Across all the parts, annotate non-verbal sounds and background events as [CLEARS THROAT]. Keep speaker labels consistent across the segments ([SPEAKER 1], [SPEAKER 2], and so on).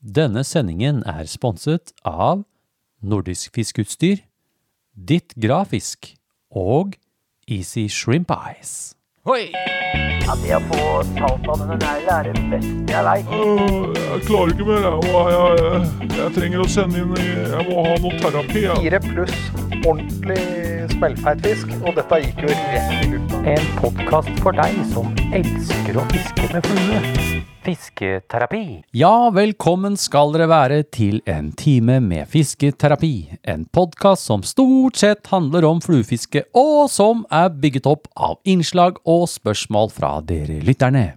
[SPEAKER 1] Denne sendingen er sponset av Nordisk Fiskeutstyr, Ditt Grafisk og Easy Shrimp Eyes.
[SPEAKER 2] Hoi!
[SPEAKER 3] Ja, det å få talt av denne negla er det beste jeg veit.
[SPEAKER 4] Øh, Jeg klarer ikke mer. Jeg, Og jeg, jeg, jeg trenger å sende inn i- Jeg må ha noe terapi. Jeg.
[SPEAKER 5] Fire pluss ordentlig smellfeit fisk, og dette gikk jo rett i lufta.
[SPEAKER 3] En podkast for deg som elsker å fiske med flue. Fisketerapi.
[SPEAKER 1] Ja, velkommen skal dere være til en time med fisketerapi. En podkast som stort sett handler om fluefiske, og som er bygget opp av innslag og spørsmål fra dere lytterne.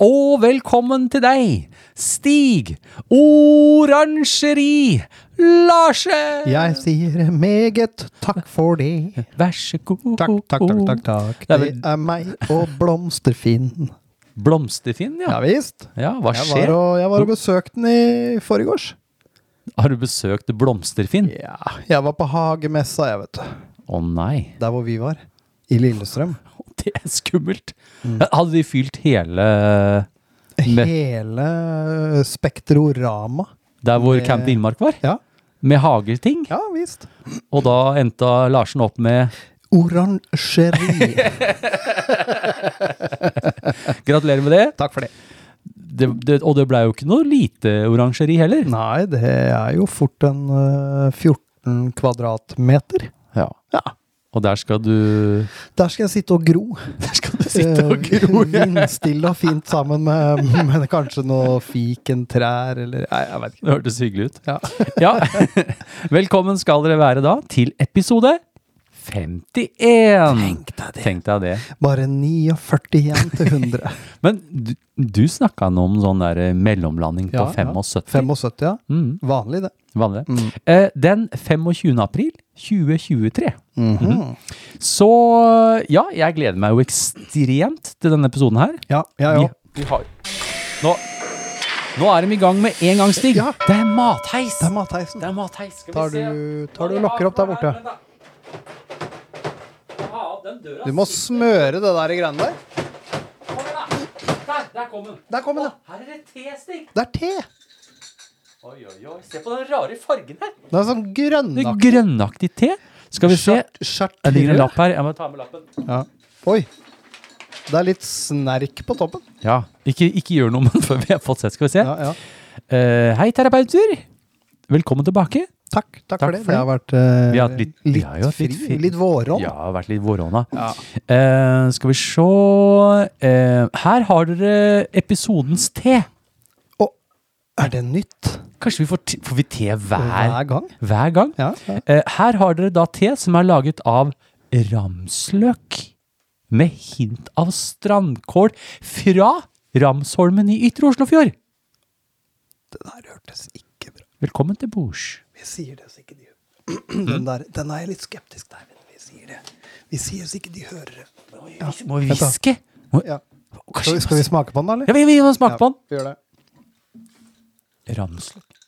[SPEAKER 1] Og velkommen til deg, Stig Oransjeri Larsen!
[SPEAKER 6] Jeg sier meget takk for det.
[SPEAKER 1] Vær så god.
[SPEAKER 6] Takk, takk, takk, takk. takk.
[SPEAKER 1] Det er
[SPEAKER 6] Det
[SPEAKER 1] vel-
[SPEAKER 6] er meg og Blomsterfinn.
[SPEAKER 1] Blomsterfinn, ja.
[SPEAKER 6] Ja visst.
[SPEAKER 1] Ja, hva
[SPEAKER 6] Jeg
[SPEAKER 1] skjer?
[SPEAKER 6] var og, jeg var og besøkte den i forgårs.
[SPEAKER 1] Har du besøkt Blomsterfinn? Å
[SPEAKER 6] Ja, jeg var på hagemessa, jeg, vet du.
[SPEAKER 1] nei,
[SPEAKER 6] Der hvor vi var. I Lillestrøm.
[SPEAKER 1] [LAUGHS] det er skummelt. Hadde de fylt hele eh, Med-
[SPEAKER 6] Hele Spektrorama.
[SPEAKER 1] der hvor
[SPEAKER 6] Med-
[SPEAKER 1] Camp Villmark var?
[SPEAKER 6] Ja,
[SPEAKER 1] Med hageting?
[SPEAKER 6] ja visst.
[SPEAKER 1] Og da endte Larsen opp med [LAUGHS]
[SPEAKER 6] Oransjeri.
[SPEAKER 1] Gratulerer med det.
[SPEAKER 6] [LAUGHS] takk for det.
[SPEAKER 1] det, det og det blei jo ikke noe lite orangeri heller.
[SPEAKER 6] Nei, det er jo fort en eh, 14 kvadratmeter.
[SPEAKER 1] Ja. Og der skal du
[SPEAKER 6] Der skal jeg sitte og gro.
[SPEAKER 1] Der skal du sitte og gro.
[SPEAKER 6] Eh, Vindstille og fint sammen med, med kanskje noe fikentrær eller Nei, jeg vet ikke.
[SPEAKER 1] Det hørtes hyggelig ut.
[SPEAKER 6] Ja.
[SPEAKER 1] [LAUGHS] Ja. Velkommen skal dere være da til episode 51. Tenk deg det.
[SPEAKER 6] Bare 49 igjen til [LAUGHS] 100.
[SPEAKER 1] Men du, du snakka nå om sånn der eh, mellomlanding på
[SPEAKER 6] Ja, ja.
[SPEAKER 1] 75.
[SPEAKER 6] 75, ja.
[SPEAKER 1] Mm,
[SPEAKER 6] Vanlig, det.
[SPEAKER 1] vanlig.
[SPEAKER 6] Mm.
[SPEAKER 1] Eh, den 25. april 2023.
[SPEAKER 6] Mhm.
[SPEAKER 1] Så ja, jeg gleder meg jo ekstremt til denne episoden her.
[SPEAKER 6] Ja, ja, ja.
[SPEAKER 1] Vi, vi har nå, nå er de i gang med en gang, Stig.
[SPEAKER 6] Ja.
[SPEAKER 1] Det er matheis!
[SPEAKER 6] Det er matheisen.
[SPEAKER 1] Det er matheis. Skal vi
[SPEAKER 6] Tar
[SPEAKER 1] se.
[SPEAKER 6] du, tar du og lokker opp der borte?
[SPEAKER 1] Ta av den døra.
[SPEAKER 6] Du må smøre det der i greiene der.
[SPEAKER 1] Kom igjen, da. Der, der kom den.
[SPEAKER 6] Der kom den, ja.
[SPEAKER 1] Her er det testing.
[SPEAKER 6] Det er te!
[SPEAKER 1] Oi, oi, oi. Se på den rare fargen her.
[SPEAKER 6] Det er sånn
[SPEAKER 1] Det er
[SPEAKER 6] grønnaktig
[SPEAKER 1] grønnaktig te. Skal vi se.
[SPEAKER 6] skjørt- skjørt-
[SPEAKER 1] Det ligger en lapp her. Jeg må ta med lappen.
[SPEAKER 6] Ja. Oi. Det er litt snerk på toppen.
[SPEAKER 1] Ja, Ikke, ikke gjør noe [LAUGHS] med den før vi har fått sett. Skal vi se.
[SPEAKER 6] Ja, ja.
[SPEAKER 1] Eh, hei, terapeuter. Velkommen tilbake.
[SPEAKER 6] Takk, takk,
[SPEAKER 1] Takk
[SPEAKER 6] for det.
[SPEAKER 1] for
[SPEAKER 6] Det har vært eh,
[SPEAKER 1] Vi har hatt litt- vi har jo hatt
[SPEAKER 6] fri,
[SPEAKER 1] litt
[SPEAKER 6] litt,
[SPEAKER 1] fri.
[SPEAKER 6] vårånd.
[SPEAKER 1] Ja, har vært litt vårånda.
[SPEAKER 6] Ja.
[SPEAKER 1] Eh, skal vi se eh, Her har dere episodens te.
[SPEAKER 6] Er det nytt
[SPEAKER 1] Kanskje vi får, te- får vi te hver,
[SPEAKER 6] hver gang?
[SPEAKER 1] hver gang?
[SPEAKER 6] Ja, ja.
[SPEAKER 1] Eh, her har dere da te som er laget av ramsløk med hint av strandkål fra Ramsholmen i Ytre Oslofjord.
[SPEAKER 6] Den her hørtes ikke bra
[SPEAKER 1] Velkommen til bords.
[SPEAKER 6] Vi sier det så ikke
[SPEAKER 1] [CLEARS THROAT]
[SPEAKER 6] de den, der, den er jeg litt skeptisk der, men vi sier det. Vi sier så ikke de hører det. Ja.
[SPEAKER 1] Må vi
[SPEAKER 6] Vent da.
[SPEAKER 1] hviske? Må-
[SPEAKER 6] Ja.
[SPEAKER 1] Kanskje
[SPEAKER 6] Skal, skal vi smake på den, da,
[SPEAKER 1] Ja,
[SPEAKER 6] eller?
[SPEAKER 1] vi, vi må smake på
[SPEAKER 6] vi gjør det.
[SPEAKER 1] den. Ramsløk.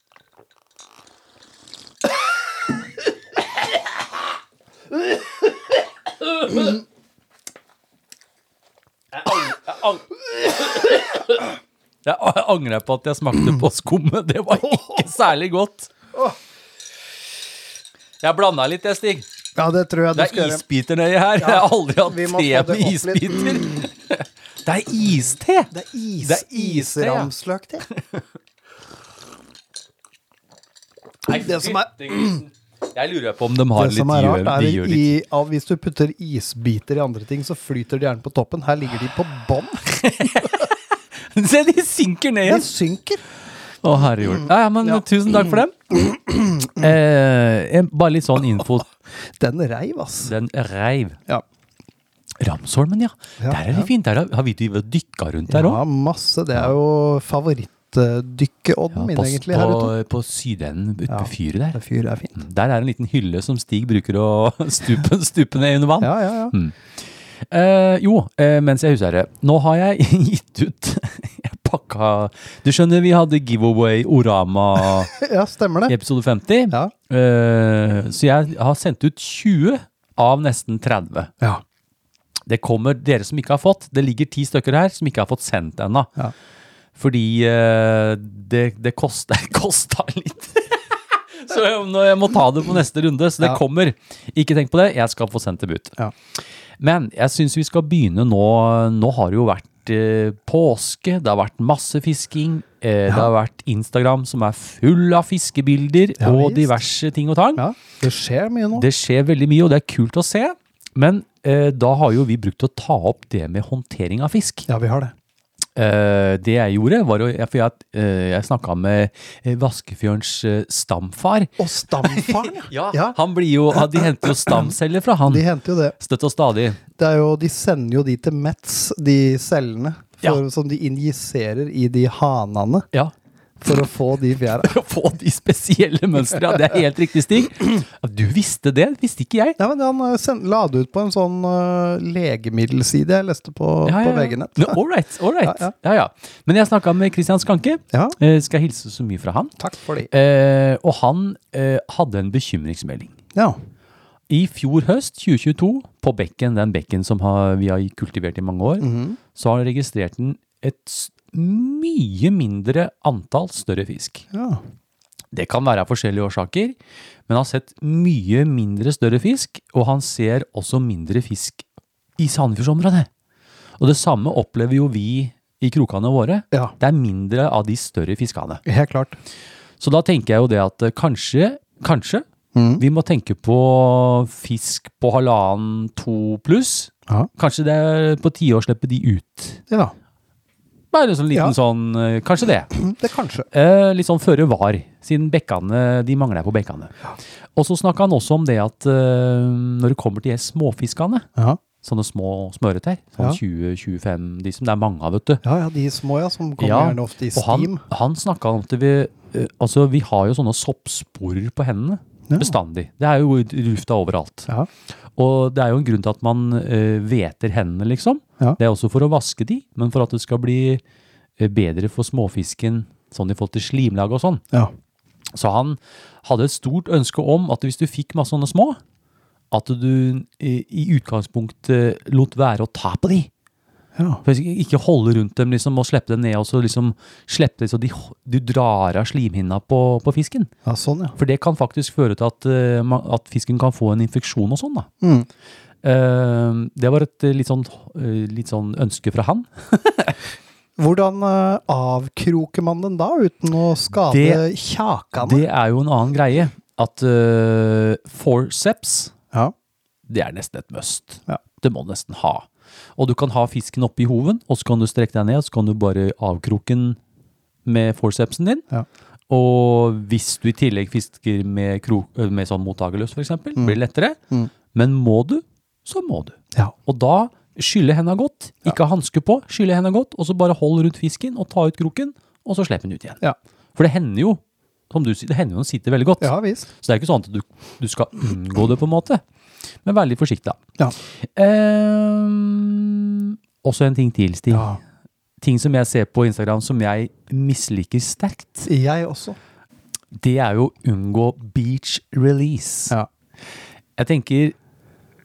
[SPEAKER 1] Jeg ang- jeg angrer på at jeg smakte på skummet. Det var ikke særlig godt. Jeg blanda litt, jeg, Stig.
[SPEAKER 6] Ja, det tror jeg du
[SPEAKER 1] Det
[SPEAKER 6] skal
[SPEAKER 1] er
[SPEAKER 6] gjøre.
[SPEAKER 1] isbiternøye her. Jeg har aldri hatt
[SPEAKER 6] vi må få
[SPEAKER 1] te
[SPEAKER 6] det
[SPEAKER 1] med
[SPEAKER 6] opp litt.
[SPEAKER 1] isbiter. Det er iste!
[SPEAKER 6] Det er is,
[SPEAKER 1] Det er is, ja.
[SPEAKER 6] isramsløk til. det som er-
[SPEAKER 1] Jeg lurer på om de har
[SPEAKER 6] Det
[SPEAKER 1] litt
[SPEAKER 6] som er
[SPEAKER 1] gjør,
[SPEAKER 6] rart,
[SPEAKER 1] de
[SPEAKER 6] er
[SPEAKER 1] gjør
[SPEAKER 6] i,
[SPEAKER 1] litt.
[SPEAKER 6] av, hvis du putter isbiter i andre ting, så flyter de gjerne på toppen. Her ligger de på bånn.
[SPEAKER 1] [LAUGHS] Se, de synker ned
[SPEAKER 6] De
[SPEAKER 1] igjen!
[SPEAKER 6] synker.
[SPEAKER 1] Å, herrejord. Ja, ja, men tusen takk for dem.
[SPEAKER 6] Mm.
[SPEAKER 1] Eh, en- bare litt sånn info.
[SPEAKER 6] Den reiv, ass.
[SPEAKER 1] Den reiv.
[SPEAKER 6] Ja.
[SPEAKER 1] Ramsholmen, ja.
[SPEAKER 6] Ja,
[SPEAKER 1] Der er det
[SPEAKER 6] ja.
[SPEAKER 1] fint. Der har- har vi drevet og dykka rundt der òg.
[SPEAKER 6] Ja, masse. Det er jo favorittdykkeodden min,
[SPEAKER 1] på,
[SPEAKER 6] egentlig, her
[SPEAKER 1] på,
[SPEAKER 6] ute.
[SPEAKER 1] på sydenden ute
[SPEAKER 6] Ja.
[SPEAKER 1] ved fyret der.
[SPEAKER 6] Det fyret er fint.
[SPEAKER 1] Der er en liten hylle som Stig bruker å [LAUGHS] stupe, stupe ned under vann.
[SPEAKER 6] Ja, ja, ja.
[SPEAKER 1] Mm. Eh, jo, eh, mens jeg husker det. Nå har jeg [LAUGHS] gitt ut Jeg pakka Du skjønner, vi hadde giveaway Orama
[SPEAKER 6] Ja, stemmer
[SPEAKER 1] i
[SPEAKER 6] det.
[SPEAKER 1] episode 50.
[SPEAKER 6] Ja.
[SPEAKER 1] Eh, så jeg har sendt ut 20 av nesten 30.
[SPEAKER 6] Ja.
[SPEAKER 1] Det kommer dere som ikke har fått. Det ligger ti stykker her som ikke har fått sendt ennå.
[SPEAKER 6] Ja.
[SPEAKER 1] Fordi eh, det, det [LAUGHS] kosta litt. [LAUGHS] så jeg, nå- jeg må ta det på neste runde, så det
[SPEAKER 6] Ja.
[SPEAKER 1] kommer. Ikke tenk på det, jeg skal få sendt dem ut.
[SPEAKER 6] Ja.
[SPEAKER 1] Men jeg syns vi skal begynne nå. Nå har det jo vært eh, påske, det har vært masse fisking. Eh, Det har vært Instagram som er full av fiskebilder
[SPEAKER 6] Ja,
[SPEAKER 1] og
[SPEAKER 6] visst.
[SPEAKER 1] diverse ting og tang.
[SPEAKER 6] Ja, det skjer mye nå.
[SPEAKER 1] Det skjer veldig mye, og det er kult å se. Men eh, da har jo vi brukt å ta opp det med håndtering av fisk.
[SPEAKER 6] Ja, vi har det.
[SPEAKER 1] Eh, det jeg gjorde, var å For jeg, eh, jeg snakka med eh, Vaskefjørns eh, stamfar.
[SPEAKER 6] Og stamfaren, ja.
[SPEAKER 1] Han blir jo, De henter jo stamceller fra han.
[SPEAKER 6] De henter jo det.
[SPEAKER 1] Støtt og stadig.
[SPEAKER 6] det er jo, de sender jo de til Metz, de cellene, for,
[SPEAKER 1] Ja.
[SPEAKER 6] som de injiserer i de hanene
[SPEAKER 1] Ja.
[SPEAKER 6] for å få de fjæra.
[SPEAKER 1] For å få de spesielle mønstrene. Ja, det er helt riktig, Stig. Du visste det, visste ikke jeg.
[SPEAKER 6] Ja, men Han eh, send, la det ut på en sånn eh, legemiddelside jeg leste på, på VG-nett.
[SPEAKER 1] No, all right, all right.
[SPEAKER 6] Ja,
[SPEAKER 1] Ja, ja. Men jeg snakka med Christian Skanke.
[SPEAKER 6] Ja.
[SPEAKER 1] Eh, skal hilse så mye fra han.
[SPEAKER 6] Takk for det.
[SPEAKER 1] Eh, og han eh, hadde en bekymringsmelding.
[SPEAKER 6] Ja.
[SPEAKER 1] I fjor høst, 2022, på bekken, den bekken som har, vi har kultivert i mange år,
[SPEAKER 6] Mhm.
[SPEAKER 1] så har han registrert den et s- mye mindre antall større fisk.
[SPEAKER 6] ja.
[SPEAKER 1] Det kan være av forskjellige årsaker, men han har sett mye mindre større fisk, og han ser også mindre fisk i Sandefjordsområdet. Og det samme opplever jo vi i krokene våre.
[SPEAKER 6] Ja.
[SPEAKER 1] Det er mindre av de større fiskene.
[SPEAKER 6] Helt klart.
[SPEAKER 1] Så da tenker jeg jo det at eh, kanskje, kanskje, vi må tenke på fisk på halvannen, to pluss.
[SPEAKER 6] Ja.
[SPEAKER 1] Kanskje det er på tide å slippe de ut.
[SPEAKER 6] ja.
[SPEAKER 1] Bare en sånn liten
[SPEAKER 6] Ja.
[SPEAKER 1] sånn, eh, kanskje det.
[SPEAKER 6] Mm, Det kanskje.
[SPEAKER 1] Eh, litt sånn føre var, siden bekkene, de mangler på bekkene. Og så snakket han også om det at eh, når det kommer til de småfiskene,
[SPEAKER 6] Ja.
[SPEAKER 1] sånne små smøreter, sånn 20-25, de som det er mange av, vet du.
[SPEAKER 6] Ja, ja, de små, ja, som kommer gjerne ofte i
[SPEAKER 1] og han,
[SPEAKER 6] steam.
[SPEAKER 1] han snakka om at vi, eh, altså, vi har jo sånne soppsporer på hendene.
[SPEAKER 6] Ja.
[SPEAKER 1] Bestandig. Det er jo i lufta overalt.
[SPEAKER 6] Ja.
[SPEAKER 1] Og det er jo en grunn til at man eh, hveter hendene, liksom.
[SPEAKER 6] Ja.
[SPEAKER 1] Det er også for å vaske de, men for at det skal bli eh, bedre for småfisken sånn i forhold til slimlag og sånn.
[SPEAKER 6] Ja.
[SPEAKER 1] Så han hadde et stort ønske om at hvis du fikk masse sånne små, at du i, i utgangspunktet lot være å ta på de.
[SPEAKER 6] Ja.
[SPEAKER 1] For hvis ikke- Ikke holde rundt dem liksom, og slippe dem ned, og så liksom slippe dem så de, du drar av slimhinna på, på fisken.
[SPEAKER 6] ja, sånn, ja.
[SPEAKER 1] For det kan faktisk føre til at, eh, ma- at fisken kan få en infeksjon og sånn. da.
[SPEAKER 6] Mm.
[SPEAKER 1] Eh, det var et eh, litt sånn, eh, litt sånn ønske fra han.
[SPEAKER 6] Hvordan eh, avkroker man den da, uten å skade
[SPEAKER 1] Det-
[SPEAKER 6] kjakene?
[SPEAKER 1] Det er jo en annen greie. At eh, forceps,
[SPEAKER 6] Ja.
[SPEAKER 1] det er nesten et must.
[SPEAKER 6] Ja.
[SPEAKER 1] Det må du nesten ha. Og du kan ha fisken oppi hoven, og så kan du strekke deg ned, og så kan du bare avkroke den med forcepsen din.
[SPEAKER 6] Ja.
[SPEAKER 1] Og hvis du i tillegg fisker med, kro- øh, med sånn mottagerløs, for eksempel,
[SPEAKER 6] Mm.
[SPEAKER 1] blir det lettere. Men må du, så må du.
[SPEAKER 6] Ja.
[SPEAKER 1] Og da skylle henda godt, ikke ha hanske på, skylle henda godt, og så bare hold rundt fisken og ta ut kroken, og så slipp den ut igjen.
[SPEAKER 6] Ja.
[SPEAKER 1] For det hender jo, som du sier, det hender jo den sitter veldig godt.
[SPEAKER 6] ja visst.
[SPEAKER 1] Så det er ikke sånn at du, du skal unngå det på en måte. Men vær litt forsiktig da.
[SPEAKER 6] Ja.
[SPEAKER 1] Ehm, også en ting til, Stig.
[SPEAKER 6] ja.
[SPEAKER 1] Ting som jeg ser på Instagram som jeg misliker sterkt.
[SPEAKER 6] Jeg også.
[SPEAKER 1] det er jo unngå beach release.
[SPEAKER 6] Ja.
[SPEAKER 1] Jeg tenker,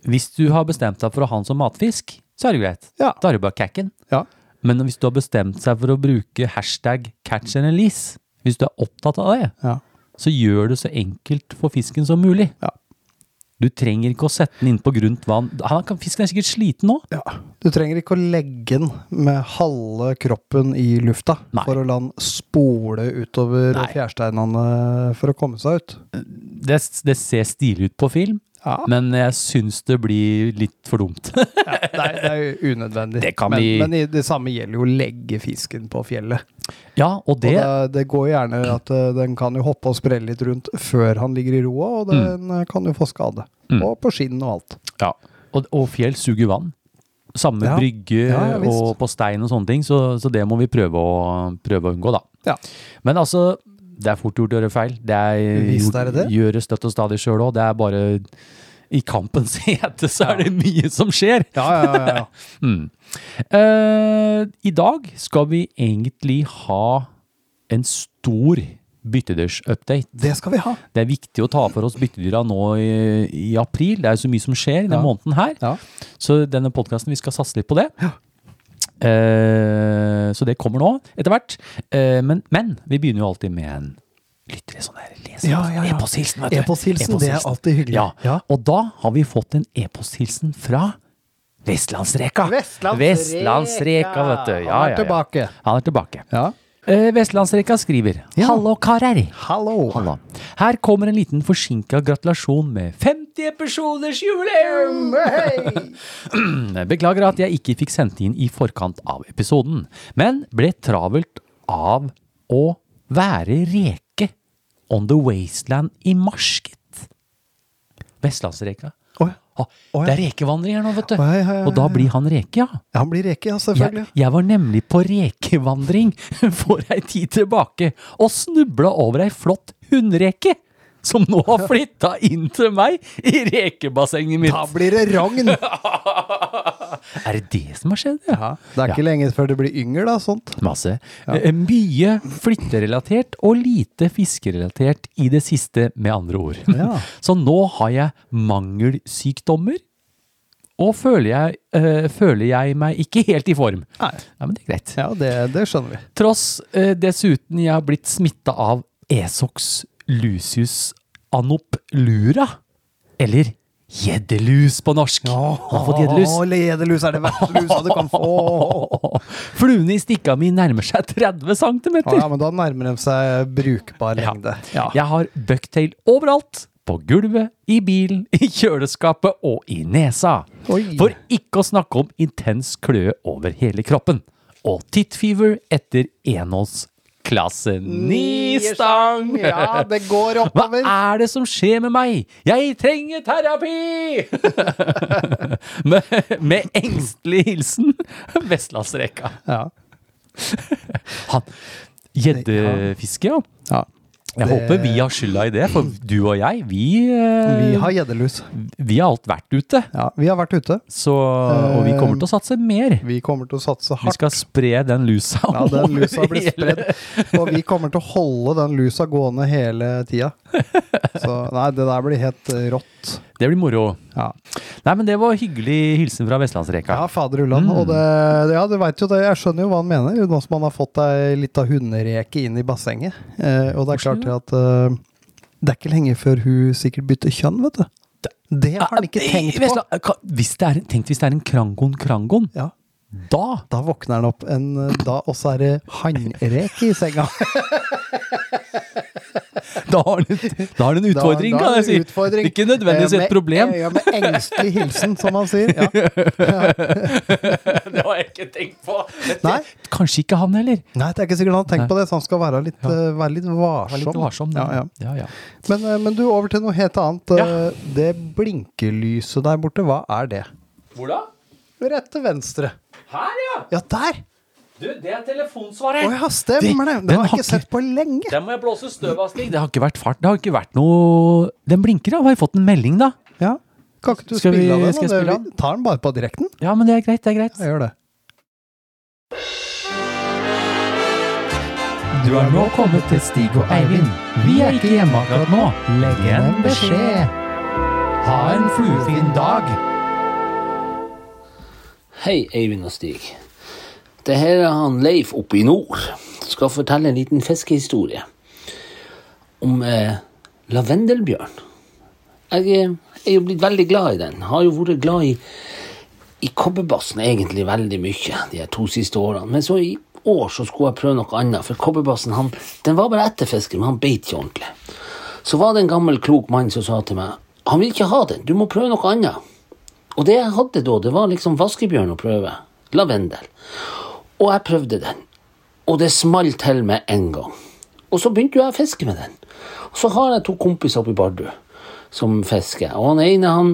[SPEAKER 1] hvis du har bestemt deg for å ha den som matfisk, så er det greit.
[SPEAKER 6] Ja.
[SPEAKER 1] Da er det bare kakken.
[SPEAKER 6] Ja.
[SPEAKER 1] Men hvis du har bestemt seg for å bruke hashtag catch and release, hvis du er opptatt av det,
[SPEAKER 6] Ja.
[SPEAKER 1] så gjør det så enkelt for fisken som mulig.
[SPEAKER 6] Ja.
[SPEAKER 1] Du trenger ikke å sette den inn på grunt vann. Han kan, fisken er sikkert sliten nå.
[SPEAKER 6] ja. Du trenger ikke å legge den med halve kroppen i lufta
[SPEAKER 1] Nei.
[SPEAKER 6] for å la den spole utover
[SPEAKER 1] Nei.
[SPEAKER 6] fjærsteinene for å komme seg ut.
[SPEAKER 1] Det, det ser stilig ut på film,
[SPEAKER 6] Ja.
[SPEAKER 1] men jeg syns det blir litt for dumt.
[SPEAKER 6] [LAUGHS]
[SPEAKER 1] [LAUGHS]
[SPEAKER 6] Nei, det er jo unødvendig.
[SPEAKER 1] Det kan
[SPEAKER 6] men,
[SPEAKER 1] vi-
[SPEAKER 6] men i- det samme gjelder jo å legge fisken på fjellet.
[SPEAKER 1] ja, og
[SPEAKER 6] Og
[SPEAKER 1] det,
[SPEAKER 6] det, det går gjerne at eh, den kan jo hoppe og sprelle litt rundt før han ligger i roa, og den eh, kan jo få skade.
[SPEAKER 1] Mm.
[SPEAKER 6] Og på skinn og alt.
[SPEAKER 1] Ja. Og, og fjell suger vann. Samme
[SPEAKER 6] Ja.
[SPEAKER 1] brygge
[SPEAKER 6] Ja, ja, visst.
[SPEAKER 1] og på stein og sånne ting, så, så det må vi prøve å, prøve å unngå, da.
[SPEAKER 6] Ja.
[SPEAKER 1] Men altså, det er fort gjort å gjøre feil. Det er
[SPEAKER 6] Visst er det det.
[SPEAKER 1] gjøre støtt og stadig sjøl òg. Det er bare i kampens [LAUGHS] hete så er det mye som skjer.
[SPEAKER 6] Ja, ja, ja. ja.
[SPEAKER 1] Mm. Eh, I dag skal vi egentlig ha en stor byttedyrsupdate.
[SPEAKER 6] [LAUGHS] Det skal vi ha.
[SPEAKER 1] Det er viktig å ta for oss byttedyra nå i, i april. Det er jo så mye som skjer i denne
[SPEAKER 6] Ja.
[SPEAKER 1] måneden her.
[SPEAKER 6] Ja.
[SPEAKER 1] Så denne podkasten, vi skal satse litt på det. Eh, så det kommer nå, etter hvert. Eh, men, men vi begynner jo alltid med en lytter i sånn her les-
[SPEAKER 6] Ja, ja, ja.
[SPEAKER 1] e-posthilsen. vet du.
[SPEAKER 6] E-posthilsen, det er
[SPEAKER 1] E-posthilsen.
[SPEAKER 6] alltid hyggelig.
[SPEAKER 1] Ja.
[SPEAKER 6] Ja.
[SPEAKER 1] Og da har vi fått en e-posthilsen fra Vestlandsreka.
[SPEAKER 6] Vestlandsreka.
[SPEAKER 1] Vestlandsreka, vet du. Ja,
[SPEAKER 6] Han er
[SPEAKER 1] ja, ja.
[SPEAKER 6] tilbake.
[SPEAKER 1] Han er tilbake.
[SPEAKER 6] Ja.
[SPEAKER 1] Eh, Vestlandsreka skriver
[SPEAKER 6] Ja.
[SPEAKER 1] Hallo, karer.
[SPEAKER 6] Hallo.
[SPEAKER 1] Halla. Her kommer en liten forsinka gratulasjon med 50 personers jubileum!
[SPEAKER 6] Mm.
[SPEAKER 1] Beklager at jeg ikke fikk sendt inn i forkant av episoden, men ble travelt av å være reke on the wasteland i mars, gitt. Vestlandsreka.
[SPEAKER 6] Oi.
[SPEAKER 1] Ha,
[SPEAKER 6] Å, ja.
[SPEAKER 1] Det er rekevandring her nå, vet du.
[SPEAKER 6] Å, ja, ja, ja,
[SPEAKER 1] Og da
[SPEAKER 6] ja.
[SPEAKER 1] blir han reke, ja.
[SPEAKER 6] Ja, han blir reke, ja, selvfølgelig.
[SPEAKER 1] Jeg, jeg var nemlig på rekevandring [LAUGHS] for ei tid tilbake og snubla over ei flott hundreke. Som nå
[SPEAKER 6] [LAUGHS]
[SPEAKER 1] har flytta inn til meg i rekebassenget mitt.
[SPEAKER 6] Da blir det rogn! [LAUGHS] Det
[SPEAKER 1] Er det det som har skjedd? Ja.
[SPEAKER 6] er ikke lenge før det blir yngel, da, sånt.
[SPEAKER 1] Masse. Eh, Mye flytterelatert og lite fiskerelatert i det siste, med andre ord. [LAUGHS]
[SPEAKER 6] Ja.
[SPEAKER 1] Så nå har jeg mangelsykdommer, og føler jeg, eh, føler jeg meg ikke helt i form.
[SPEAKER 6] Nei.
[SPEAKER 1] Ja, men det er greit.
[SPEAKER 6] Ja, det, det skjønner vi.
[SPEAKER 1] Tross eh, dessuten jeg har blitt smitta av Esox lucius anoplura, eller gjeddelus på norsk. Han har fått gjeddelus.
[SPEAKER 6] [LAUGHS] Å, ledelus er det verste lusa du kan få!
[SPEAKER 1] Fluene i stikka mi nærmer seg 30 cm.
[SPEAKER 6] Å, [LAUGHS] ja, men da nærmer de seg brukbar lengde. Ja.
[SPEAKER 1] Jeg har bucktail overalt. På gulvet, i bilen, i kjøleskapet og i nesa.
[SPEAKER 6] Oi.
[SPEAKER 1] For ikke å snakke om intens kløe over hele kroppen. Og tittfever etter enås klasse 9-stang.
[SPEAKER 6] Ja, det går
[SPEAKER 1] Hva
[SPEAKER 6] oppover.
[SPEAKER 1] er det som skjer med meg? Jeg trenger terapi! [LAUGHS] med, med engstelig hilsen Vestlandsreka.
[SPEAKER 6] Ja.
[SPEAKER 1] Han Gjeddefiske, ja.
[SPEAKER 6] Ja.
[SPEAKER 1] Jeg håper vi har skylda i det, for du og jeg, vi, eh,
[SPEAKER 6] Vi har gjeddelus.
[SPEAKER 1] vi har alt vært ute.
[SPEAKER 6] Ja, vi har vært ute.
[SPEAKER 1] Så, og vi kommer til å satse mer.
[SPEAKER 6] Vi kommer til å satse
[SPEAKER 1] Vi
[SPEAKER 6] hardt.
[SPEAKER 1] skal spre den lusa.
[SPEAKER 6] Ja, den lusa
[SPEAKER 1] over
[SPEAKER 6] blir
[SPEAKER 1] hele-
[SPEAKER 6] spredd. Og vi kommer til å holde den lusa gående hele tida. Så nei, det der blir helt eh, rått.
[SPEAKER 1] Det blir moro.
[SPEAKER 6] Ja,
[SPEAKER 1] Nei, men det var hyggelig hilsen fra Vestlandsreka.
[SPEAKER 6] ja fader ullan.
[SPEAKER 1] Mm.
[SPEAKER 6] Og det, ja, du veit jo det, jeg skjønner jo hva han mener, nå som han har fått ei lita hundereke inn i bassenget. Eh, og det er klart det at eh, det er ikke lenge før hun sikkert bytter kjønn, vet du. Det har han ikke
[SPEAKER 1] Eh,
[SPEAKER 6] tenkt på.
[SPEAKER 1] Vestland- ka- Hvis det er, tenk hvis det er en krangon-krangon,
[SPEAKER 6] Ja,
[SPEAKER 1] da
[SPEAKER 6] da våkner han opp en eh, da, og så er det hannreke i senga.
[SPEAKER 1] [LAUGHS] Da har den, da har den en
[SPEAKER 6] Da-
[SPEAKER 1] [LAUGHS] utfordring,
[SPEAKER 6] da
[SPEAKER 1] kan
[SPEAKER 6] er
[SPEAKER 1] jeg
[SPEAKER 6] det
[SPEAKER 1] si.
[SPEAKER 6] utfordring.
[SPEAKER 1] Ikke nødvendigvis et
[SPEAKER 6] Eh, med-
[SPEAKER 1] problem.
[SPEAKER 6] eh, Ja, med engstelig hilsen, som han sier. Ja.
[SPEAKER 1] [LAUGHS] Det har jeg ikke tenkt på.
[SPEAKER 6] Nei.
[SPEAKER 1] Kanskje ikke han heller.
[SPEAKER 6] Nei, det er ikke sikkert han har tenkt på det, så han skal være litt, eh, være litt varsom.
[SPEAKER 1] Vær litt varsom.
[SPEAKER 6] Ja, ja.
[SPEAKER 1] ja, ja.
[SPEAKER 6] Men, eh, men du, over til noe helt annet.
[SPEAKER 1] Ja.
[SPEAKER 6] Eh, Det blinkelyset der borte, hva er det?
[SPEAKER 1] Hvor da?
[SPEAKER 6] Rett til venstre.
[SPEAKER 1] Her, ja!
[SPEAKER 6] Ja, der!
[SPEAKER 1] Du, det er
[SPEAKER 6] Å
[SPEAKER 1] telefonsvarer.
[SPEAKER 6] ja, stemmer det! Den,
[SPEAKER 1] den
[SPEAKER 6] har
[SPEAKER 1] har
[SPEAKER 6] jeg ikke sett på lenge.
[SPEAKER 1] Den må jeg blåse støv av, Stig. Det har ikke vært fart. Det har ikke vært noe Den blinker, ja. Har jeg fått en melding, da?
[SPEAKER 6] Ja. Kan ikke du
[SPEAKER 1] Skal vi-
[SPEAKER 6] spille av den?
[SPEAKER 1] skal jeg
[SPEAKER 6] da? Det-
[SPEAKER 1] spille av
[SPEAKER 6] vi Tar den bare på direkten?
[SPEAKER 1] Ja, men det er greit. Det er greit.
[SPEAKER 6] Jeg gjør det.
[SPEAKER 1] Du har nå kommet til Stig og Eivind. Vi er ikke hjemme akkurat nå. Legg igjen beskjed. Ha en fluefin dag.
[SPEAKER 2] Hei, Eivind og Stig. Det her er han Leif oppe i nord. Skal fortelle en liten fiskehistorie om eh, lavendelbjørn. Jeg eh, er jo blitt veldig glad i den. Har jo vært glad i, i kobberbassen egentlig veldig mye de her to siste årene. Men så i år så skulle jeg prøve noe annet, for kobberbassen han, den var bare etterfisker, men han beit ikke ordentlig. Så var det en gammel, klok mann som sa til meg han vil ikke ha den, du må prøve noe annet. Og det jeg hadde da, det var liksom vaskebjørn å prøve. Lavendel. Og jeg prøvde den. Og det smalt til med en gang. Og så begynte jo jeg å fiske med den. Og så har jeg to kompiser oppe i Bardu som fisker. Og han ene, han,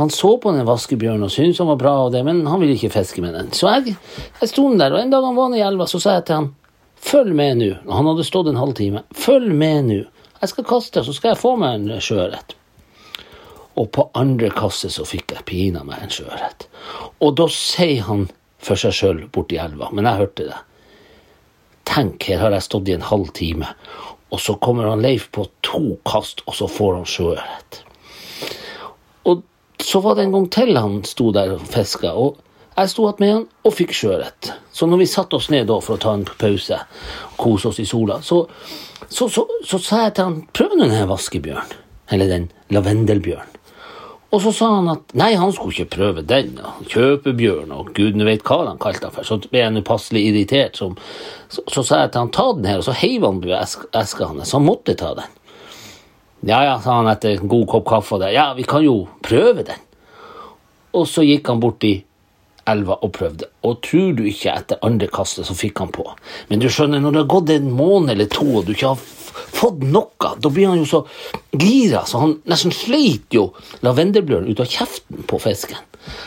[SPEAKER 2] han så på den vaskebjørnen og syntes han var bra, og det, men han ville ikke fiske med den. Så jeg, jeg sto den der, og en dag han var nede i elva, så sa jeg til han Følg med nå. Og Han hadde stått en halv time. Følg med nå. Jeg skal kaste, så skal jeg få meg en sjøørret. Og på andre kasse så fikk jeg pina meg en sjøørret. Og da sier han for seg sjøl borti elva, men jeg hørte det. Tenk, her har jeg stått i en halv time, og så kommer han Leif på to kast, og så får han sjøørret. Og så var det en gang til han sto der og fiska, og Jeg sto att med han og fikk sjøørret. Så når vi satte oss ned da for å ta en pause og kose oss i sola, så, så, så, så sa jeg til han prøv nå den her vaskebjørnen. Eller den lavendelbjørnen. Og så sa han at nei, han skulle ikke prøve den. ja. Kjøpebjørn og gudene vet hva han kalte den for. Så ble jeg nå passelig irritert. Så, så, så sa jeg til han ta den her, og så heiv han på esk- eska hans. Han måtte ta den. Ja ja, sa han etter en god kopp kaffe. og det. Ja, vi kan jo prøve den. Og så gikk han bort i elva og prøvde. Og tror du ikke, etter andre kastet så fikk han på. Men du skjønner, når det har gått en måned eller to, og du ikke har f- fått noe, da blir han jo så gira, så han nesten sleit jo lavendelbløren ut av kjeften på fisken.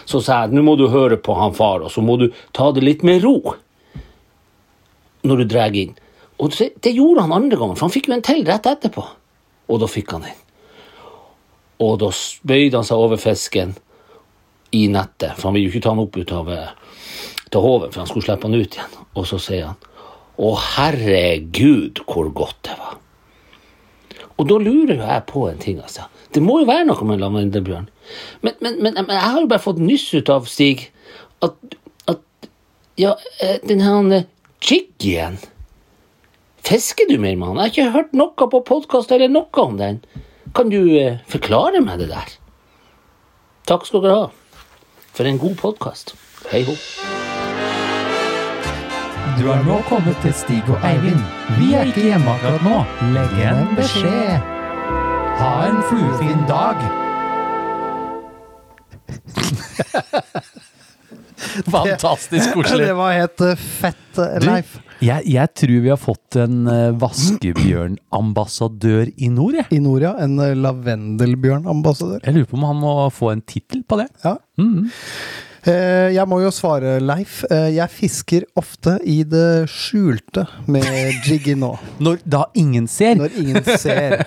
[SPEAKER 2] Så sa jeg, nå må du høre på han far, og så må du ta det litt med ro når du drar inn. Og det det gjorde han andre gangen, for han fikk jo en til rett etterpå. Og da fikk han en. Og da s- bøyde han seg over fisken i nettet, for han ville jo ikke ta han opp ut av eh, til hoven, for han skulle slippe han ut igjen. Og så sier han Å, herregud, hvor godt det var. Og da lurer jo jeg på en ting, altså. Det må jo være noe med lavendelbjørn. Men, men, men, men jeg har jo bare fått nyss ut av Stig at, at Ja, eh, den her eh, jiggyen Fisker du mer med han? Jeg har ikke hørt noe på podkast eller noe om den. Kan du eh, forklare meg det der? Takk skal dere ha for en god podkast. Hei ho.
[SPEAKER 1] Du har nå kommet til Stig og Eivind. Vi er ikke hjemme akkurat nå. Legg igjen en beskjed. Ha en fluefin dag. [LAUGHS] Fantastisk
[SPEAKER 6] Det var helt eh, fett eh, Leif.
[SPEAKER 1] jeg, jeg tror vi har fått en eh, vaskebjørnambassadør i nord, jeg.
[SPEAKER 6] I Noria, en eh, lavendelbjørnambassadør.
[SPEAKER 1] Jeg lurer på om han må få en tittel på det.
[SPEAKER 6] Ja. Eh, Jeg må jo svare, Leif. Eh, Jeg fisker ofte i det skjulte med jiggy nå.
[SPEAKER 1] Når da ingen ser,
[SPEAKER 6] Når ingen ser.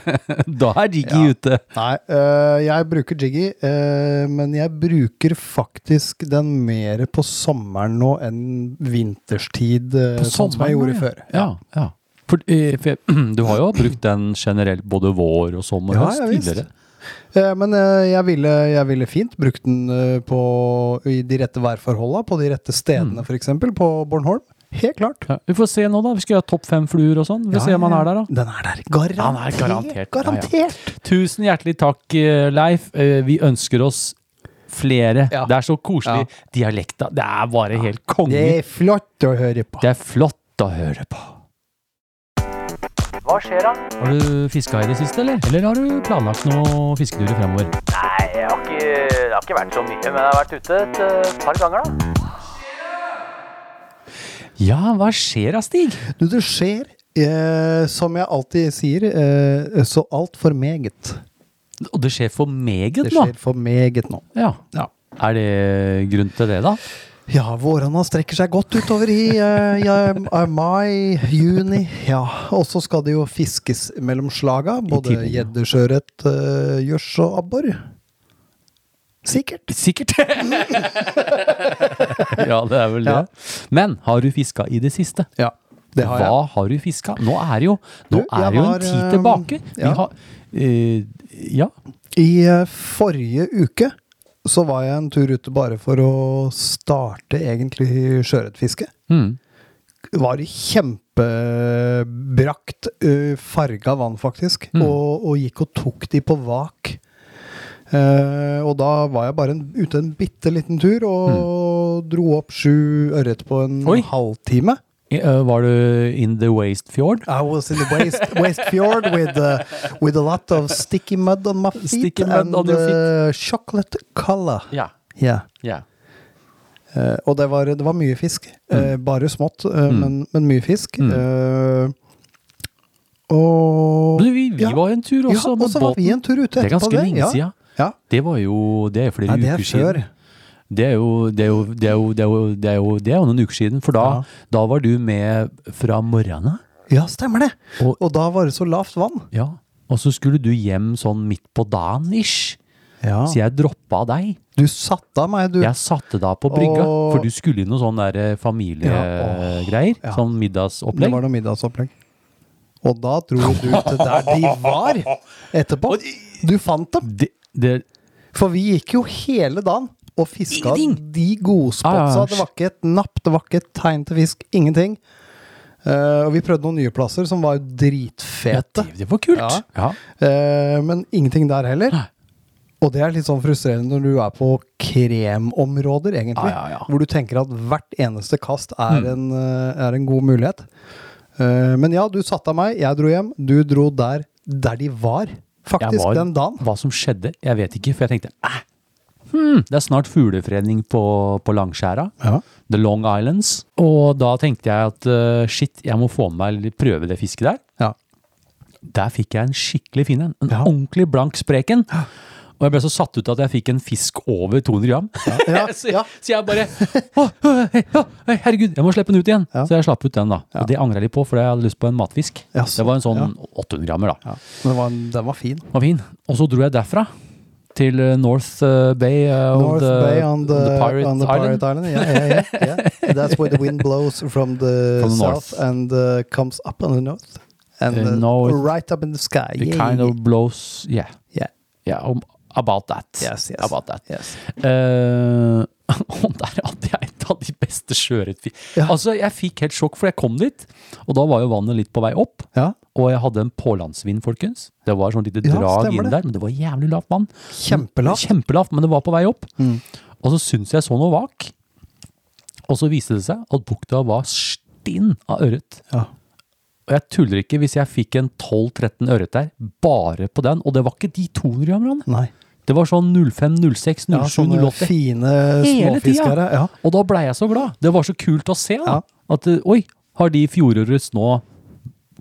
[SPEAKER 1] da er Riggy
[SPEAKER 6] Ja.
[SPEAKER 1] ute.
[SPEAKER 6] Nei, øh, jeg bruker jiggy, øh, men jeg bruker faktisk den mer på sommeren nå enn vinterstid, øh, sånn som jeg gjorde
[SPEAKER 1] ja.
[SPEAKER 6] før.
[SPEAKER 1] Ja, ja. For, eh, for jeg- [CLEARS THROAT] du har jo brukt den generelt både vår og sommer og
[SPEAKER 6] Ja,
[SPEAKER 1] høst
[SPEAKER 6] ja, visst.
[SPEAKER 1] tidligere.
[SPEAKER 6] Eh, Men øh, jeg ville, jeg ville fint brukt den øh, på, i de rette værforholda, på de rette
[SPEAKER 1] Mm.
[SPEAKER 6] stedene f.eks., på Bornholm. Helt klart.
[SPEAKER 1] Ja, vi får se nå, da. Vi skal ha topp fem fluer og sånn. Vi får se om han er der, da.
[SPEAKER 6] Den er der.
[SPEAKER 1] Han er
[SPEAKER 6] Garantert.
[SPEAKER 1] garantert, ja, ja.
[SPEAKER 6] garantert.
[SPEAKER 1] Tusen hjertelig takk, eh, Leif. Eh, Vi ønsker oss flere.
[SPEAKER 6] Ja.
[SPEAKER 1] Det er så koselig. Dialekta. Det er bare helt konge.
[SPEAKER 6] Det er flott å høre på.
[SPEAKER 1] Det er flott å høre på.
[SPEAKER 3] Hva skjer da?
[SPEAKER 1] Har du fiska i det siste, eller? Eller har du planlagt noen fisketurer fremover?
[SPEAKER 3] Nei, jeg har ikke, det har ikke vært så mye, men jeg har vært ute et eh, par ganger da.
[SPEAKER 1] Ja, hva skjer da, Stig?
[SPEAKER 6] Du, det skjer, eh, som jeg alltid sier, eh, så altfor meget.
[SPEAKER 1] Og det skjer for meget
[SPEAKER 6] Det
[SPEAKER 1] nå.
[SPEAKER 6] skjer for meget nå.
[SPEAKER 1] Ja.
[SPEAKER 6] Ja.
[SPEAKER 1] Er det grunn til det, da?
[SPEAKER 6] Ja, vårene strekker seg godt utover i eh, ja, eh, mai, juni. Ja, Og så skal det jo fiskes mellom slaga. Både
[SPEAKER 1] tiden, ja.
[SPEAKER 6] gjedde, sjøørret, eh, gjørs og abbor. Sikkert.
[SPEAKER 1] Sikkert. [LAUGHS] ja, det er vel det.
[SPEAKER 6] Ja.
[SPEAKER 1] Men har du fiska i det siste?
[SPEAKER 6] Ja, det har jeg.
[SPEAKER 1] Hva har du fiska? Nå er jo, nå
[SPEAKER 6] Du, jeg
[SPEAKER 1] er jo
[SPEAKER 6] var,
[SPEAKER 1] en tid
[SPEAKER 6] eh,
[SPEAKER 1] tilbake. Vi
[SPEAKER 6] ja.
[SPEAKER 1] har eh, Ja.
[SPEAKER 6] I eh, forrige uke så var jeg en tur ute bare for å starte egentlig sjøørretfiske.
[SPEAKER 1] Mm.
[SPEAKER 6] Var i kjempebrakt eh, farga vann, faktisk,
[SPEAKER 1] Mm.
[SPEAKER 6] og, og gikk og tok de på vak. Eh, og da var jeg bare en, ute en bitte liten tur og dro opp sju ørret på en
[SPEAKER 1] Mm. Oi.
[SPEAKER 6] halvtime.
[SPEAKER 1] I- eh, var du in the waste fjord?
[SPEAKER 6] I was in the waste, waste fjord with, uh, with a lot of sticky mud on my feet
[SPEAKER 1] Sticky mud
[SPEAKER 6] and
[SPEAKER 1] on your feet.
[SPEAKER 6] uh, chocolate color.
[SPEAKER 1] Ja.
[SPEAKER 6] Yeah. Eh, og det var, det var mye fisk.
[SPEAKER 1] Mm.
[SPEAKER 6] Eh, bare smått, eh, men, men mye fisk. Eh, og
[SPEAKER 1] Du, vi vi
[SPEAKER 6] Ja.
[SPEAKER 1] var en tur
[SPEAKER 6] Ja,
[SPEAKER 1] også
[SPEAKER 6] og
[SPEAKER 1] med
[SPEAKER 6] så var
[SPEAKER 1] båten.
[SPEAKER 6] vi en tur ute
[SPEAKER 1] Det er
[SPEAKER 6] etterpå.
[SPEAKER 1] ganske lenge
[SPEAKER 6] ja.
[SPEAKER 1] siden.
[SPEAKER 6] Ja.
[SPEAKER 1] Det var jo Det er flere
[SPEAKER 6] Nei, det er
[SPEAKER 1] uker siden.
[SPEAKER 6] før.
[SPEAKER 1] Det er, jo, det, er jo, det, er jo, det, er jo, det er jo Det er jo noen uker siden, for da,
[SPEAKER 6] Ja.
[SPEAKER 1] da var du med fra morgenen.
[SPEAKER 6] Ja, stemmer det.
[SPEAKER 1] Og-
[SPEAKER 6] Og, da var det så lavt vann.
[SPEAKER 1] Ja. Og så skulle du hjem sånn midt på dagen ish.
[SPEAKER 6] Ja.
[SPEAKER 1] Så jeg droppa deg.
[SPEAKER 6] Du satte av meg, du.
[SPEAKER 1] Jeg satte deg på brygga,
[SPEAKER 6] Åh.
[SPEAKER 1] for du skulle i noe sånn der eh,
[SPEAKER 6] Ja,
[SPEAKER 1] familiegreier.
[SPEAKER 6] ja.
[SPEAKER 1] Sånn
[SPEAKER 6] Det
[SPEAKER 1] middagsopplegg.
[SPEAKER 6] var noe middagsopplegg. Og da dro du til der de
[SPEAKER 1] [LAUGHS]
[SPEAKER 6] var etterpå. Du fant dem.
[SPEAKER 1] Det, det,
[SPEAKER 6] For vi gikk jo hele dagen og fiska
[SPEAKER 1] Ingenting.
[SPEAKER 6] de
[SPEAKER 1] Ja, ja,
[SPEAKER 6] godspotsa.
[SPEAKER 1] ja.
[SPEAKER 6] Det var ikke et napp, det var ikke et tegn til fisk. Ingenting. Eh, og vi prøvde noen nye plasser som var dritfete.
[SPEAKER 1] Det, det var kult.
[SPEAKER 6] Ja.
[SPEAKER 1] Ja.
[SPEAKER 6] Eh, men ingenting der heller.
[SPEAKER 1] Nei.
[SPEAKER 6] Og det er litt sånn frustrerende når du er på kremområder, egentlig.
[SPEAKER 1] Ja, Mm. ja, ja.
[SPEAKER 6] Hvor du tenker at hvert eneste kast er, en, eh, er en god mulighet. Eh, men ja, du satte av meg, jeg dro hjem. Du dro der, der de var,
[SPEAKER 1] Jeg
[SPEAKER 6] faktisk,
[SPEAKER 1] var-
[SPEAKER 6] den dagen.
[SPEAKER 1] Hva som skjedde, jeg vet ikke, for jeg tenkte eh, hmm, det er snart fuglefredning på, på Langskjæra.
[SPEAKER 6] Ja.
[SPEAKER 1] The Long Islands. Og da tenkte jeg at eh, shit, jeg må få med meg prøve det fisket der.
[SPEAKER 6] Ja.
[SPEAKER 1] Der fikk jeg en skikkelig fin en. En
[SPEAKER 6] Ja.
[SPEAKER 1] ordentlig blank spreken. Og jeg ble så satt ut at jeg fikk en fisk over 200 gram. [LAUGHS]
[SPEAKER 6] Ja,
[SPEAKER 1] så,
[SPEAKER 6] ja.
[SPEAKER 1] så jeg bare å, å, hei, å, hei, Herregud, jeg må slippe den ut igjen!
[SPEAKER 6] Ja.
[SPEAKER 1] Så jeg slapp ut den, da.
[SPEAKER 6] Ja.
[SPEAKER 1] Og det angrer jeg litt på, for jeg hadde lyst på en matfisk.
[SPEAKER 6] Ja, så-
[SPEAKER 1] det var en sånn
[SPEAKER 6] ja.
[SPEAKER 1] 800 grammer, da.
[SPEAKER 6] Ja. Men den var, den var fin.
[SPEAKER 1] Den Var fin. Og så dro jeg derfra. Til eh, North eh, Bay eh, on
[SPEAKER 6] North
[SPEAKER 1] the,
[SPEAKER 6] Bay on the,
[SPEAKER 1] Pirate,
[SPEAKER 6] on the Pirate Island. Yeah, yeah, yeah,
[SPEAKER 1] [LAUGHS]
[SPEAKER 6] yeah. That's where the wind blows from the,
[SPEAKER 1] From the north.
[SPEAKER 6] south and uh, comes up on the north. And
[SPEAKER 1] The
[SPEAKER 6] uh,
[SPEAKER 1] north.
[SPEAKER 6] right up in the sky.
[SPEAKER 1] It
[SPEAKER 6] Yeah,
[SPEAKER 1] kind
[SPEAKER 6] yeah,
[SPEAKER 1] of blows Yeah.
[SPEAKER 6] yeah.
[SPEAKER 1] yeah um, about that.
[SPEAKER 6] Yes, yes.
[SPEAKER 1] About that.
[SPEAKER 6] Yes.
[SPEAKER 1] Eh, [LAUGHS] og der hadde jeg et av de beste sjøørretfiskene.
[SPEAKER 6] Ja.
[SPEAKER 1] Altså, jeg fikk helt sjokk, for jeg kom dit, og da var jo vannet litt på vei opp.
[SPEAKER 6] Ja,
[SPEAKER 1] Og jeg hadde en pålandsvind, folkens. Det var sånn lite
[SPEAKER 6] Ja,
[SPEAKER 1] drag
[SPEAKER 6] stemmer
[SPEAKER 1] inn
[SPEAKER 6] det.
[SPEAKER 1] der, men det var jævlig lavt vann.
[SPEAKER 6] Kjempelavt.
[SPEAKER 1] Kjempelavt, men det var på vei opp.
[SPEAKER 6] Mm.
[SPEAKER 1] Og så syntes jeg så noe vak, og så viste det seg at bukta var stinn av ørret.
[SPEAKER 6] Ja.
[SPEAKER 1] Og jeg tuller ikke hvis jeg fikk en 12-13 ørret der, bare på den. Og det var ikke de 200 grammene.
[SPEAKER 6] Nei.
[SPEAKER 1] Det var sånn 05, 06, 07,
[SPEAKER 6] Ja, sånn sånne
[SPEAKER 1] 08.
[SPEAKER 6] fine
[SPEAKER 1] Hele
[SPEAKER 6] småfiskere.
[SPEAKER 1] tida.
[SPEAKER 6] Ja.
[SPEAKER 1] Og da blei jeg så glad. Det var så kult å se. da.
[SPEAKER 6] Ja.
[SPEAKER 1] At eh, oi, har de fjorårets nå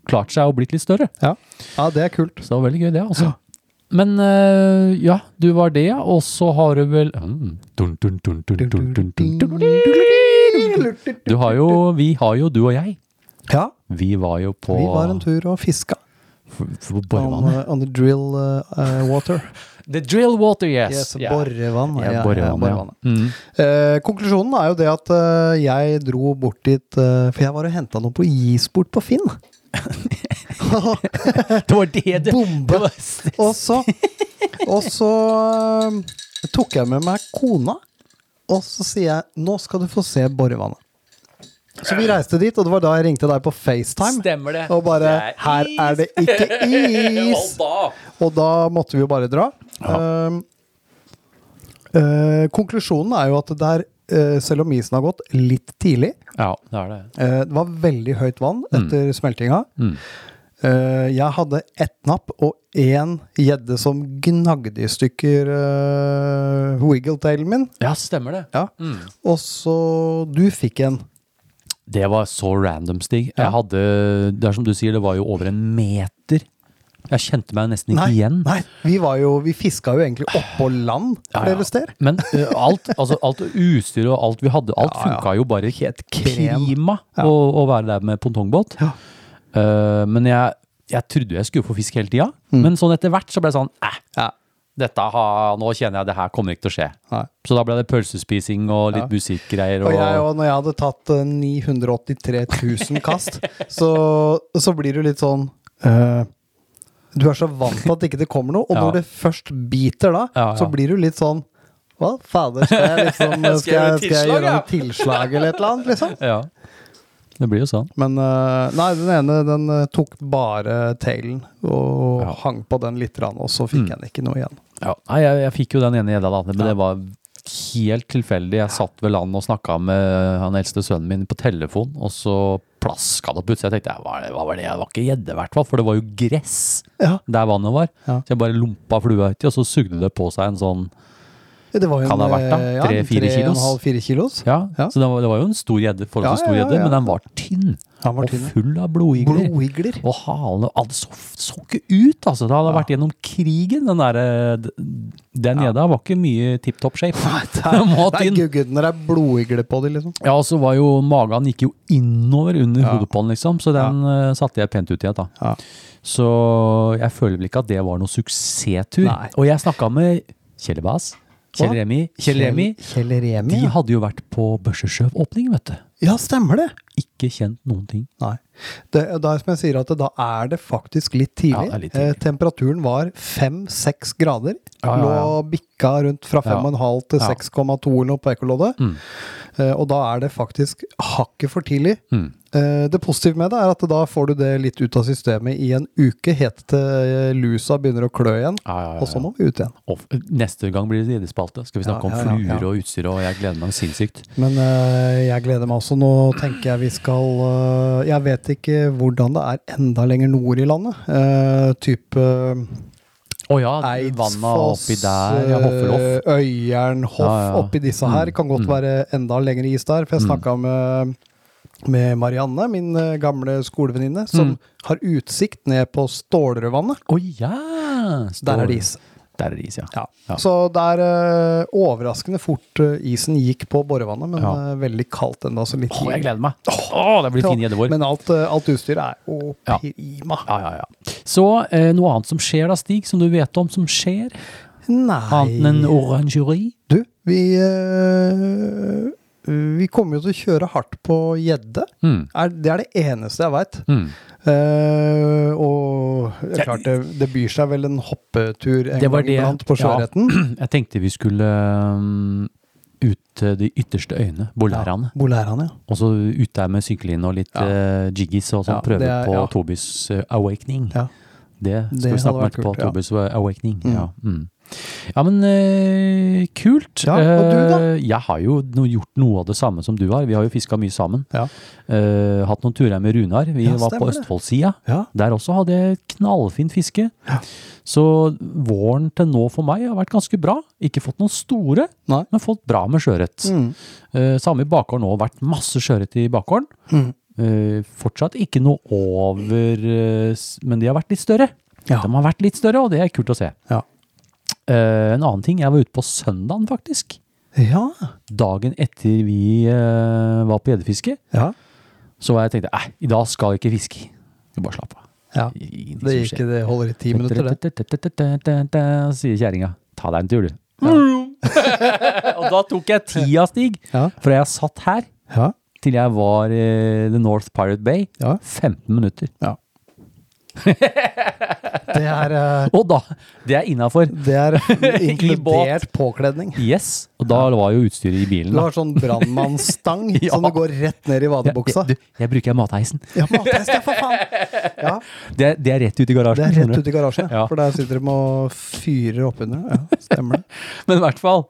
[SPEAKER 1] klart seg og blitt litt større?
[SPEAKER 6] Ja. ja, det er kult.
[SPEAKER 1] Så det var veldig gøy, det, altså. Men eh, ja, du var det, ja. Og så har du vel mm. Dun, dun, dun, dun, dun, dun, dun, dun, dun. Du har jo Vi har jo, du og jeg.
[SPEAKER 6] Ja,
[SPEAKER 1] Vi var jo på
[SPEAKER 6] vi var en tur og fiska
[SPEAKER 1] f- på
[SPEAKER 6] on,
[SPEAKER 1] borevannet.
[SPEAKER 6] uh, on the drill uh, uh, water.
[SPEAKER 1] The drill water, yes.
[SPEAKER 6] Yes,
[SPEAKER 1] Ja.
[SPEAKER 6] Borrevann.
[SPEAKER 1] Ja, borevannet, ja. Mm.
[SPEAKER 6] Eh, konklusjonen er jo det at eh, jeg dro bort dit eh, For jeg var og henta noe på Gisport på Finn.
[SPEAKER 1] [LAUGHS] Det var det det [LAUGHS]
[SPEAKER 6] Bombe.
[SPEAKER 1] det var-
[SPEAKER 6] Og så, og så eh, tok jeg med meg kona, og så sier jeg 'nå skal du få se borevannet'. Så vi reiste dit, og det var da jeg ringte deg på FaceTime.
[SPEAKER 1] Stemmer det.
[SPEAKER 6] Og bare
[SPEAKER 1] Det er
[SPEAKER 6] 'her er det ikke
[SPEAKER 1] [LAUGHS]
[SPEAKER 6] is'.
[SPEAKER 1] Og da
[SPEAKER 6] Og da måtte vi jo bare dra. Ehm, eh, konklusjonen er jo at det er, eh, selv om isen har gått litt tidlig
[SPEAKER 1] Ja, det er det.
[SPEAKER 6] eh, Det var veldig høyt vann etter smeltinga.
[SPEAKER 1] Mm.
[SPEAKER 6] Eh, jeg hadde ett napp og én gjedde som gnagde i stykker uh, wiggle-tailen min.
[SPEAKER 1] Ja, stemmer det.
[SPEAKER 6] Ja. Og så Du fikk en.
[SPEAKER 1] Det var så random, Stig. Jeg hadde, det er som du sier, det var jo over en meter. Jeg kjente meg nesten ikke
[SPEAKER 6] Nei,
[SPEAKER 1] igjen.
[SPEAKER 6] nei vi, var jo, vi fiska jo egentlig oppå land flere steder.
[SPEAKER 1] Men ø, alt, altså, alt utstyret og alt vi hadde, alt
[SPEAKER 6] Ja, ja.
[SPEAKER 1] funka jo bare
[SPEAKER 6] Helt krem.
[SPEAKER 1] prima å, å være der med pongtongbåt. Eh, men jeg, jeg trodde jeg skulle få fisk hele tida. Men sånn etter hvert så ble jeg sånn eh,
[SPEAKER 6] Mm. Ja.
[SPEAKER 1] dette har, nå kjenner jeg det her kommer ikke til å skje.
[SPEAKER 6] Nei.
[SPEAKER 1] Så da ble det pølsespising og litt
[SPEAKER 6] Ja.
[SPEAKER 1] musikkgreier.
[SPEAKER 6] Og
[SPEAKER 1] Og,
[SPEAKER 6] jeg òg, når jeg hadde tatt eh, 983 000 kast, [LAUGHS] så, så blir du litt sånn eh, Du er så vant til at ikke det kommer noe, og
[SPEAKER 1] Ja.
[SPEAKER 6] når det først biter da,
[SPEAKER 1] Ja, ja.
[SPEAKER 6] så blir du litt sånn Hva fader, skal jeg liksom Skal,
[SPEAKER 1] [LAUGHS] Skal jeg gjøre
[SPEAKER 6] jeg,
[SPEAKER 1] tilslag,
[SPEAKER 6] skal jeg gjøre
[SPEAKER 1] ja?»
[SPEAKER 6] noe tilslag eller et eller annet, liksom?
[SPEAKER 1] ja. Det blir jo sånn.
[SPEAKER 6] Men eh, nei, den ene den eh, tok bare tailen og
[SPEAKER 1] Ja. Mm.
[SPEAKER 6] hang på den litt, grann, og så fikk jeg den ikke noe igjen.
[SPEAKER 1] Ja, nei, jeg, jeg fikk jo den ene gjedda, da, men det var helt tilfeldig. Jeg satt ved land og snakka med han eldste sønnen min på telefon, og så plaska det opp ut. Så jeg tenkte hva, er det- hva var det? Det var ikke gjedde, i hvert fall, for det var jo gress
[SPEAKER 6] Ja,
[SPEAKER 1] der vannet var.
[SPEAKER 6] Ja.
[SPEAKER 1] Så jeg bare lompa flua uti, og så sugde det på seg en sånn
[SPEAKER 6] det var jo
[SPEAKER 1] Kan det ha vært da?
[SPEAKER 6] eh, en
[SPEAKER 1] Tre-fire
[SPEAKER 6] tre og en
[SPEAKER 1] kilos?
[SPEAKER 6] halv, fire kilos.
[SPEAKER 1] Ja,
[SPEAKER 6] Ja.
[SPEAKER 1] så det var, det var jo en stor gjedde,
[SPEAKER 6] Ja,
[SPEAKER 1] forholdsvis stor
[SPEAKER 6] ja,
[SPEAKER 1] gjedde,
[SPEAKER 6] ja.
[SPEAKER 1] men den var tynn.
[SPEAKER 6] Han var
[SPEAKER 1] og
[SPEAKER 6] tynn, ja.
[SPEAKER 1] full av blodigler.
[SPEAKER 6] Blodigler.
[SPEAKER 1] Og halen og alt så, så ikke ut, altså. Det hadde vært gjennom krigen, den derre Den gjedda var ikke mye tipp topp shape. [LAUGHS] Den var
[SPEAKER 6] Nei,
[SPEAKER 1] tynn.
[SPEAKER 6] guggen, det er blodigler på de, liksom.
[SPEAKER 1] Ja, og så var jo magen gikk jo innover under hodet på den, liksom, så den eh, satte jeg pent ut igjen, da.
[SPEAKER 6] Ja.
[SPEAKER 1] Så jeg føler vel ikke at det var noen suksesstur.
[SPEAKER 6] Nei.
[SPEAKER 1] Og jeg snakka med Kjell Bass, Kjell Remi, Kjell Remi
[SPEAKER 6] Kjell Remi,
[SPEAKER 1] de
[SPEAKER 6] ja.
[SPEAKER 1] hadde jo vært på Børsesjøv-åpning, vet du.
[SPEAKER 6] ja, stemmer det.
[SPEAKER 1] Ikke kjent noen ting.
[SPEAKER 6] Nei. Det, da, som jeg sier at det, da er det faktisk litt tidlig.
[SPEAKER 1] Ja, det er litt tidlig.
[SPEAKER 6] Eh, temperaturen var fem-seks grader.
[SPEAKER 1] Ja, ja, ja.
[SPEAKER 6] Lå bikka rundt fra
[SPEAKER 1] Ja.
[SPEAKER 6] 5,5 til
[SPEAKER 1] Ja. Mm.
[SPEAKER 6] 6,2 eller noe på ekkoloddet. Eh, og da er det faktisk hakket for tidlig.
[SPEAKER 1] Mm.
[SPEAKER 6] Eh, det positive med det er at da får du det litt ut av systemet i en uke, helt til eh, lusa begynner å klø igjen.
[SPEAKER 1] Ja, ja, ja,
[SPEAKER 6] Og så må vi ut igjen.
[SPEAKER 1] Og f- neste gang blir det sidespalte. Skal vi snakke
[SPEAKER 6] Ja, ja,
[SPEAKER 1] om
[SPEAKER 6] ja,
[SPEAKER 1] fluer
[SPEAKER 6] ja.
[SPEAKER 1] og utstyr, og jeg gleder meg sinnssykt.
[SPEAKER 6] Men eh, jeg gleder meg også. Nå tenker jeg vi skal eh, Jeg vet ikke hvordan det er enda lenger nord i landet. Eh, type eh,
[SPEAKER 1] Å ja, vanna
[SPEAKER 6] Eidsfoss,
[SPEAKER 1] oppi der, ja, Hoffelhoff.
[SPEAKER 6] eh, Øyeren, Hoff,
[SPEAKER 1] Ja, Mm. ja.
[SPEAKER 6] oppi disse her. Kan godt være enda lengre is der. For jeg snakka med, med Marianne, min eh, gamle skolevenninne, som
[SPEAKER 1] Mm.
[SPEAKER 6] har utsikt ned på Stålerødvannet.
[SPEAKER 1] Å ja!
[SPEAKER 6] Der
[SPEAKER 1] Står-
[SPEAKER 6] er det is.
[SPEAKER 1] Der er det is, ja.
[SPEAKER 6] Ja.
[SPEAKER 1] Ja.
[SPEAKER 6] Så det er eh, overraskende fort eh, isen gikk på borevannet, men
[SPEAKER 1] Ja.
[SPEAKER 6] eh, veldig kaldt ennå. Så litt
[SPEAKER 1] Å, jeg gleder meg! Å, det blir fin gjeddevår.
[SPEAKER 6] Men alt, eh, alt utstyret er jo
[SPEAKER 1] Ja.
[SPEAKER 6] prima.
[SPEAKER 1] Ja, ja, ja. Så eh, noe annet som skjer da, Stig, som du vet om som skjer? Annet enn en
[SPEAKER 6] Nei
[SPEAKER 1] orangeri?
[SPEAKER 6] Du, vi eh, Vi kommer jo til å kjøre hardt på gjedde.
[SPEAKER 1] Mm.
[SPEAKER 6] Er- Det er det eneste jeg veit.
[SPEAKER 1] Mm.
[SPEAKER 6] og det er klart, det, det byr seg vel en hoppetur en
[SPEAKER 1] Det var
[SPEAKER 6] gang
[SPEAKER 1] det-
[SPEAKER 6] iblant på
[SPEAKER 1] ja.
[SPEAKER 6] sjøørreten.
[SPEAKER 1] [CLEARS THROAT] Jeg tenkte vi skulle um, ut til de ytterste øyene, bolærene.
[SPEAKER 6] Bolærene, ja.
[SPEAKER 1] Og så ut der med sykkelinn og litt
[SPEAKER 6] Ja.
[SPEAKER 1] eh, jiggies og sånn.
[SPEAKER 6] Ja,
[SPEAKER 1] prøve
[SPEAKER 6] det er-
[SPEAKER 1] på
[SPEAKER 6] ja.
[SPEAKER 1] Tobys eh, awakening.
[SPEAKER 6] ja.
[SPEAKER 1] Det skal
[SPEAKER 6] Det
[SPEAKER 1] vi snakke om
[SPEAKER 6] hadde vært
[SPEAKER 1] etterpå.
[SPEAKER 6] kult, ja.
[SPEAKER 1] Tobys eh, awakening. Ja, mm. ja men eh, kult.
[SPEAKER 6] Ja, og du da?
[SPEAKER 1] Eh, Jeg har jo no gjort noe av det samme som du har. Vi har jo fiska mye sammen.
[SPEAKER 6] Ja.
[SPEAKER 1] Eh, hatt noen turer med Runar. Vi
[SPEAKER 6] Ja,
[SPEAKER 1] var på
[SPEAKER 6] stemmer det.
[SPEAKER 1] Østfoldsida.
[SPEAKER 6] Ja.
[SPEAKER 1] Der også hadde jeg et knallfint fiske. Så våren til nå for meg har vært ganske bra. Ikke fått noen store,
[SPEAKER 6] Nei. Mm.
[SPEAKER 1] men fått bra med sjøørret. Eh, samme i bakgården òg. Vært masse sjøørret i bakgården.
[SPEAKER 6] Mm.
[SPEAKER 1] Eh, fortsatt ikke noe over eh, s- Men de har vært litt større.
[SPEAKER 6] Ja.
[SPEAKER 1] De har vært litt større, og det er kult å se.
[SPEAKER 6] Ja.
[SPEAKER 1] Eh, en annen ting, jeg var ute på søndagen, faktisk.
[SPEAKER 6] Ja.
[SPEAKER 1] Dagen etter vi eh, var på gjeddefiske,
[SPEAKER 6] ja.
[SPEAKER 1] så var jeg tenkte jeg i dag skal jeg ikke fiske. Jeg bare slapp av.
[SPEAKER 6] ja.
[SPEAKER 1] Ingenting
[SPEAKER 6] Det
[SPEAKER 1] som
[SPEAKER 6] gikk
[SPEAKER 1] skjer.
[SPEAKER 6] det holder i ti minutter, det.
[SPEAKER 1] Så Sier kjerringa. Ta deg en tur, du. og da tok jeg tida, Stig,
[SPEAKER 6] Ja.
[SPEAKER 1] fra jeg satt her
[SPEAKER 6] Ja.
[SPEAKER 1] til jeg var i The North Pirate Bay.
[SPEAKER 6] Ja.
[SPEAKER 1] 15 minutter. [LAUGHS]
[SPEAKER 6] ja. Det er eh,
[SPEAKER 1] Og da Det er innafor.
[SPEAKER 6] Det
[SPEAKER 1] [LAUGHS]
[SPEAKER 6] er inkludert
[SPEAKER 1] båt.
[SPEAKER 6] påkledning.
[SPEAKER 1] Yes. Og da var jo utstyret i bilen.
[SPEAKER 6] Du
[SPEAKER 1] da.
[SPEAKER 6] har sånn brannmannsstang
[SPEAKER 1] [LAUGHS] Ja.
[SPEAKER 6] som du går rett ned i
[SPEAKER 1] Ja,
[SPEAKER 6] vadebuksa.
[SPEAKER 1] det- du, jeg bruker matheisen.
[SPEAKER 6] Ja, mathest, ja, for faen! Ja,
[SPEAKER 1] Det, det er rett ut i garasjen.
[SPEAKER 6] det er
[SPEAKER 1] skjønner
[SPEAKER 6] rett
[SPEAKER 1] du.
[SPEAKER 6] ut i garasjen,
[SPEAKER 1] Ja.
[SPEAKER 6] for der sitter de og fyrer oppunder. Ja, stemmer det.
[SPEAKER 1] Men i hvert fall,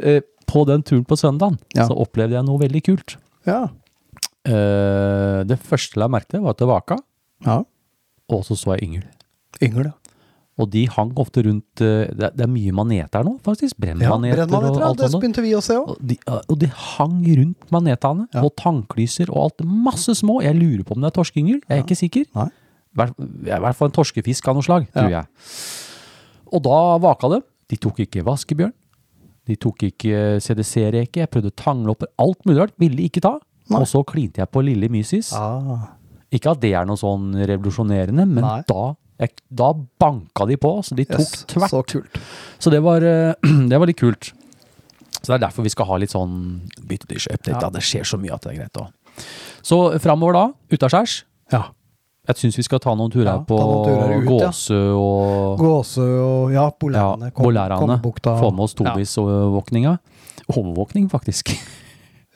[SPEAKER 1] eh, på den turen på søndagen
[SPEAKER 6] Ja.
[SPEAKER 1] så opplevde jeg noe veldig kult.
[SPEAKER 6] Ja.
[SPEAKER 1] Eh, det første jeg merket, var at det vaka,
[SPEAKER 6] ja.
[SPEAKER 1] og så så jeg yngel.
[SPEAKER 6] Yngel, ja.
[SPEAKER 1] Og de hang ofte rundt eh, Det er, det er mye maneter nå, faktisk.
[SPEAKER 6] ja
[SPEAKER 1] Brennmaneter og
[SPEAKER 6] Brennmaneter, ja.
[SPEAKER 1] alt
[SPEAKER 6] Det
[SPEAKER 1] sånt.
[SPEAKER 6] begynte vi å se òg.
[SPEAKER 1] Og de, og de hang rundt manetene,
[SPEAKER 6] Ja.
[SPEAKER 1] og tanklyser og alt. Masse små. Jeg lurer på om det er torskeyngel, jeg er ikke sikker.
[SPEAKER 6] Nei.
[SPEAKER 1] Hver- I hvert fall en torskefisk av noe slag, tror jeg. Og da vaka de. De tok ikke vaskebjørn. De tok ikke CDC-reke. Jeg prøvde tanglopper. Alt mulig rart. Ville ikke ta. Og så klinte jeg på lille mysis.
[SPEAKER 6] Ah.
[SPEAKER 1] Ikke at det er noe sånn revolusjonerende, men
[SPEAKER 6] Nei.
[SPEAKER 1] da, jeg, da banka de på. Så de tok
[SPEAKER 6] Yes,
[SPEAKER 1] tvert.
[SPEAKER 6] så kult.
[SPEAKER 1] Så det var, eh, [CLEARS THROAT] det var litt kult. Så det er derfor vi skal ha litt sånn bytte dish update. da. Det skjer så mye at det er greit å Så framover da, utaskjærs.
[SPEAKER 6] Ja.
[SPEAKER 1] Jeg syns vi skal ta noen turer
[SPEAKER 6] Ja,
[SPEAKER 1] på
[SPEAKER 6] ta noen turer ut, ja.
[SPEAKER 1] Gåsø og
[SPEAKER 6] Gåsø og ja,
[SPEAKER 1] ja,
[SPEAKER 6] bolærene. kom-
[SPEAKER 1] Bolærane.
[SPEAKER 6] Kongebukta.
[SPEAKER 1] Få med oss Tobis overvåkninga. Overvåkning, [LAUGHS] faktisk.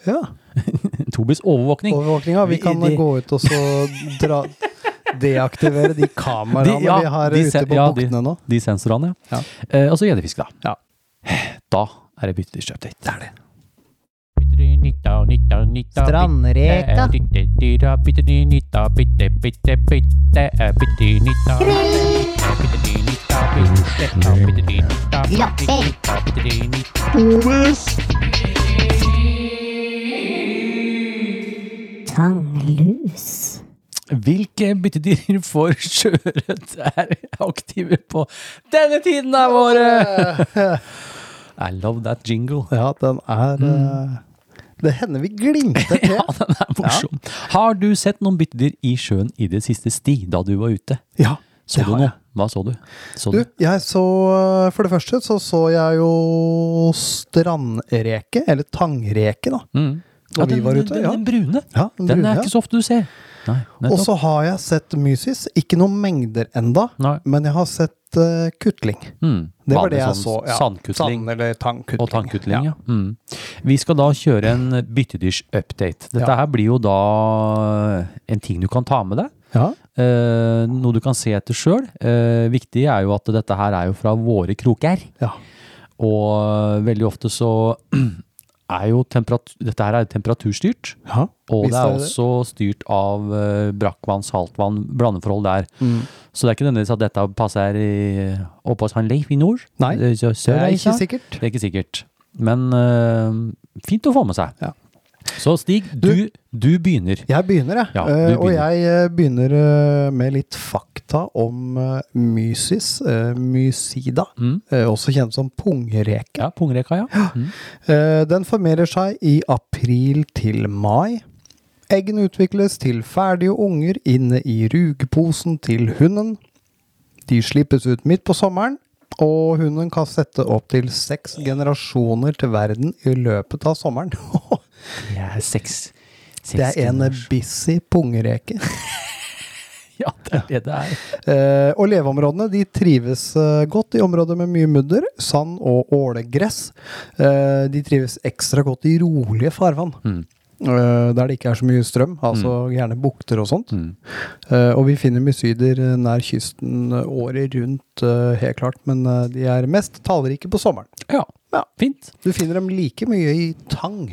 [SPEAKER 6] Ja.
[SPEAKER 1] [LAUGHS] Tobis overvåkning.
[SPEAKER 6] Overvåkninga. Vi
[SPEAKER 1] Vi-
[SPEAKER 6] kan
[SPEAKER 1] de-
[SPEAKER 6] gå ut og så dra
[SPEAKER 1] [LAUGHS]
[SPEAKER 6] Deaktivere de kameraene
[SPEAKER 1] De- ja,
[SPEAKER 6] vi har
[SPEAKER 1] de
[SPEAKER 6] ute
[SPEAKER 1] sen-
[SPEAKER 6] på
[SPEAKER 1] ja,
[SPEAKER 6] buktene nå.
[SPEAKER 1] De sensorene, ja. Eh, og så gjeddefiske, da.
[SPEAKER 6] Ja.
[SPEAKER 1] Da er det bytte dish update. Det er det.
[SPEAKER 7] Strandreka.
[SPEAKER 1] eh, eh,
[SPEAKER 8] Tanglus.
[SPEAKER 1] Hvilke byttedyr [LAUGHS] for sjøørret er aktive på denne tiden av året?
[SPEAKER 6] [LAUGHS]
[SPEAKER 1] I love that jingle. [LAUGHS]
[SPEAKER 6] Ja, den er
[SPEAKER 1] Mm.
[SPEAKER 6] eh, Det hender vi
[SPEAKER 1] [LAUGHS]
[SPEAKER 6] glimter til. ja,
[SPEAKER 1] Den er morsom. Har du sett noen byttedyr i sjøen i det siste sti, da du var ute?
[SPEAKER 6] ja,
[SPEAKER 1] Så
[SPEAKER 6] det
[SPEAKER 1] du
[SPEAKER 6] har
[SPEAKER 1] noe?
[SPEAKER 6] jeg.
[SPEAKER 1] Hva så du? Så
[SPEAKER 6] Du, jeg så For det første så så jeg jo strandreke, eller tangreke, da.
[SPEAKER 1] Mm.
[SPEAKER 6] Da vi
[SPEAKER 1] den,
[SPEAKER 6] var ute,
[SPEAKER 1] den,
[SPEAKER 6] ja.
[SPEAKER 1] den brune.
[SPEAKER 6] Ja, den
[SPEAKER 1] Den
[SPEAKER 6] brune,
[SPEAKER 1] er
[SPEAKER 6] ja.
[SPEAKER 1] ikke så ofte du ser. Nei,
[SPEAKER 6] Og
[SPEAKER 1] nettopp.
[SPEAKER 6] så har jeg sett mysis. Ikke noen mengder enda,
[SPEAKER 1] Nei.
[SPEAKER 6] men jeg har sett eh, kutling.
[SPEAKER 1] Mm.
[SPEAKER 6] Det var
[SPEAKER 1] Vanlig
[SPEAKER 6] det jeg
[SPEAKER 1] sånn
[SPEAKER 6] så. Ja.
[SPEAKER 1] Sandkutling.
[SPEAKER 6] Sand- eller tangkutling.
[SPEAKER 1] Og tannkutling, ja. Mm. Vi skal da kjøre en byttedyrs-update. Dette
[SPEAKER 6] Ja.
[SPEAKER 1] her blir jo da en ting du kan ta med deg.
[SPEAKER 6] Ja.
[SPEAKER 1] eh, noe du kan se etter sjøl. viktig er jo at dette her er jo fra våre kroker.
[SPEAKER 6] Ja.
[SPEAKER 1] Og veldig ofte så [CLEARS THROAT] er jo temperat- dette her er jo temperaturstyrt.
[SPEAKER 6] Ja.
[SPEAKER 1] Og det er
[SPEAKER 6] Visst er det det.
[SPEAKER 1] også styrt av eh, brakkvann, saltvann, blandeforhold der.
[SPEAKER 6] Mm.
[SPEAKER 1] Så det er ikke nødvendigvis at dette passer i, oppe hos han Leif i nord.
[SPEAKER 6] Nei,
[SPEAKER 1] Eh, så-
[SPEAKER 6] Det er
[SPEAKER 1] Sørreisa.
[SPEAKER 6] ikke sikkert.
[SPEAKER 1] Det er ikke sikkert. Men eh, fint å få med seg.
[SPEAKER 6] Ja.
[SPEAKER 1] Så Stig, du, du begynner.
[SPEAKER 6] Jeg begynner, jeg.
[SPEAKER 1] Ja, du
[SPEAKER 6] Eh, og
[SPEAKER 1] begynner.
[SPEAKER 6] jeg eh, begynner eh, med litt fakta om eh, mysis, eh, mysida,
[SPEAKER 1] Mm.
[SPEAKER 6] eh, også kjent som pungreke.
[SPEAKER 1] Ja, pungreka, ja. Mm.
[SPEAKER 6] Eh, Den formerer seg i april til mai. Eggene utvikles til ferdige unger inne i rugposen til hunden. De slippes ut midt på sommeren, og hunden kan sette opptil seks generasjoner til verden i løpet av sommeren. [LAUGHS]
[SPEAKER 1] Det er seks. seks
[SPEAKER 6] Det er en
[SPEAKER 1] generasjoner.
[SPEAKER 6] busy pungreke.
[SPEAKER 1] [LAUGHS] Ja, det er det det er.
[SPEAKER 6] Eh, og leveområdene de trives eh, godt i områder med mye mudder, sand og ålegress. Eh, de trives ekstra godt i rolige farvann. Eh, der det ikke er så mye strøm, altså gjerne bukter og sånt. Eh, og vi finner mysider eh, nær kysten eh, året rundt, eh, helt klart, men eh, de er mest tallrike på sommeren.
[SPEAKER 1] Ja,
[SPEAKER 6] Ja.
[SPEAKER 1] fint.
[SPEAKER 6] Du finner dem like mye i tang.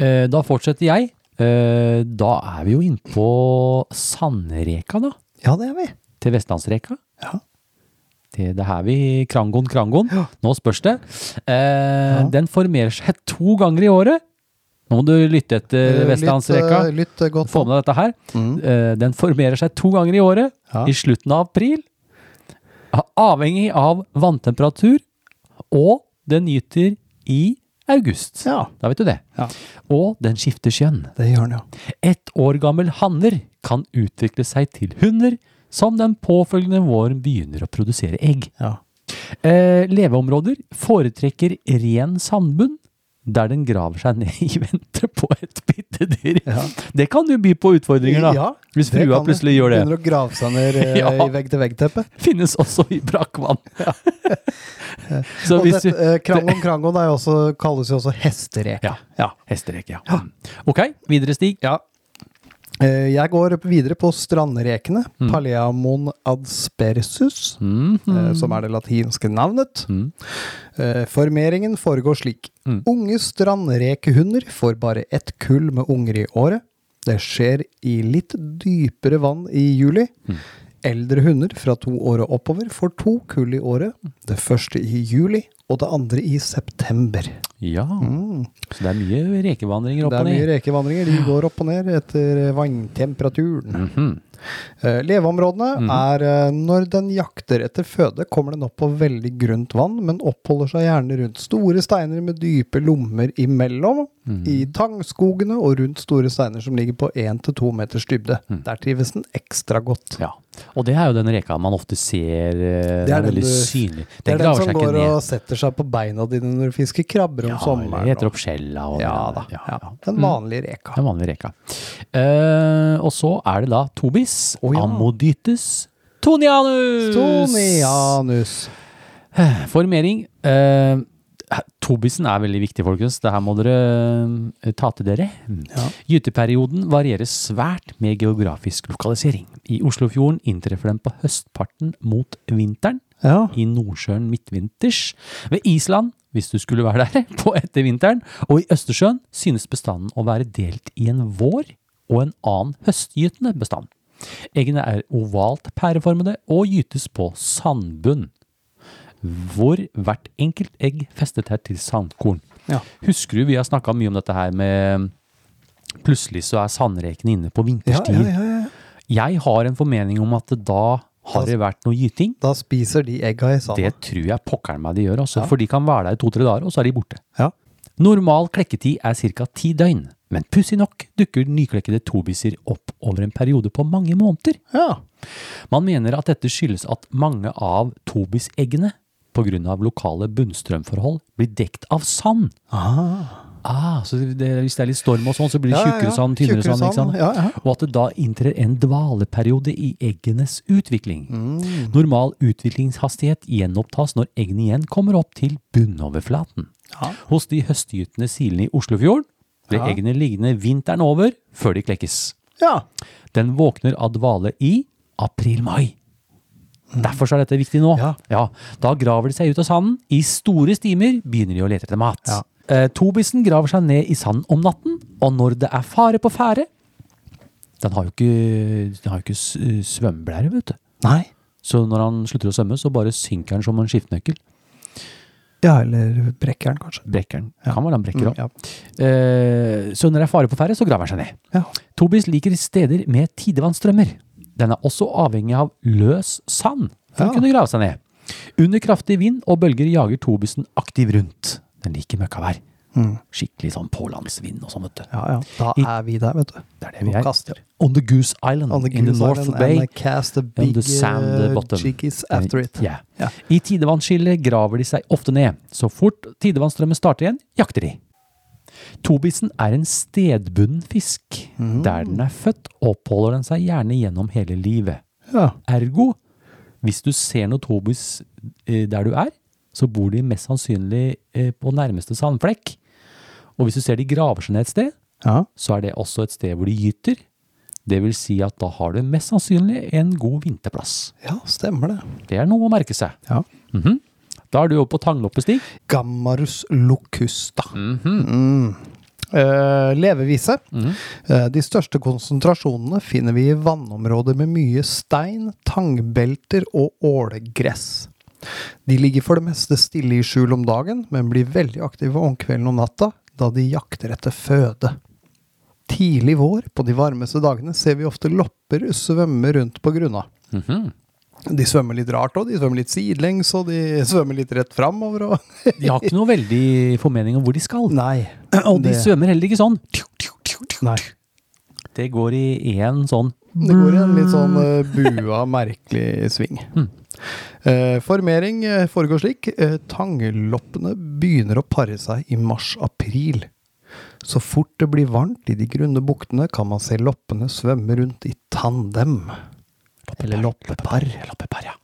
[SPEAKER 1] Eh, da fortsetter jeg. Eh, da er vi jo innpå Sandreka, da.
[SPEAKER 6] Ja, det er vi.
[SPEAKER 1] Til Vestlandsreka.
[SPEAKER 6] Ja.
[SPEAKER 1] Det, det er her vi Krangon, krangon. Nå spørs det. Eh, Den formerer seg to ganger i året. Nå må du lytte etter
[SPEAKER 6] Eh,
[SPEAKER 1] Vestlandsreka.
[SPEAKER 6] Lytt, eh, lytt eh, godt
[SPEAKER 1] Få med deg dette her. Eh, den formerer seg to ganger i året.
[SPEAKER 6] Mm. Ja.
[SPEAKER 1] I slutten av april. Avhengig av vanntemperatur. Og den gyter i august.
[SPEAKER 6] Ja.
[SPEAKER 1] Da vet du det.
[SPEAKER 6] Ja.
[SPEAKER 1] Og den skifter kjønn.
[SPEAKER 6] Det gjør den, ja.
[SPEAKER 1] Ett år gammel hanner kan utvikle seg til hunder, som den påfølgende våren begynner å produsere egg.
[SPEAKER 6] ja.
[SPEAKER 1] Eh, leveområder foretrekker ren sandbunn, der den graver seg ned i vente på et [LAUGHS] byttedyr. Det kan jo by på utfordringer, da.
[SPEAKER 6] Ja,
[SPEAKER 1] hvis
[SPEAKER 6] det
[SPEAKER 1] frua
[SPEAKER 6] kan det.
[SPEAKER 1] plutselig gjør det.
[SPEAKER 6] Begynner å grave seg
[SPEAKER 1] [LAUGHS]
[SPEAKER 6] ned eh,
[SPEAKER 1] Ja.
[SPEAKER 6] i vegg-til-vegg-teppet.
[SPEAKER 1] Finnes også i [LAUGHS] brakkvann.
[SPEAKER 6] [LAUGHS]
[SPEAKER 1] Så
[SPEAKER 6] Og
[SPEAKER 1] hvis vi
[SPEAKER 6] dette, eh, Krangon Krangon er jo også, kalles jo også hestereke.
[SPEAKER 1] Ja. Hesterek, ja. Mm. Ok, videre stig.
[SPEAKER 6] Ja. Eh, Jeg går videre på strandrekene.
[SPEAKER 1] Mm.
[SPEAKER 6] Paleamon adspersus,
[SPEAKER 1] Mhm. Mm.
[SPEAKER 6] eh, som er det latinske navnet. Eh, Formeringen foregår slik.
[SPEAKER 1] Mm.
[SPEAKER 6] Unge strandrekehunder får bare ett kull med unger i året. Det skjer i litt dypere vann i juli.
[SPEAKER 1] Mm.
[SPEAKER 6] Eldre hunder fra to år og oppover får to kull i året. Det første i juli, og det andre i september.
[SPEAKER 1] Ja. Så det er mye rekevandringer opp
[SPEAKER 6] Mm. Det
[SPEAKER 1] og
[SPEAKER 6] er mye
[SPEAKER 1] ned.
[SPEAKER 6] rekevandringer. De går opp og ned etter eh, vanntemperaturen.
[SPEAKER 1] Mhm,
[SPEAKER 6] Eh, Leveområdene er eh, når den jakter etter føde, kommer den opp på veldig grunt vann, men oppholder seg gjerne rundt store steiner med dype lommer imellom. I tangskogene og rundt store steiner som ligger på 1-2 meters dybde. Der trives den ekstra godt.
[SPEAKER 1] Ja. Og det er jo den reka man ofte ser eh,
[SPEAKER 6] Det er den
[SPEAKER 1] veldig
[SPEAKER 6] du-
[SPEAKER 1] synlig.
[SPEAKER 6] Det
[SPEAKER 1] Den
[SPEAKER 6] er den
[SPEAKER 1] graver
[SPEAKER 6] som
[SPEAKER 1] seg ikke
[SPEAKER 6] går
[SPEAKER 1] ned.
[SPEAKER 6] og setter seg på beina dine når du fisker krabber om sommeren.
[SPEAKER 1] det heter
[SPEAKER 6] og-
[SPEAKER 1] opp skjella. Og
[SPEAKER 6] Ja da.
[SPEAKER 1] det der.
[SPEAKER 6] Ja,
[SPEAKER 1] Ja, ja.
[SPEAKER 6] Den vanlige reka.
[SPEAKER 1] Den vanlige reka. Eh, og så er det da Tobis,
[SPEAKER 6] Å, ja.
[SPEAKER 1] Ammodytes, Tonianus!
[SPEAKER 6] Tonianus.
[SPEAKER 1] Formering. Eh, Tobisen er veldig viktig, folkens. Det her må dere eh, ta til dere. Gyteperioden varierer svært med geografisk lokalisering. I Oslofjorden inntreffer den på høstparten mot vinteren.
[SPEAKER 6] Ja.
[SPEAKER 1] i Nordsjøen midtvinters, ved Island, hvis du skulle være der, [LAUGHS] på etter vinteren, og i Østersjøen synes bestanden å være delt i en vår og en annen høstgytende bestand. Eggene er ovalt pæreformede og gytes på sandbunn, hvor hvert enkelt egg festet er til sandkorn.
[SPEAKER 6] Ja.
[SPEAKER 1] Husker du vi har snakka mye om dette her med Plutselig så er sandrekene inne på vinterstid.
[SPEAKER 6] ja.
[SPEAKER 1] Jeg har en formening om at da har det vært noe gyting.
[SPEAKER 6] Da spiser de egga i sanda.
[SPEAKER 1] Det tror jeg pokkeren meg de gjør, altså, for de kan være der i to-tre dager, og så er de borte.
[SPEAKER 6] Ja.
[SPEAKER 1] Normal klekketid er ca. ti døgn. Men pussig nok dukker nyklekkede tobisser opp over en periode på mange måneder.
[SPEAKER 6] Ja.
[SPEAKER 1] Man mener at dette skyldes at mange av tobiseggene pga. lokale bunnstrømforhold blir dekt av sand. Ah, så det, hvis det er litt storm og sånn, så blir det
[SPEAKER 6] Ja, ja, ja.
[SPEAKER 1] tjukkere sand, tynnere
[SPEAKER 6] Tjukkere
[SPEAKER 1] sand. ikke
[SPEAKER 6] sand,
[SPEAKER 1] sant?
[SPEAKER 6] ja, ja.
[SPEAKER 1] Og at det da inntrer en dvaleperiode i eggenes utvikling.
[SPEAKER 6] Mm.
[SPEAKER 1] Normal utviklingshastighet gjenopptas når eggene igjen kommer opp til bunnoverflaten. Hos de høstgytende silene i Oslofjorden blir eggene liggende vinteren over før de klekkes.
[SPEAKER 6] ja.
[SPEAKER 1] Den våkner av dvale i april-mai. Derfor så er dette viktig nå.
[SPEAKER 6] Ja.
[SPEAKER 1] Da graver de seg ut av sanden. I store stimer begynner de å lete etter mat. Eh, tobisen graver seg ned i sanden om natten, og når det er fare på ferde Den har jo ikke, den har jo ikke s- svømmeblære, vet du.
[SPEAKER 6] Nei.
[SPEAKER 1] Så når han slutter å svømme, så bare synker han som en skiftenøkkel.
[SPEAKER 6] Ja, eller brekker den, kanskje.
[SPEAKER 1] Brekker han. Kan være han brekker
[SPEAKER 6] Mm,
[SPEAKER 1] òg. Eh, så når det er fare på ferde, så graver han seg ned.
[SPEAKER 6] Ja.
[SPEAKER 1] Tobis liker steder med tidevannsstrømmer. Den er også avhengig av løs sand for
[SPEAKER 6] Ja.
[SPEAKER 1] å kunne grave seg ned. Under kraftig vind og bølger jager tobisen aktiv rundt. Den liker møkkavær.
[SPEAKER 6] Mm.
[SPEAKER 1] Skikkelig sånn pålandsvind og sånn, vet du.
[SPEAKER 6] Ja, ja. Da er vi der, vet du.
[SPEAKER 1] Det er det vi
[SPEAKER 6] Og
[SPEAKER 1] er.
[SPEAKER 6] kaster.
[SPEAKER 1] On the Goose Island
[SPEAKER 6] On the
[SPEAKER 1] in the
[SPEAKER 6] goose
[SPEAKER 1] North
[SPEAKER 6] island
[SPEAKER 1] Bay.
[SPEAKER 6] and I cast a
[SPEAKER 1] On
[SPEAKER 6] big
[SPEAKER 1] the sand
[SPEAKER 6] uh,
[SPEAKER 1] bottom.
[SPEAKER 6] jiggies after it.
[SPEAKER 1] Yeah.
[SPEAKER 6] Ja.
[SPEAKER 1] I tidevannsskillet graver de seg ofte ned. Så fort tidevannsstrømmen starter igjen, jakter de. Tobisen er en stedbunden fisk.
[SPEAKER 6] Mhm.
[SPEAKER 1] Der den er født, oppholder den seg gjerne gjennom hele livet.
[SPEAKER 6] Ja.
[SPEAKER 1] Ergo, hvis du ser noe tobis eh, der du er, så bor de mest sannsynlig eh, på nærmeste sandflekk. Og hvis du ser de graver seg ned et sted,
[SPEAKER 6] Ja.
[SPEAKER 1] så er det også et sted hvor de gyter. Det vil si at da har du mest sannsynlig en god vinterplass.
[SPEAKER 6] ja, stemmer det.
[SPEAKER 1] Det er noe å merke seg.
[SPEAKER 6] Ja.
[SPEAKER 1] Mhm. Da er du oppe på tangloppestig.
[SPEAKER 6] Gammarus locusta.
[SPEAKER 1] Mhm.
[SPEAKER 6] Mm. Eh, levevise. Eh, de største konsentrasjonene finner vi i vannområder med mye stein, tangbelter og ålegress. De ligger for det meste stille i skjul om dagen, men blir veldig aktive om kvelden og natta, da de jakter etter føde. Tidlig vår, på de varmeste dagene, ser vi ofte lopper svømme rundt på grunna.
[SPEAKER 1] Mhm.
[SPEAKER 6] De svømmer litt rart òg. De svømmer litt sidelengs, og de svømmer litt rett framover. Og
[SPEAKER 1] De har ikke noe veldig formening om hvor de skal.
[SPEAKER 6] Nei.
[SPEAKER 1] [CLEARS THROAT] Og de
[SPEAKER 6] det-
[SPEAKER 1] svømmer heller ikke sånn.
[SPEAKER 6] Nei.
[SPEAKER 1] Det går i én sånn
[SPEAKER 6] Det går i en litt sånn eh, bua, merkelig
[SPEAKER 1] [LAUGHS]
[SPEAKER 6] sving.
[SPEAKER 1] Hmm.
[SPEAKER 6] Eh, formering eh, foregår slik. Eh, tangeloppene begynner å pare seg i mars-april. Så fort det blir varmt i de grunne buktene, kan man se loppene svømme rundt i tandem. Eller loppepar.
[SPEAKER 1] loppepar, ja.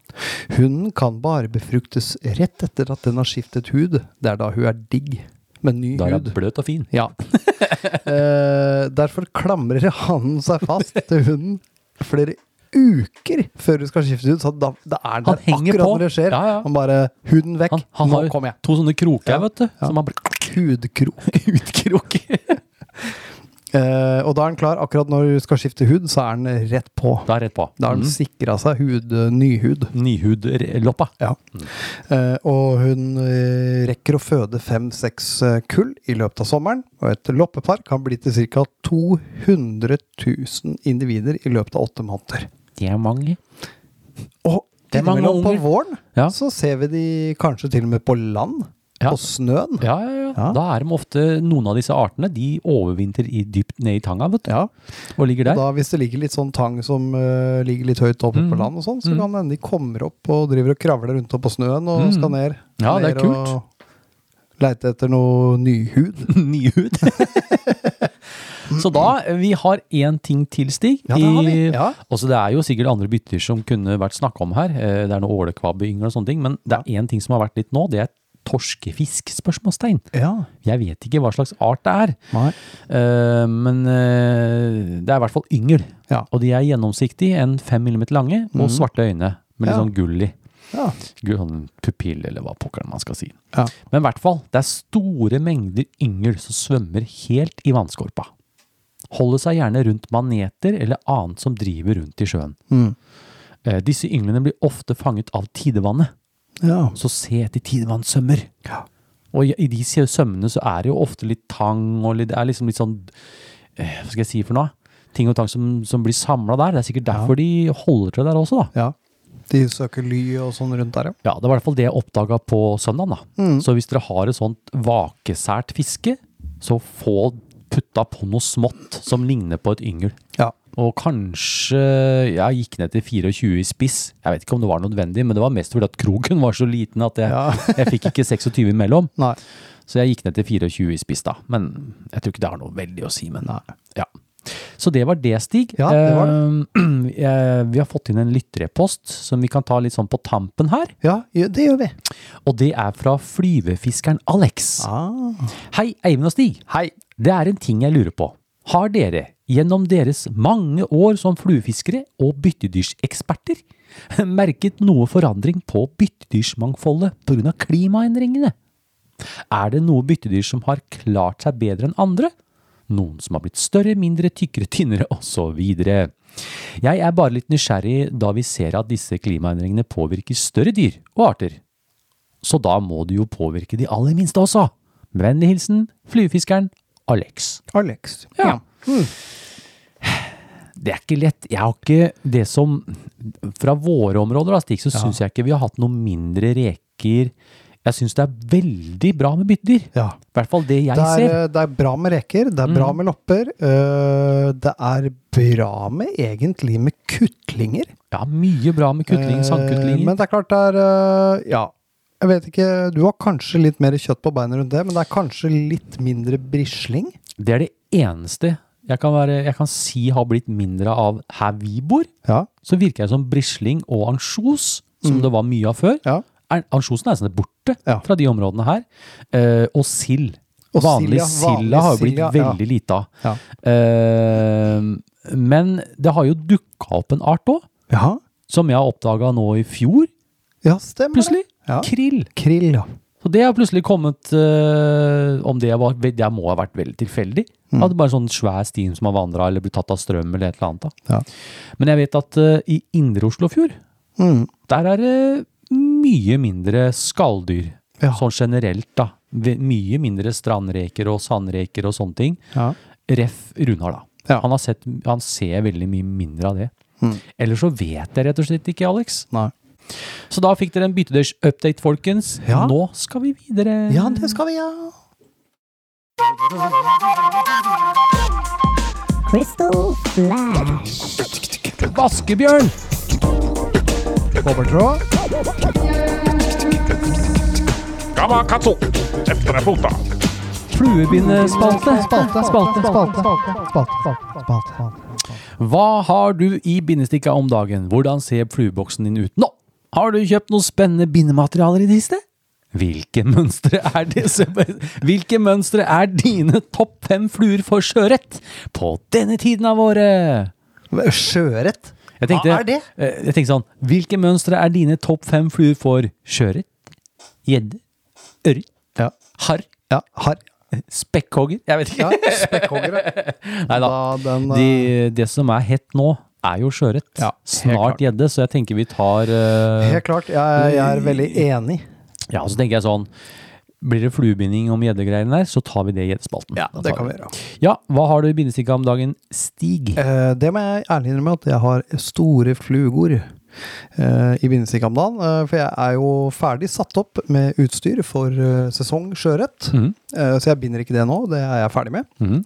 [SPEAKER 6] Hunden kan bare befruktes rett etter at den har skiftet hud. Det er da hun er digg. Med ny
[SPEAKER 1] Da er
[SPEAKER 6] hud.
[SPEAKER 1] hun bløt og fin.
[SPEAKER 6] Ja. Eh, derfor klamrer hannen seg fast til hunden flere uker før hun skal skifte ut. Så da, da er
[SPEAKER 1] Han
[SPEAKER 6] den der
[SPEAKER 1] henger
[SPEAKER 6] akkurat
[SPEAKER 1] på.
[SPEAKER 6] når det skjer.
[SPEAKER 1] Ja, ja.
[SPEAKER 6] Han bare Huden vekk.
[SPEAKER 1] Han, han
[SPEAKER 6] Nå
[SPEAKER 1] har jo
[SPEAKER 6] kommer jeg.
[SPEAKER 1] to sånne kroker,
[SPEAKER 6] Ja,
[SPEAKER 1] vet du.
[SPEAKER 6] ja.
[SPEAKER 1] Som han bare
[SPEAKER 6] Hudkrok.
[SPEAKER 1] utkrok.
[SPEAKER 6] Eh, og da er den klar. Akkurat når hun skal skifte hud, så er den rett på.
[SPEAKER 1] Da er rett på.
[SPEAKER 6] Da har den
[SPEAKER 1] Mm.
[SPEAKER 6] sikra seg hud, nyhud.
[SPEAKER 1] Nyhudloppa.
[SPEAKER 6] Ja. Eh, og hun eh, rekker å føde fem-seks eh, kull i løpet av sommeren. Og et loppepar kan bli til ca. 200 000 individer i løpet av åtte måneder.
[SPEAKER 1] De er mange.
[SPEAKER 6] Og
[SPEAKER 1] Det er mange
[SPEAKER 6] innimellom på
[SPEAKER 1] unger.
[SPEAKER 6] våren
[SPEAKER 1] Ja.
[SPEAKER 6] så ser vi de kanskje til og med på land.
[SPEAKER 1] Ja.
[SPEAKER 6] På snøen.
[SPEAKER 1] Ja, ja, ja,
[SPEAKER 6] Ja.
[SPEAKER 1] Da er de ofte Noen av disse artene de overvintrer i dypt ned i tanga vet du,
[SPEAKER 6] Ja.
[SPEAKER 1] og ligger
[SPEAKER 6] Og
[SPEAKER 1] der.
[SPEAKER 6] da, hvis det ligger litt sånn tang som eh, ligger litt høyt oppe på land, og sånn, så kan det hende de kommer opp og driver og kravler rundt opp på snøen og skal ned.
[SPEAKER 1] Ja, det er
[SPEAKER 6] ned og Leite etter noe nyhud. [LAUGHS]
[SPEAKER 1] Nyhud. [LAUGHS] Så da, vi har én ting til, Stig.
[SPEAKER 6] Ja, det har vi.
[SPEAKER 1] i-
[SPEAKER 6] Ja.
[SPEAKER 1] Også, det er jo sikkert andre bytter som kunne vært snakka om her. Eh, Det er noe ålekvabbeyngel og sånne ting. Men det er én ting som har vært litt nå. Det er torskefisk? spørsmålstegn.
[SPEAKER 6] Ja.
[SPEAKER 1] Jeg vet ikke hva slags art det er.
[SPEAKER 6] Nei.
[SPEAKER 1] Eh, Men eh, det er i hvert fall yngel.
[SPEAKER 6] Ja.
[SPEAKER 1] Og de er gjennomsiktige, en fem millimeter lange, og svarte øyne med litt
[SPEAKER 6] Mhm. Ja.
[SPEAKER 1] sånn gull i.
[SPEAKER 6] Ja.
[SPEAKER 1] Gull, sånn pupill, eller hva pokker man skal si.
[SPEAKER 6] Ja.
[SPEAKER 1] Men i hvert fall, det er store mengder yngel som svømmer helt i vannskorpa. Holder seg gjerne rundt maneter eller annet som driver rundt i sjøen.
[SPEAKER 6] Mm.
[SPEAKER 1] Eh, disse ynglene blir ofte fanget av tidevannet,
[SPEAKER 6] Ja.
[SPEAKER 1] så se etter tidevannssømmer. Og i- i de sjø- sømmene så er det jo ofte litt tang og litt, det er liksom litt sånn eh, Hva skal jeg si for noe? Ting og tang som, som blir samla der. Det er sikkert derfor de holder til der også, da.
[SPEAKER 6] ja. De søker ly og sånn rundt der, ja. Mm.
[SPEAKER 1] Ja, det var i hvert fall det jeg oppdaga på Mm. søndag. Da. Så hvis dere har et sånt vakesært fiske, så få putta på noe smått som ligner på et yngel.
[SPEAKER 6] Ja.
[SPEAKER 1] Og kanskje jeg gikk ned til 24 i spiss. Jeg vet ikke om det var nødvendig, men det var mest fordi at kroken var så liten at jeg,
[SPEAKER 6] Ja.
[SPEAKER 1] jeg fikk [LAUGHS] ikke 26 imellom.
[SPEAKER 6] Nei.
[SPEAKER 1] Så jeg gikk ned til 24 i spiss da. Men jeg tror ikke det har noe veldig å si, men ja. Så det var det, Stig.
[SPEAKER 6] Ja, det var
[SPEAKER 1] Eh, [CLEARS THROAT] jeg- Vi har fått inn en lytterepost som vi kan ta litt sånn på tampen her.
[SPEAKER 6] Ja, jo, det gjør vi.
[SPEAKER 1] Og det er fra flyvefiskeren Alex.
[SPEAKER 6] Ah.
[SPEAKER 1] Hei, Eivind og Stig.
[SPEAKER 6] Hei.
[SPEAKER 1] Det er en ting jeg lurer på. Har dere, gjennom deres mange år som fluefiskere og byttedyrseksperter, [LAUGHS] merket noe forandring på byttedyrsmangfoldet pga. klimaendringene? Er det noe byttedyr som har klart seg bedre enn andre? Noen som har blitt større, mindre, tykkere, tynnere osv. Jeg er bare litt nysgjerrig da vi ser at disse klimaendringene påvirker større dyr og arter. Så da må det jo påvirke de aller minste også. Med vennlig hilsen fluefiskeren Alex.
[SPEAKER 6] Alex.
[SPEAKER 1] Ja.
[SPEAKER 6] Hmm.
[SPEAKER 1] Det er ikke lett. Jeg har ikke det som Fra våre områder, da, Stig, så syns jeg ikke vi har hatt noe mindre reker. Jeg syns det er veldig bra med byttedyr.
[SPEAKER 6] Ja.
[SPEAKER 1] I hvert fall det jeg
[SPEAKER 6] Det er,
[SPEAKER 1] ser.
[SPEAKER 6] eh, det er bra med reker, det er bra med lopper. eh, det er bra med egentlig med kutlinger.
[SPEAKER 1] Ja, mye bra med kutling,
[SPEAKER 6] Eh,
[SPEAKER 1] sandkutlinger.
[SPEAKER 6] Men det er klart det er eh, Ja. Jeg vet ikke, du har kanskje litt mer kjøtt på beina rundt det, men det er kanskje litt mindre brisling.
[SPEAKER 1] Det er det eneste jeg kan, være, jeg kan si har blitt mindre av her vi bor.
[SPEAKER 6] Ja.
[SPEAKER 1] Så virker det som brisling og ansjos,
[SPEAKER 6] Mm.
[SPEAKER 1] som det var mye av før.
[SPEAKER 6] Ja.
[SPEAKER 1] Er, ansjosen er nesten borte
[SPEAKER 6] Ja.
[SPEAKER 1] fra de områdene her. Eh, og sild.
[SPEAKER 6] Og
[SPEAKER 1] Vanlig
[SPEAKER 6] sild, ja.
[SPEAKER 1] silda
[SPEAKER 6] Vanlig
[SPEAKER 1] har jo blitt
[SPEAKER 6] sild, ja.
[SPEAKER 1] veldig lite av.
[SPEAKER 6] Ja.
[SPEAKER 1] Eh, men det har jo dukka opp en art òg,
[SPEAKER 6] Ja,
[SPEAKER 1] som jeg oppdaga nå i fjor,
[SPEAKER 6] ja stemmer
[SPEAKER 1] plutselig.
[SPEAKER 6] det. Ja.
[SPEAKER 1] Krill.
[SPEAKER 6] Krill, ja.
[SPEAKER 1] Så det har plutselig kommet eh, Om det var Det må ha vært veldig tilfeldig.
[SPEAKER 6] Mm.
[SPEAKER 1] At det bare er sånn svær stim som har vandra eller blitt tatt av strøm eller et eller annet. Da.
[SPEAKER 6] Ja.
[SPEAKER 1] Men jeg vet at eh, i indre Oslofjord,
[SPEAKER 6] Mm.
[SPEAKER 1] der er det mye mindre skalldyr.
[SPEAKER 6] Ja.
[SPEAKER 1] Sånn generelt, da. Ve- Mye mindre strandreker og sandreker og sånne ting.
[SPEAKER 6] Ja.
[SPEAKER 1] Ref. Runar, da.
[SPEAKER 6] Ja.
[SPEAKER 1] Han, har sett, han ser veldig mye mindre av det.
[SPEAKER 6] Mm.
[SPEAKER 1] Eller så vet jeg rett og slett ikke, Alex.
[SPEAKER 6] Nei.
[SPEAKER 1] Så da fikk dere en byttedørs-update, folkens.
[SPEAKER 6] Ja.
[SPEAKER 1] Nå skal vi videre.
[SPEAKER 6] ja, det skal vi, ja.
[SPEAKER 7] Crystal Flash.
[SPEAKER 1] Vaskebjørn!
[SPEAKER 6] Kobbertråd.
[SPEAKER 4] Gamakatsu! Etter deg fota.
[SPEAKER 1] Fluebindespalte.
[SPEAKER 6] Spalte, spalte, spalte. spalte, spalte, spalte, spalte.
[SPEAKER 1] Hva har du i bindestikka om dagen? Hvordan ser flueboksen din ut nå? Har du kjøpt noen spennende bindematerialer i det siste? Hvilke mønstre er disse Hvilke mønstre er dine topp fem fluer for sjøørret på denne tiden av året?
[SPEAKER 6] Sjøørret.
[SPEAKER 1] Jeg tenkte,
[SPEAKER 6] Hva er det?
[SPEAKER 1] eh, Jeg tenkte sånn, hvilke mønstre er dine topp fem fluer for sjøørret, gjedde, ørret,
[SPEAKER 6] Ja.
[SPEAKER 1] harr,
[SPEAKER 6] Ja, harr.
[SPEAKER 1] spekkhogger? Jeg vet ikke.
[SPEAKER 6] Ja, spekkhoggere.
[SPEAKER 1] Nei da.
[SPEAKER 6] Da, den, eh,
[SPEAKER 1] De, det som er hett nå, er jo sjøørret.
[SPEAKER 6] Ja, helt
[SPEAKER 1] Snart
[SPEAKER 6] klart.
[SPEAKER 1] gjedde, så jeg tenker vi tar eh,
[SPEAKER 6] Helt klart. Jeg, jeg er veldig enig.
[SPEAKER 1] Ja, så tenker jeg sånn Blir det fluebinding om gjeddegreiene der, så tar vi det i gjeddespalten. Da
[SPEAKER 6] Det
[SPEAKER 1] tar
[SPEAKER 6] kan
[SPEAKER 1] vi
[SPEAKER 6] vi gjøre.
[SPEAKER 1] det. Ja, hva har du i bindestikka om dagen, Stig?
[SPEAKER 6] Eh, det må jeg ærlig innrømme at jeg har store flugor eh, i bindestikk om dagen. eh, for jeg er jo ferdig satt opp med utstyr for eh, sesong sjøørret.
[SPEAKER 1] Mhm.
[SPEAKER 6] Eh, så jeg binder ikke det nå, det er jeg ferdig med.
[SPEAKER 1] Mhm.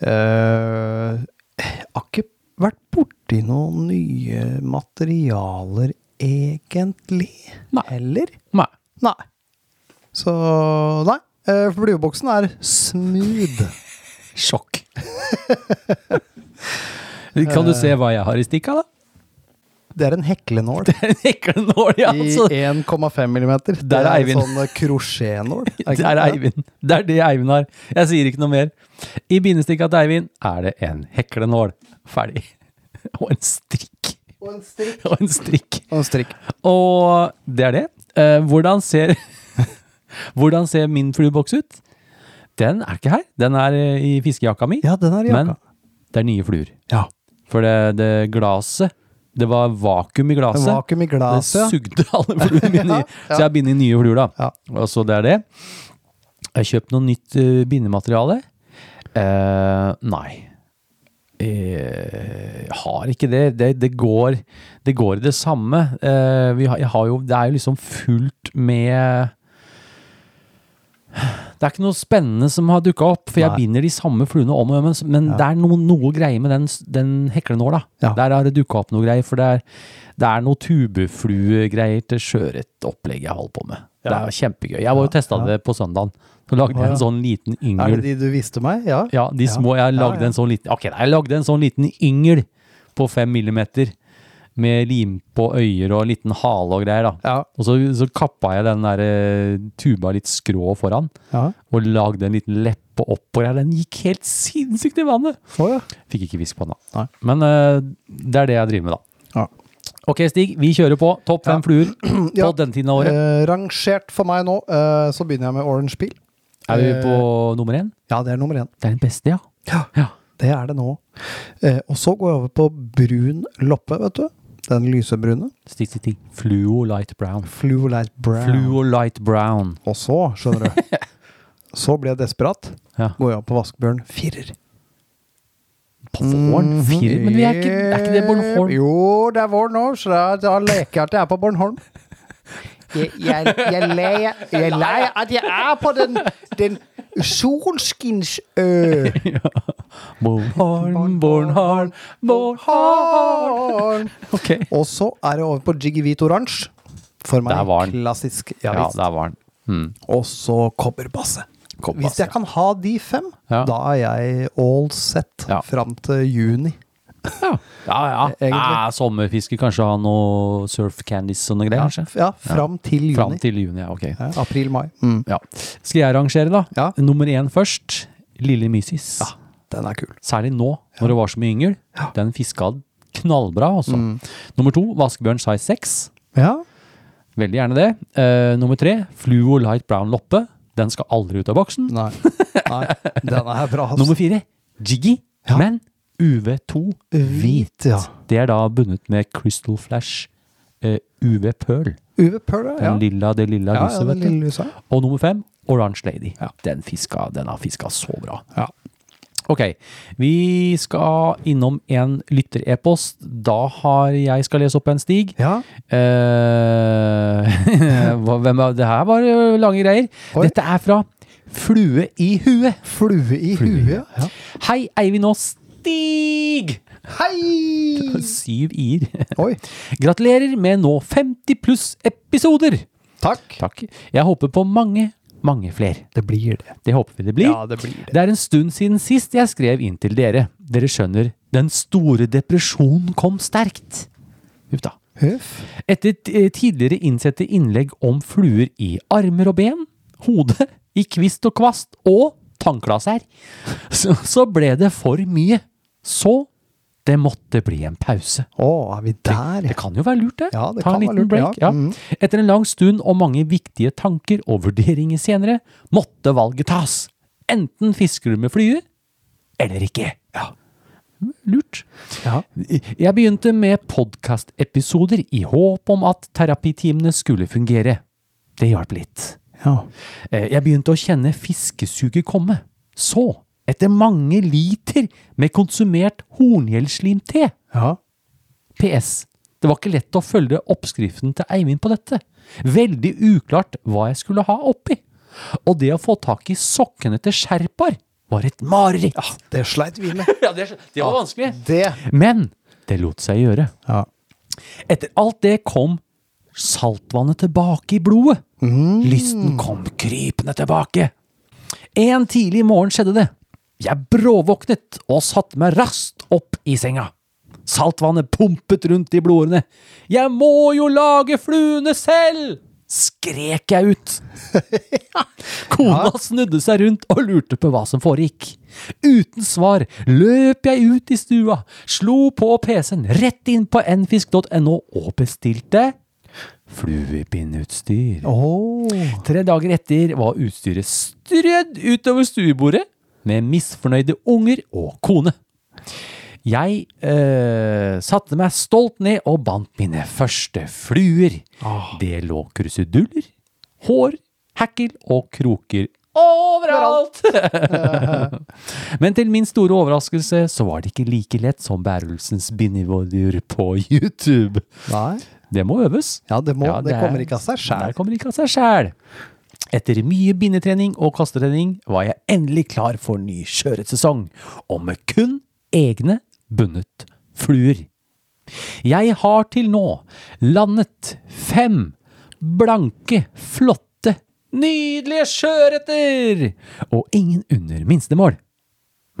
[SPEAKER 6] Eh, jeg har ikke vært borti noen nye materialer egentlig
[SPEAKER 1] Nei.
[SPEAKER 6] heller.
[SPEAKER 1] Nei.
[SPEAKER 6] Nei. Så nei. Eh, Flueboksen er smooth.
[SPEAKER 1] Sjokk. [LAUGHS] kan du se hva jeg har i stikka, da? [LAUGHS]
[SPEAKER 6] Det er en heklenål.
[SPEAKER 1] Heklenål, ja! altså. Så,
[SPEAKER 6] I 1,5 millimeter. Det
[SPEAKER 1] Der er
[SPEAKER 6] er
[SPEAKER 1] Eivind.
[SPEAKER 6] Sånn eh,
[SPEAKER 1] [LAUGHS]
[SPEAKER 6] krosjetnål. er ikke
[SPEAKER 1] det er
[SPEAKER 6] det?
[SPEAKER 1] Eivind. Det er det Eivind har. Jeg sier ikke noe mer. I bindestikka til Eivind er det en heklenål. Ferdig. [LAUGHS] Og en strikk.
[SPEAKER 6] [LAUGHS] Og en strikk.
[SPEAKER 1] Og en strikk.
[SPEAKER 6] Og en strikk.
[SPEAKER 1] Og det er det. Eh, hvordan ser [LAUGHS] Hvordan ser min flueboks ut? Den er ikke her. Den er eh, i fiskejakka mi.
[SPEAKER 6] Ja, den er i
[SPEAKER 1] men
[SPEAKER 6] jakka.
[SPEAKER 1] det er nye fluer.
[SPEAKER 6] Ja.
[SPEAKER 1] For det, det glaset Det var vakuum i
[SPEAKER 6] En
[SPEAKER 1] glaset.
[SPEAKER 6] vakuum i
[SPEAKER 1] Det
[SPEAKER 6] glasset. [LAUGHS]
[SPEAKER 1] sugde alle fluene mine i.
[SPEAKER 6] Ja, ja.
[SPEAKER 1] Så jeg har bindet nye fluer, da.
[SPEAKER 6] Ja.
[SPEAKER 1] Og så det er det. Jeg har kjøpt noe nytt eh, bindemateriale. Eh, nei. Eh, Jeg har ikke det. Det, det, går, det går i det samme. Eh, vi har, jeg har jo, det er jo liksom fullt med Det er ikke noe spennende som har dukka opp, for jeg
[SPEAKER 6] Nei.
[SPEAKER 1] binder de samme fluene om og om. igjen, Men det er noe, noe greie med den, s- den heklenåla.
[SPEAKER 6] Ja.
[SPEAKER 1] Der har det dukka opp noe greier. For det er, det er noe tubefluegreier til sjøørretopplegg jeg holder på med. Det er kjempegøy. Jeg var jo testa det på søndagen. Så lagde jeg
[SPEAKER 6] ja.
[SPEAKER 1] en sånn liten
[SPEAKER 6] Er det
[SPEAKER 1] yngel.
[SPEAKER 6] de du viste meg? Ja.
[SPEAKER 1] Ja, de små. Jeg lagde en sånn liten Ok, da, jeg lagde en sånn liten yngel på fem millimeter. Med lim på øyer og en liten hale og greier, da.
[SPEAKER 6] Ja.
[SPEAKER 1] Og så, så kappa jeg den der eh, tuba litt skrå foran,
[SPEAKER 6] Ja.
[SPEAKER 1] og lagde en liten leppe oppå der. Den gikk helt sinnssykt i vannet!
[SPEAKER 6] Å, ja.
[SPEAKER 1] Fikk ikke fisk på den, da.
[SPEAKER 6] Nei.
[SPEAKER 1] Men eh, det er det jeg driver med, da.
[SPEAKER 6] Ja.
[SPEAKER 1] Ok, Stig, vi kjører på. Topp fem fluer på
[SPEAKER 6] Ja.
[SPEAKER 1] denne tiden av året.
[SPEAKER 6] Eh, rangert for meg nå, eh, så begynner jeg med orange peel.
[SPEAKER 1] Er vi på
[SPEAKER 6] Eh.
[SPEAKER 1] nummer én?
[SPEAKER 6] Ja, det er nummer én.
[SPEAKER 1] Det er den beste, ja.
[SPEAKER 6] Ja, det er det nå. Eh, og så går jeg over på brun loppe, vet du. Den lysebrune.
[SPEAKER 1] Stig, Stig, Stig. Fluo light brown.
[SPEAKER 6] Fluolite brown.
[SPEAKER 1] Fluo light brown.
[SPEAKER 6] Og så, skjønner
[SPEAKER 1] [LAUGHS]
[SPEAKER 6] du. så blir jeg desperat.
[SPEAKER 1] Ja.
[SPEAKER 6] Går jeg opp på vaskebjørn firer. Mm,
[SPEAKER 1] På våren?
[SPEAKER 6] Mhm.
[SPEAKER 1] Fire? Men vi er ikke, er ikke det Bornholm?
[SPEAKER 6] Jo, det er vår nå, så da, da leker jeg at jeg er på Bornholm. Jeg, jeg, jeg, leier, jeg leier at jeg er på den, den solskinnsø.
[SPEAKER 1] Bornholm, Bornholm, Bornholm. Ok.
[SPEAKER 6] Og så er det over på Jiggy Hvit Oransje. For meg
[SPEAKER 1] Der var den.
[SPEAKER 6] klassisk. Ja,
[SPEAKER 1] Ja,
[SPEAKER 6] visst.
[SPEAKER 1] der var den. Hmm.
[SPEAKER 6] Og så kobberbasse. Hvis jeg kan ha de fem,
[SPEAKER 1] Ja.
[SPEAKER 6] da er jeg all set
[SPEAKER 1] Ja.
[SPEAKER 6] fram til juni.
[SPEAKER 1] Ja, ja. ja.
[SPEAKER 6] Egentlig.
[SPEAKER 1] Ah, sommerfiske, kanskje ha noe surf candies og noe greier, kanskje?
[SPEAKER 6] Ja, fram til juni.
[SPEAKER 1] Fram til juni, ja, ok.
[SPEAKER 6] Ja, April-mai. Mm.
[SPEAKER 1] Ja. Skal jeg rangere, da?
[SPEAKER 6] Ja.
[SPEAKER 1] Nummer én først. Lille Mysis.
[SPEAKER 6] Den er kul.
[SPEAKER 1] Særlig nå, når det var så mye yngel. Den fiska knallbra, altså. Nummer to, vaskebjørn size 6.
[SPEAKER 6] Ja.
[SPEAKER 1] Veldig gjerne det. Eh, nummer tre, fluo light brown loppe. Den skal aldri ut av boksen.
[SPEAKER 6] Nei. Nei. Den er bra. ass.
[SPEAKER 1] Nummer fire, jiggy, men UV2 hvit.
[SPEAKER 6] Hvit, ja.
[SPEAKER 1] Det er da bundet med Crystal Flash eh, UV Pearl.
[SPEAKER 6] UV Pearl,
[SPEAKER 1] Den
[SPEAKER 6] ja.
[SPEAKER 1] lilla, det lilla
[SPEAKER 6] Ja,
[SPEAKER 1] lyset,
[SPEAKER 6] ja, den
[SPEAKER 1] vet du.
[SPEAKER 6] lille lysa.
[SPEAKER 1] Og nummer fem, Orange Lady. Den, fiska, den har fiska så bra.
[SPEAKER 6] Ja.
[SPEAKER 1] Ok, vi skal innom en lytterepost. Da har jeg skal lese opp en stig.
[SPEAKER 6] Ja.
[SPEAKER 1] Eh, [LAUGHS] hva- hvem er, det her var jo lange greier.
[SPEAKER 6] Oi.
[SPEAKER 1] Dette er fra Flue i huet.
[SPEAKER 6] Flue i huet. Ja.
[SPEAKER 1] Hei, Eivind og Stig!
[SPEAKER 6] Hei!
[SPEAKER 1] Syv i-er.
[SPEAKER 6] Oi.
[SPEAKER 1] [LAUGHS] Gratulerer med nå 50 pluss episoder!
[SPEAKER 6] Takk.
[SPEAKER 1] Takk. Jeg håper på mange, mange flere.
[SPEAKER 6] Det blir det.
[SPEAKER 1] Det håper vi det blir.
[SPEAKER 6] Ja, det blir det.
[SPEAKER 1] Det er en stund siden sist jeg skrev inn til dere. Dere skjønner, den store depresjonen kom sterkt. Huff da.
[SPEAKER 6] Huff.
[SPEAKER 1] Etter t- eh, tidligere innsette innlegg om fluer i armer og ben, hode, i kvist og kvast og tannklasser, så, så ble det for mye. Så det måtte bli en pause.
[SPEAKER 6] Å, er vi der?
[SPEAKER 1] Det kan jo være lurt, det.
[SPEAKER 6] Ja, det
[SPEAKER 1] Ta
[SPEAKER 6] kan
[SPEAKER 1] en
[SPEAKER 6] være
[SPEAKER 1] liten
[SPEAKER 6] lurt,
[SPEAKER 1] break.
[SPEAKER 6] ja.
[SPEAKER 1] Ja.
[SPEAKER 6] Mhm.
[SPEAKER 1] Etter en lang stund og mange viktige tanker og vurderinger senere, måtte valget tas. Enten fisker du med flyer, eller ikke. Lurt.
[SPEAKER 6] Ja.
[SPEAKER 1] Jeg begynte med podkastepisoder i håp om at terapitimene skulle fungere. Det hjalp litt.
[SPEAKER 6] Ja.
[SPEAKER 1] Eh, Jeg begynte å kjenne fiskesuget komme. Så, etter mange liter med konsumert horngjellslimte,
[SPEAKER 6] ja.
[SPEAKER 1] PS. Det var ikke lett å følge oppskriften til Eivind på dette. Veldig uklart hva jeg skulle ha oppi. Og det å få tak i sokkene til Sherpar var et mareritt.
[SPEAKER 6] Det sleit vi med.
[SPEAKER 1] Ja, det, var vanskelig.
[SPEAKER 6] Det.
[SPEAKER 1] Men det lot seg gjøre.
[SPEAKER 6] Ja.
[SPEAKER 1] Etter alt det kom saltvannet tilbake i blodet. Lysten kom krypende tilbake. En tidlig morgen skjedde det. Jeg bråvåknet og satte meg raskt opp i senga. Saltvannet pumpet rundt i blodårene. Jeg må jo lage fluene selv! skrek jeg ut. Kona snudde seg rundt og lurte på hva som foregikk. Uten svar løp jeg ut i stua, slo på PC-en rett inn på nfisk.no og bestilte fluepinneutstyr. Tre dager etter var utstyret strødd utover stuebordet med misfornøyde unger og kone. Jeg eh, satte meg stolt ned og bandt mine første fluer. Det lå kruseduller, hår, hekkel og kroker overalt! Men til min store overraskelse så var det ikke like lett som bærelsens bindevolldyr på YouTube.
[SPEAKER 6] Nei.
[SPEAKER 1] Det må øves.
[SPEAKER 6] Ja, det, må,
[SPEAKER 1] Ja,
[SPEAKER 6] det,
[SPEAKER 1] er-
[SPEAKER 6] kommer ikke av seg
[SPEAKER 1] Det
[SPEAKER 6] sjæl.
[SPEAKER 1] kommer ikke av seg sjæl. Etter mye bindetrening og kastetrening var jeg endelig klar for ny sjøørretsesong, og med kun egne bundet fluer. Jeg har til nå landet fem blanke, flotte, nydelige sjøørreter! Og ingen under minstemål.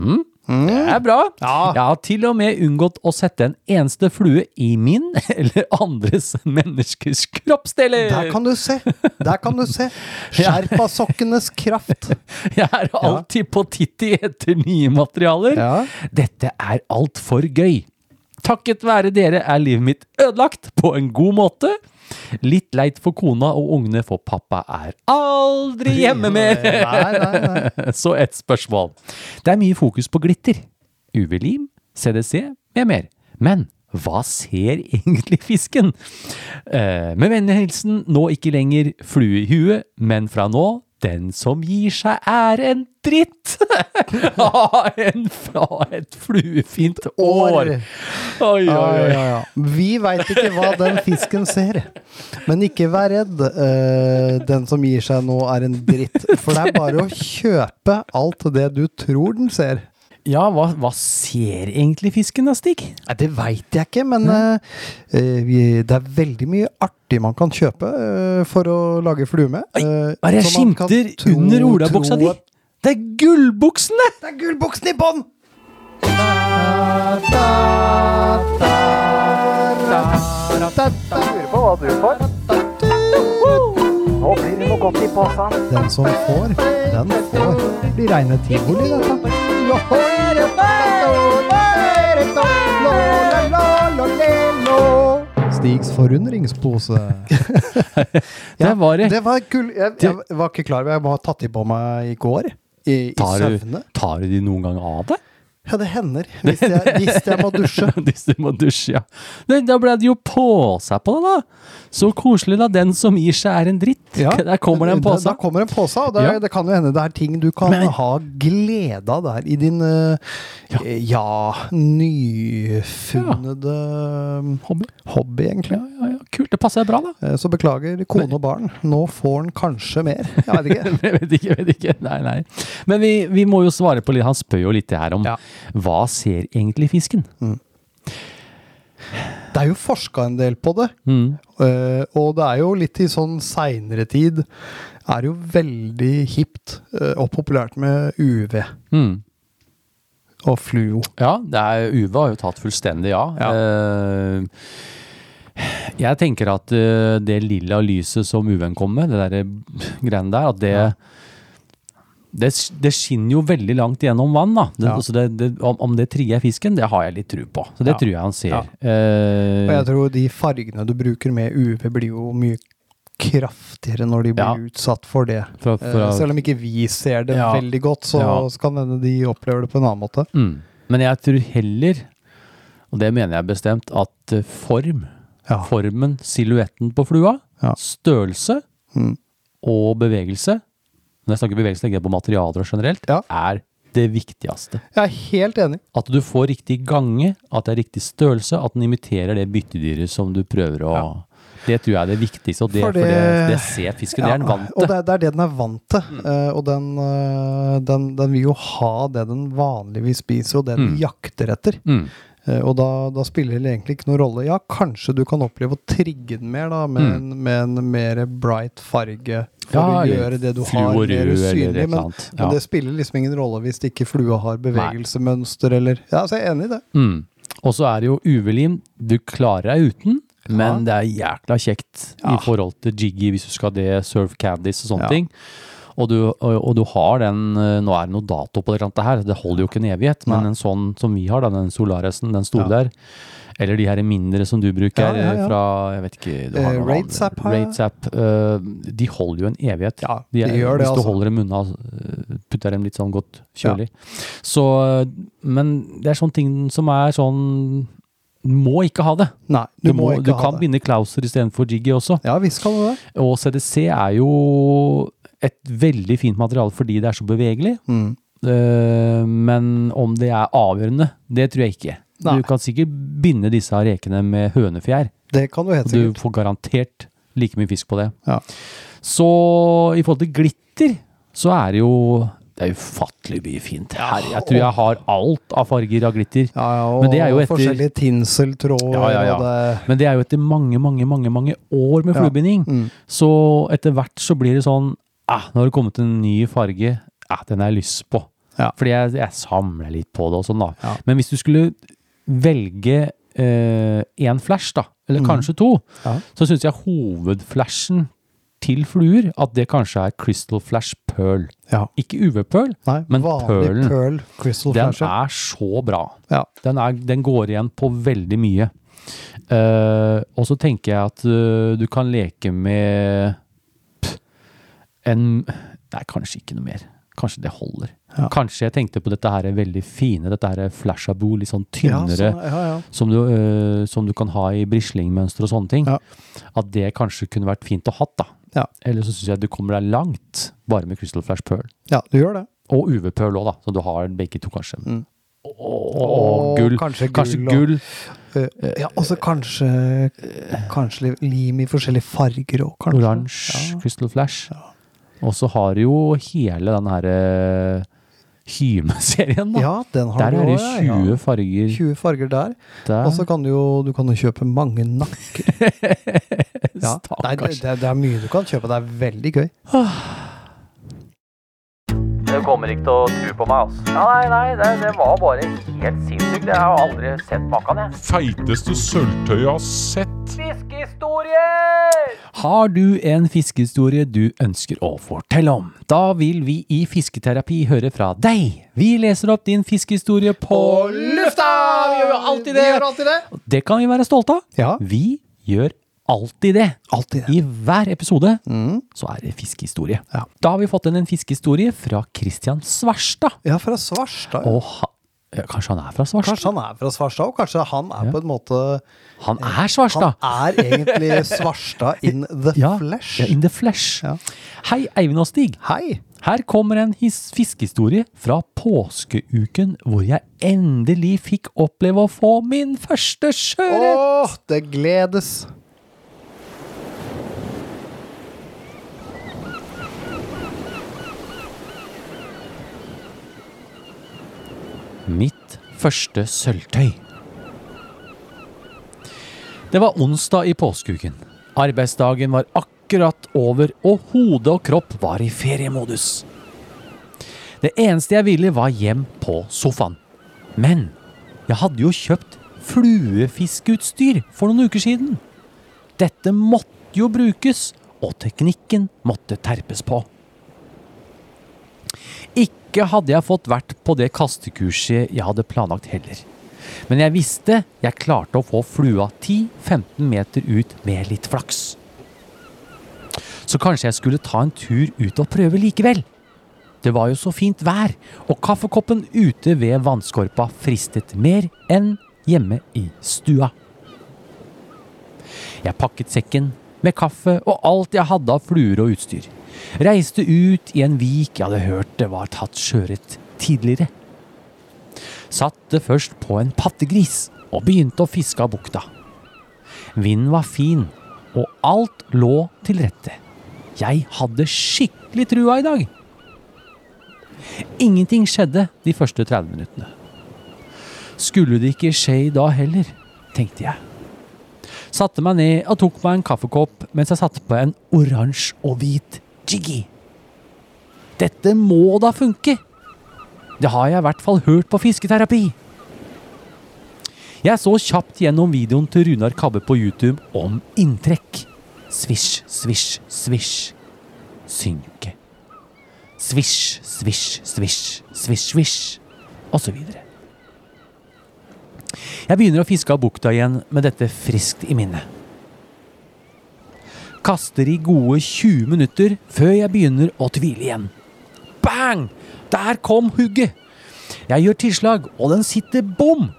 [SPEAKER 1] Mm? Det er bra. Jeg har til og med unngått å sette en eneste flue i min [LAUGHS] eller andres menneskers kroppsdeler.
[SPEAKER 6] Der kan du se! Der kan du [LAUGHS] se! Skjerpa sokkenes [LAUGHS] kraft.
[SPEAKER 1] [LAUGHS] Jeg er alltid på titti etter nye materialer.
[SPEAKER 6] Ja.
[SPEAKER 1] Dette er altfor gøy. Takket være dere er livet mitt ødelagt på en god måte. Litt leit for kona og ungene, for pappa er aldri hjemme mer.
[SPEAKER 6] Nei, nei, nei.
[SPEAKER 1] [LAUGHS] Så et spørsmål. Det er mye fokus på glitter. UV-lim, CDC med mer. Men hva ser [LAUGHS] egentlig fisken? Eh, med vennlig hilsen nå ikke lenger flue i huet, men fra nå den som gir seg er en dritt! [LAUGHS] Ha en fra et fluefint år!
[SPEAKER 6] År.
[SPEAKER 1] Oi, oi,
[SPEAKER 6] Ja,
[SPEAKER 1] oi.
[SPEAKER 6] ja, ja. Vi veit ikke hva den fisken ser, men ikke vær redd. eh, Den som gir seg nå, er en dritt. For det er bare å kjøpe alt det du tror den ser.
[SPEAKER 1] Ja, hva, hva ser egentlig fisken da, Stig?
[SPEAKER 6] Nei, Det veit jeg ikke, men eh, eh, vi- det er veldig mye artig man kan kjøpe eh, for å lage flue med. eh,
[SPEAKER 1] Hva er det jeg
[SPEAKER 6] som man kan
[SPEAKER 1] skimter
[SPEAKER 6] tro-
[SPEAKER 1] under olabuksa
[SPEAKER 6] tro
[SPEAKER 1] di?
[SPEAKER 6] at-
[SPEAKER 1] Det er gullbuksene!
[SPEAKER 6] Det er gullbuksen i bånn!
[SPEAKER 5] Lurer på hva du får. Nå blir det noe godt i posen.
[SPEAKER 6] Den som får, den får. Det blir reine tivoli, dette. Stigs forundringspose.
[SPEAKER 1] Der var [LAUGHS] det.
[SPEAKER 6] Det var gull... Jeg, jeg var ikke klar over Jeg må ha tatt de på meg i går. I, i
[SPEAKER 1] Tar du,
[SPEAKER 6] søvne.
[SPEAKER 1] tar du de noen gang av deg?
[SPEAKER 6] Ja, det hender. Hvis jeg, hvis jeg må dusje.
[SPEAKER 1] [LAUGHS] Hvis du må dusje, ja. Det, da ble det jo påse på det, da. Så koselig, da. Den som gir seg, er en dritt. Der kommer det en
[SPEAKER 6] Da
[SPEAKER 1] påse.
[SPEAKER 6] kommer en påse, og det,
[SPEAKER 1] Ja.
[SPEAKER 6] det kan jo hende det er ting du kan
[SPEAKER 1] Men-
[SPEAKER 6] ha glede av der i din eh, ja, nyfunnede
[SPEAKER 1] Hobby.
[SPEAKER 6] hobby, egentlig.
[SPEAKER 1] Ja, ja, ja, kult. Det passer bra, da.
[SPEAKER 6] Eh, Så beklager kone og barn, nå får han kanskje mer. Jeg vet ikke.
[SPEAKER 1] [LAUGHS] Jeg vet ikke, jeg vet ikke. Nei, nei. Men vi, vi må jo svare på litt. Han spør jo litt her om
[SPEAKER 6] Ja.
[SPEAKER 1] hva ser egentlig fisken?
[SPEAKER 6] Det er jo forska en del på det,
[SPEAKER 1] Mm.
[SPEAKER 6] Eh, og det er jo litt i sånn seinere tid er det jo veldig hipt eh, og populært med UV
[SPEAKER 1] Mm.
[SPEAKER 6] og fluo.
[SPEAKER 1] Ja, det er, UV har jo tatt fullstendig ja. Eh, jeg tenker at eh, det lilla lyset som UV-en kom med, det der eh, greiene der, at det, det sk- det skinner jo veldig langt gjennom vann. da. Det,
[SPEAKER 6] Ja.
[SPEAKER 1] altså det, det, om, om det trigger fisken, det har jeg litt tro på. Så det
[SPEAKER 6] Ja.
[SPEAKER 1] tror jeg han ser.
[SPEAKER 6] Ja.
[SPEAKER 1] Eh,
[SPEAKER 6] Og jeg tror de fargene du bruker med UV, blir jo mye kraftigere når de blir
[SPEAKER 1] Ja.
[SPEAKER 6] utsatt for det.
[SPEAKER 1] fra, fra,
[SPEAKER 6] Eh, Selv om ikke vi ser det
[SPEAKER 1] Ja.
[SPEAKER 6] veldig godt, så,
[SPEAKER 1] Ja.
[SPEAKER 6] så kan hende de opplever det på en annen måte.
[SPEAKER 1] mm. Men jeg tror heller, og det mener jeg bestemt, at eh, form,
[SPEAKER 6] Ja.
[SPEAKER 1] formen, silhuetten på flua,
[SPEAKER 6] Ja.
[SPEAKER 1] størrelse
[SPEAKER 6] Mm.
[SPEAKER 1] og bevegelse, når jeg snakker bevegelse, tenker jeg på materialer generelt,
[SPEAKER 6] Ja.
[SPEAKER 1] er det viktigste.
[SPEAKER 6] Jeg er helt enig.
[SPEAKER 1] At du får riktig gange, at det er riktig størrelse, at den imiterer det byttedyret som du prøver å Det tror jeg er det viktigste, og det,
[SPEAKER 6] For
[SPEAKER 1] for
[SPEAKER 6] det-
[SPEAKER 1] det, det, ser fisken. det er den
[SPEAKER 6] Ja,
[SPEAKER 1] vant
[SPEAKER 6] Og
[SPEAKER 1] til.
[SPEAKER 6] det, er- det er det den er vant til. eh, og den, eh, den, den vil jo ha det den vanligvis spiser, og det den jakter etter.
[SPEAKER 1] Mm.
[SPEAKER 6] Eh, og da, da spiller det egentlig ikke noen rolle. Ja, kanskje du kan oppleve å trigge den mer, da, med, en, med en mer bright farge. For
[SPEAKER 1] Mm. Ja,
[SPEAKER 6] å
[SPEAKER 1] eller
[SPEAKER 6] gjøre det du har
[SPEAKER 1] fluorud
[SPEAKER 6] mer
[SPEAKER 1] eller et
[SPEAKER 6] usynlig.
[SPEAKER 1] eller
[SPEAKER 6] Men,
[SPEAKER 1] annet, ja.
[SPEAKER 6] men det spiller liksom ingen rolle hvis det ikke flua har bevegelsemønster eller Ja, så jeg er enig i det.
[SPEAKER 1] Mm. Og så er det jo UV-lim. Du klarer deg uten, men det er jækla kjekt i forhold til jiggy hvis du skal ha det, surf candies og sånne
[SPEAKER 6] Ja.
[SPEAKER 1] ting. Og du, og, og du har den eh, Nå er det noe dato på det, eller annet her, det holder jo ikke en evighet, men
[SPEAKER 6] Nei.
[SPEAKER 1] en sånn som vi har, da, den Solaresen, den store der, eller de her mindre som du bruker
[SPEAKER 6] Ja, ja, ja.
[SPEAKER 1] eh, fra jeg vet ikke, du har
[SPEAKER 6] Eh,
[SPEAKER 1] noen
[SPEAKER 6] Raidsap
[SPEAKER 1] andre.
[SPEAKER 6] har jeg.
[SPEAKER 1] Raidsap, eh, de holder jo en evighet.
[SPEAKER 6] Ja,
[SPEAKER 1] De er-
[SPEAKER 6] de gjør det,
[SPEAKER 1] hvis
[SPEAKER 6] altså.
[SPEAKER 1] du holder dem unna, eh, putter dem litt sånn godt kjølig. Så, eh, men det er sånne ting som er sånn Må ikke ha det.
[SPEAKER 6] Nei, du, må, ikke
[SPEAKER 1] du
[SPEAKER 6] ha
[SPEAKER 1] kan
[SPEAKER 6] det.
[SPEAKER 1] binde Klauser istedenfor Jiggy også.
[SPEAKER 6] Ja visst kan du det.
[SPEAKER 1] Og CDC er jo et veldig fint materiale fordi det er så bevegelig.
[SPEAKER 6] Mm.
[SPEAKER 1] Eh, Men om det er avgjørende, det tror jeg ikke.
[SPEAKER 6] Nei.
[SPEAKER 1] Du kan sikkert binde disse rekene med hønefjær.
[SPEAKER 6] Det kan du helt
[SPEAKER 1] Du
[SPEAKER 6] sikkert.
[SPEAKER 1] får garantert like mye fisk på det.
[SPEAKER 6] Ja.
[SPEAKER 1] Så i forhold til glitter, så er det jo det er ufattelig mye fint. Herre, jeg tror jeg har alt av farger av glitter.
[SPEAKER 6] Ja, ja, og
[SPEAKER 1] Men det er jo etter-
[SPEAKER 6] forskjellige tinseltråder
[SPEAKER 1] Ja, ja, ja.
[SPEAKER 6] og det
[SPEAKER 1] Men det er jo etter mange, mange, mange mange år med
[SPEAKER 6] Ja.
[SPEAKER 1] fluebinding.
[SPEAKER 6] Mm.
[SPEAKER 1] Så etter hvert så blir det sånn ah, Nå har det kommet en ny farge. Ah, den har jeg lyst på.
[SPEAKER 6] Ja.
[SPEAKER 1] Fordi jeg, jeg samler litt på det og sånn, da.
[SPEAKER 6] Ja.
[SPEAKER 1] Men hvis du skulle velge én flash, da,
[SPEAKER 6] Mm.
[SPEAKER 1] eller kanskje to,
[SPEAKER 6] Ja.
[SPEAKER 1] så syns jeg hovedflashen til fluer, at det kanskje er Crystal Flash Pearl.
[SPEAKER 6] Ja.
[SPEAKER 1] Ikke UV-pearl,
[SPEAKER 6] Nei,
[SPEAKER 1] Men
[SPEAKER 6] vanlig
[SPEAKER 1] pearlen,
[SPEAKER 6] pearl crystal
[SPEAKER 1] den
[SPEAKER 6] flasher.
[SPEAKER 1] er så bra.
[SPEAKER 6] Ja.
[SPEAKER 1] Den, er, den går igjen på veldig mye. Eh, og så tenker jeg at eh, du kan leke med pff, en Nei, kanskje ikke noe mer. Kanskje det holder.
[SPEAKER 6] Ja.
[SPEAKER 1] Kanskje jeg tenkte på dette her er veldig fine, dette her er flashaboo, litt sånn
[SPEAKER 6] Ja,
[SPEAKER 1] tynnere,
[SPEAKER 6] sånn, ja, ja.
[SPEAKER 1] Som, du, eh, som du kan ha i brislingmønster og sånne ting.
[SPEAKER 6] Ja.
[SPEAKER 1] At det kanskje kunne vært fint å hatt, da.
[SPEAKER 6] Ja.
[SPEAKER 1] Eller så syns jeg du kommer deg langt bare med Crystal Flash Pearl.
[SPEAKER 6] ja, du gjør det.
[SPEAKER 1] Og UV-pearl òg, da. Så du har begge to, kanskje.
[SPEAKER 6] Mm.
[SPEAKER 1] Og, og gull.
[SPEAKER 6] Kanskje gull.
[SPEAKER 1] Kanskje
[SPEAKER 6] og-
[SPEAKER 1] gull.
[SPEAKER 6] Eh, ja, og så kanskje, kanskje lim i forskjellige farger òg, kanskje.
[SPEAKER 1] Oransje
[SPEAKER 6] Ja.
[SPEAKER 1] Crystal Flash. Og så har du jo hele den herre Hyme-serien, da.
[SPEAKER 6] Ja, den har
[SPEAKER 1] Der
[SPEAKER 6] du
[SPEAKER 1] er det
[SPEAKER 6] også, ja,
[SPEAKER 1] 20
[SPEAKER 6] ja.
[SPEAKER 1] farger.
[SPEAKER 6] 20 farger der. Og
[SPEAKER 1] Der.
[SPEAKER 6] så kan du jo du kan jo kjøpe mange nakker.
[SPEAKER 1] [LAUGHS]
[SPEAKER 6] Ja. [LAUGHS] Nei, det,
[SPEAKER 1] Stakkars.
[SPEAKER 6] det, det er mye du kan kjøpe. Det er veldig gøy.
[SPEAKER 3] Du kommer ikke til å tro på meg, altså. Nei, nei, det, det var bare helt sinnssykt. Jeg har aldri sett maken, jeg.
[SPEAKER 4] Feiteste sølvtøyet jeg har sett.
[SPEAKER 3] Fiskehistorier!
[SPEAKER 1] Har du en fiskehistorie du ønsker å fortelle om? Da vil vi i Fisketerapi høre fra deg. Vi leser opp din fiskehistorie på lufta! Vi gjør jo alltid det! Det kan vi være stolte av.
[SPEAKER 6] Ja.
[SPEAKER 1] Vi gjør alltid det.
[SPEAKER 6] Alltid det. Mm.
[SPEAKER 1] I hver episode så er det fiskehistorie.
[SPEAKER 6] Ja.
[SPEAKER 1] Da har vi fått inn en fiskehistorie fra Christian Svarstad.
[SPEAKER 6] Ja, fra Svarstad. ja.
[SPEAKER 1] Og ha, ja, kanskje han er fra Svarstad?
[SPEAKER 6] Kanskje han er fra Svarstad, og kanskje han er på en måte
[SPEAKER 1] Han er Svarstad!
[SPEAKER 6] Han er
[SPEAKER 1] [LAUGHS]
[SPEAKER 6] egentlig Svarstad in the
[SPEAKER 1] ja,
[SPEAKER 6] flesh.
[SPEAKER 1] ja, in the flesh.
[SPEAKER 6] Ja.
[SPEAKER 1] Hei, Eivind og Stig.
[SPEAKER 6] Hei!
[SPEAKER 1] Her kommer en his fiskehistorie fra påskeuken, hvor jeg endelig fikk oppleve å få min første sjøørret.
[SPEAKER 6] Åh, det gledes!
[SPEAKER 1] Mitt første sølvtøy. Det var onsdag i påskeuken. Arbeidsdagen var akkurat over, og hode og kropp var i feriemodus. Det eneste jeg ville, var hjem på sofaen. Men jeg hadde jo kjøpt fluefiskeutstyr for noen uker siden. Dette måtte jo brukes, og teknikken måtte terpes på. Ikke hadde jeg fått vært på det kastekurset jeg hadde planlagt heller. Men jeg visste jeg klarte å få flua 10-15 meter ut med litt flaks. Så kanskje jeg skulle ta en tur ut og prøve likevel. Det var jo så fint vær, og kaffekoppen ute ved vannskorpa fristet mer enn hjemme i stua. Jeg pakket sekken med kaffe og alt jeg hadde av fluer og utstyr. Reiste ut i en vik jeg hadde hørt det var tatt sjøørret tidligere. Satte først på en pattegris og begynte å fiske av bukta. Vinden var fin, og alt lå til rette. Jeg hadde skikkelig trua i dag. Ingenting skjedde de første 30 minuttene. Skulle det ikke skje i dag heller, tenkte jeg satte meg ned og tok meg en kaffekopp mens jeg satte på en oransje og hvit jiggy. Dette må da funke! Det har jeg i hvert fall hørt på fisketerapi. Jeg så kjapt gjennom videoen til Runar Kabbe på YouTube om inntrekk. Svisj, svisj, svisj. Synke. Svisj, svisj, svisj, svisj, svisj. Og så videre. Jeg begynner å fiske av bukta igjen med dette friskt i minnet. Kaster i gode 20 minutter før jeg begynner å tvile igjen. Bang! Der kom hugget! Jeg gjør tilslag, og den sitter bom!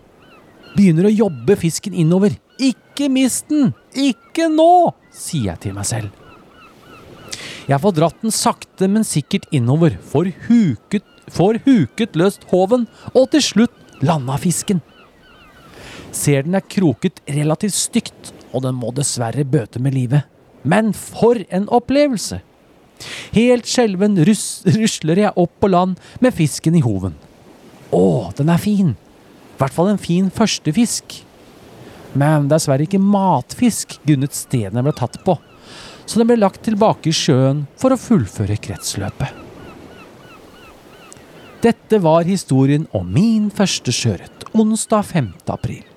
[SPEAKER 1] Begynner å jobbe fisken innover. Ikke mist den! Ikke nå! sier jeg til meg selv. Jeg får dratt den sakte, men sikkert innover, får huket, får huket løst håven, og til slutt landa fisken ser den er kroket relativt stygt, og den må dessverre bøte med livet. Men for en opplevelse! Helt skjelven rus rusler jeg opp på land med fisken i hoven. Å, den er fin! I hvert fall en fin førstefisk. Men dessverre ikke matfisk grunnet stedene ble tatt på, så den ble lagt tilbake i sjøen for å fullføre kretsløpet. Dette var historien om min første sjøørret, onsdag 5. april.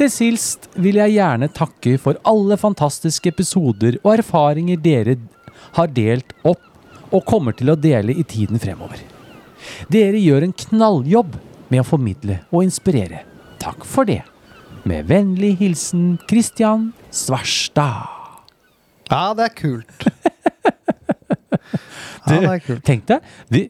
[SPEAKER 1] Til sist vil jeg gjerne takke for alle fantastiske episoder og erfaringer dere har delt opp og kommer til å dele i tiden fremover. Dere gjør en knalljobb med å formidle og inspirere. Takk for det. Med vennlig hilsen Christian Svarstad.
[SPEAKER 6] Ja, det er
[SPEAKER 1] [LAUGHS]
[SPEAKER 6] kult. Ja, det er kult.
[SPEAKER 1] Tenk deg, vi,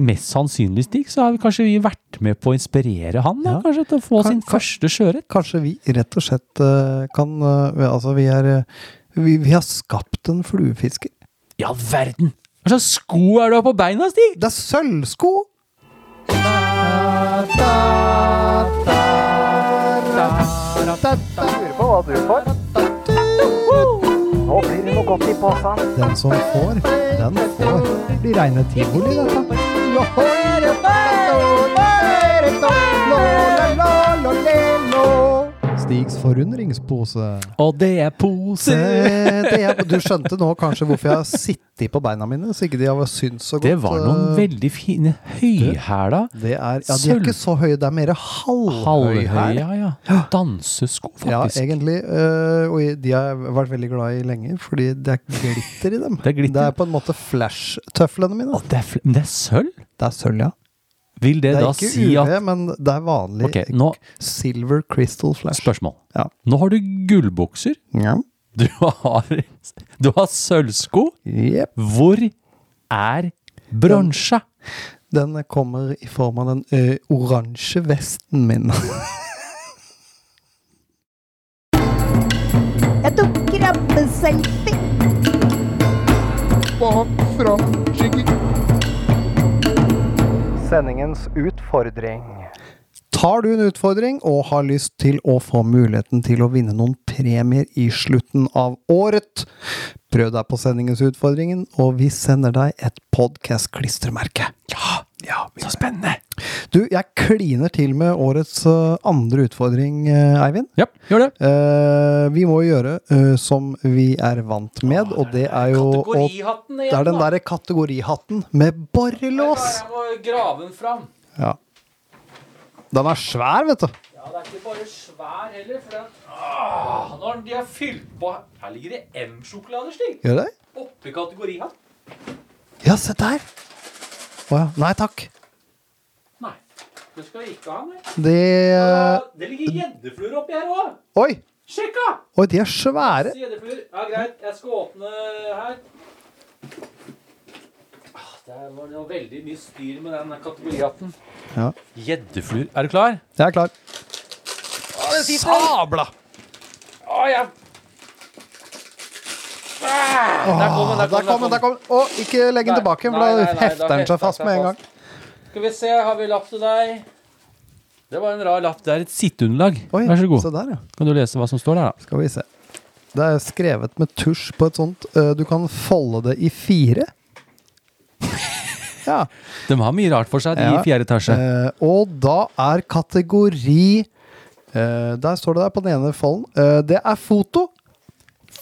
[SPEAKER 1] mest sannsynlig Stig, så har vi kanskje vi vært med på å inspirere han da,
[SPEAKER 6] Ja.
[SPEAKER 1] kanskje til å få
[SPEAKER 6] Kan-
[SPEAKER 1] sin
[SPEAKER 6] kan-
[SPEAKER 1] første sjøørret.
[SPEAKER 6] Kanskje vi rett og slett eh, kan eh, Altså, vi er eh, vi, vi har skapt en fluefisker.
[SPEAKER 1] I all verden! Hva slags sko er du har på beina, Stig?
[SPEAKER 6] Det er sølvsko!
[SPEAKER 5] Lurer på hva du får. Nå blir det noe godt i posen.
[SPEAKER 6] Den som får, den får. Det blir reine tivoli, dette. Stigs forundringspose.
[SPEAKER 1] Og det er poser!
[SPEAKER 6] Det er, du skjønte nå kanskje hvorfor jeg har sittet på beina mine, så ikke de har syntes så godt.
[SPEAKER 1] Det var noen
[SPEAKER 6] eh,
[SPEAKER 1] veldig fine høyhæla
[SPEAKER 6] det er, ja, De er ikke så høye, det er mer halvhøye her.
[SPEAKER 1] halvhøya, ja. Dansesko,
[SPEAKER 6] Ja,
[SPEAKER 1] faktisk.
[SPEAKER 6] egentlig. øh, og de har jeg vært veldig glad i lenge, fordi det er glitter i dem.
[SPEAKER 1] Det er glitter.
[SPEAKER 6] på en måte flash-tøflene mine.
[SPEAKER 1] Å, det, er, fl- men det er sølv?
[SPEAKER 6] Det er sølv, ja.
[SPEAKER 1] Vil det,
[SPEAKER 6] Det er
[SPEAKER 1] da
[SPEAKER 6] ikke
[SPEAKER 1] si
[SPEAKER 6] UV,
[SPEAKER 1] at
[SPEAKER 6] men det er vanlig
[SPEAKER 1] Ok, nå
[SPEAKER 6] silver crystal flash.
[SPEAKER 1] Spørsmål.
[SPEAKER 6] Ja.
[SPEAKER 1] Nå har du gullbukser.
[SPEAKER 6] Ja.
[SPEAKER 1] Du har, du har sølvsko.
[SPEAKER 6] Jep.
[SPEAKER 1] Hvor er bronsa?
[SPEAKER 6] Den kommer i form av den øh, oransje vesten min.
[SPEAKER 7] Jeg tok krabbeselfie.
[SPEAKER 5] Sendingens utfordring.
[SPEAKER 6] Tar du en utfordring og har lyst til å få muligheten til å vinne noen premier i slutten av året, prøv deg på sendingens utfordringen, og vi sender deg et podcast-klistremerke. Ja, så spennende! Du, jeg kliner til med årets eh, andre utfordring, eh, Eivind.
[SPEAKER 1] Ja, gjør det.
[SPEAKER 6] Eh, vi må gjøre eh, som vi er vant med, og det er jo å-
[SPEAKER 1] Ah, Kategorihatten
[SPEAKER 6] Det er den derre kategorihatten med borrelås!
[SPEAKER 1] Jeg må grave den fram.
[SPEAKER 6] Ja. Den er svær, vet du.
[SPEAKER 1] Ja, det er ikke bare svær heller, for den Når de har fylt på Her ligger det M-sjokolader, Stig.
[SPEAKER 6] Gjør det?
[SPEAKER 1] Oppi kategorihatt.
[SPEAKER 6] Ja, se der! Å ja. Nei takk.
[SPEAKER 1] Nei, det skal vi ikke ha med.
[SPEAKER 6] Det
[SPEAKER 1] Det ligger gjeddefluer oppi her òg.
[SPEAKER 6] Oi!
[SPEAKER 1] Sjekk, da!
[SPEAKER 6] Oi, de er svære!
[SPEAKER 1] Sidefluer. Ja, greit. Jeg skal åpne her. Ah, Det var det var veldig mye styr med den kategorihatten.
[SPEAKER 6] Ja.
[SPEAKER 1] Gjeddefluer. Er du klar?
[SPEAKER 6] Jeg er klar.
[SPEAKER 1] Sabla! Å, ja. Der kom den, der
[SPEAKER 6] Der kom den! der kom den. Å, ikke legg den
[SPEAKER 1] Nei,
[SPEAKER 6] tilbake,
[SPEAKER 1] nei,
[SPEAKER 6] for
[SPEAKER 1] nei,
[SPEAKER 6] da
[SPEAKER 1] nei, da
[SPEAKER 6] hefter den
[SPEAKER 1] hefter
[SPEAKER 6] seg fast
[SPEAKER 1] den
[SPEAKER 6] med en
[SPEAKER 1] seg
[SPEAKER 6] gang.
[SPEAKER 1] Skal vi se, har vi lapp til deg? Det var en rar lapp. Det er et sitteunderlag.
[SPEAKER 6] Oi,
[SPEAKER 1] Vær så god.
[SPEAKER 6] Se der, ja.
[SPEAKER 1] Kan du lese hva som står der, da?
[SPEAKER 6] Skal vi se. Det er skrevet med tusj på et sånt eh, Du kan folde det i [LAUGHS] fire. Ja.
[SPEAKER 1] De har mye rart for seg, de
[SPEAKER 6] Ja.
[SPEAKER 1] i fjerde etasje.
[SPEAKER 6] Eh, og da er kategori eh, Der står det der på den ene folden. Eh, det er foto.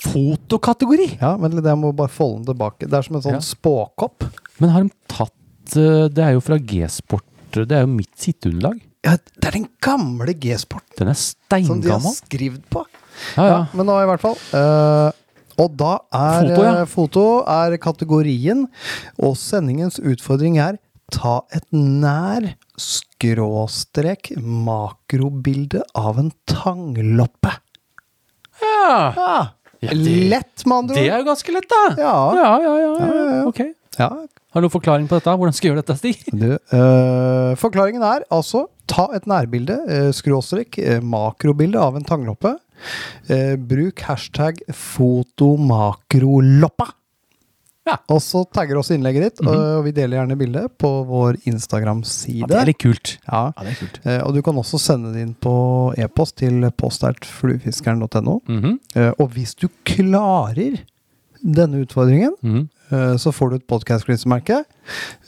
[SPEAKER 1] Fotokategori!
[SPEAKER 6] Ja, vent litt, jeg må bare folde den tilbake. Det er som en sånn
[SPEAKER 1] Ja.
[SPEAKER 6] spåkopp.
[SPEAKER 1] Men har de tatt eh, Det er jo fra G-sport. eh, Det er jo mitt sitteunderlag.
[SPEAKER 6] Ja, det er den gamle G-sporten
[SPEAKER 1] Den er
[SPEAKER 6] som de har
[SPEAKER 1] steingammal.
[SPEAKER 6] skrevet på.
[SPEAKER 1] Ja, ja.
[SPEAKER 6] Men nå i hvert fall. eh, og da er
[SPEAKER 1] Foto,
[SPEAKER 6] foto,
[SPEAKER 1] ja.
[SPEAKER 6] foto er kategorien, og sendingens utfordring er ta et nær skråstrek makrobilde av en tangloppe.
[SPEAKER 1] ja.
[SPEAKER 6] Ja,
[SPEAKER 1] Ja, det-
[SPEAKER 6] Lett, med andre
[SPEAKER 1] Det
[SPEAKER 6] ord.
[SPEAKER 1] er jo ganske lett, da.
[SPEAKER 6] Ja.
[SPEAKER 1] ja, ja. ja, ja.
[SPEAKER 6] ja, ja.
[SPEAKER 1] Ok.
[SPEAKER 6] Ja,
[SPEAKER 1] Har du noen forklaring på dette? Hvordan skal jeg gjøre dette, Stig?
[SPEAKER 6] Du, øh, forklaringen er altså ta et nærbilde, øh, skråstrek, øh, makrobilde av en tangloppe. Eh, bruk hashtag fotomakroloppa.
[SPEAKER 1] Ja. Mhm.
[SPEAKER 6] Og så tagger oss innlegget ditt, øh, og vi deler gjerne bildet på vår Instagram-side.
[SPEAKER 1] Det er litt kult.
[SPEAKER 6] Ja.
[SPEAKER 1] det er kult.
[SPEAKER 6] Eh, og du kan også sende det inn på e-post til postertfluefiskeren.no.
[SPEAKER 1] Mhm.
[SPEAKER 6] Eh, og hvis du klarer denne utfordringen,
[SPEAKER 1] Mm.
[SPEAKER 6] eh, så får du et podkast-klistremerke,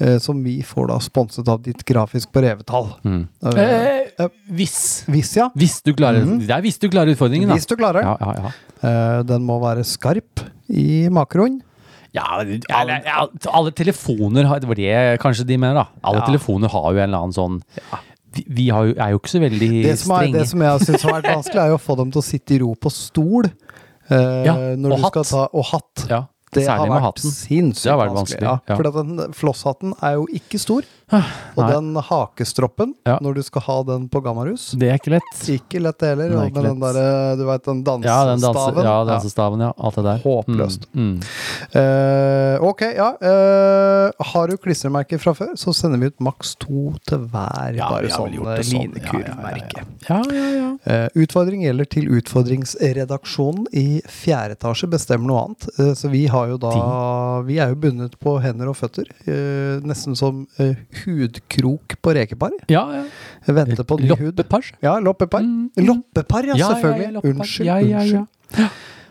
[SPEAKER 6] eh, som vi får da sponset av ditt grafisk på revetall.
[SPEAKER 1] Mm.
[SPEAKER 6] Eh,
[SPEAKER 1] Eh, hvis.
[SPEAKER 6] hvis ja.
[SPEAKER 1] Hvis du klarer, Det er hvis du klarer utfordringen, da.
[SPEAKER 6] Hvis du klarer.
[SPEAKER 1] Ja, ja, ja.
[SPEAKER 6] Eh, den må være skarp i makroen.
[SPEAKER 1] Ja, alle, alle telefoner har, Det var det kanskje de mener, da. Alle telefoner har jo en eller annen sånn Vi, vi har jo, er jo ikke så veldig
[SPEAKER 6] Det som, er,
[SPEAKER 1] strenge.
[SPEAKER 6] det som jeg syns har vært vanskelig, er jo å få dem til å sitte i ro på stol. eh,
[SPEAKER 1] Ja,
[SPEAKER 6] når
[SPEAKER 1] og
[SPEAKER 6] du skal
[SPEAKER 1] hatt.
[SPEAKER 6] ta, og hatt.
[SPEAKER 1] ja,
[SPEAKER 6] Det har
[SPEAKER 1] særlig med
[SPEAKER 6] vært
[SPEAKER 1] hatten.
[SPEAKER 6] sinnssykt
[SPEAKER 1] Det har vært vanskelig, ja. Ah,
[SPEAKER 6] For at den flosshatten er jo ikke stor. Og
[SPEAKER 1] nei.
[SPEAKER 6] den hakestroppen,
[SPEAKER 1] Ja.
[SPEAKER 6] når du skal ha den på gammarus
[SPEAKER 1] Det er ikke lett.
[SPEAKER 6] Ikke lett det heller.
[SPEAKER 1] Nei,
[SPEAKER 6] og
[SPEAKER 1] ikke
[SPEAKER 6] Med den
[SPEAKER 1] lett.
[SPEAKER 6] derre, du veit, den dansestaven.
[SPEAKER 1] Ja, den danse, ja, dansestaven, ja. Alt det der.
[SPEAKER 6] Håpløst.
[SPEAKER 1] Mm, mm.
[SPEAKER 6] Eh, ok, ja. eh, har du klistremerker fra før, så sender vi ut maks to til hver.
[SPEAKER 1] Ja,
[SPEAKER 6] bare
[SPEAKER 1] vi har vel
[SPEAKER 6] sånn
[SPEAKER 1] gjort det sånn. Ja, ja, ja, ja,
[SPEAKER 6] linekurvmerke.
[SPEAKER 1] Ja, ja, ja.
[SPEAKER 6] Eh, Utfordring gjelder til utfordringsredaksjonen i fjerde etasje bestemmer noe annet. Eh, Så vi har jo da Vi er jo bundet på hender og føtter. eh, Nesten som eh, hudkrok på rekepar.
[SPEAKER 1] ja, ja.
[SPEAKER 6] Venter på ny hud.
[SPEAKER 1] Loppepar.
[SPEAKER 6] Ja, loppepar. Loppepar, ja,
[SPEAKER 1] Mm, Ja, ja, ja,
[SPEAKER 6] selvfølgelig.
[SPEAKER 1] loppepar.
[SPEAKER 6] Unnskyld.
[SPEAKER 1] Ja, ja, ja.
[SPEAKER 6] unnskyld.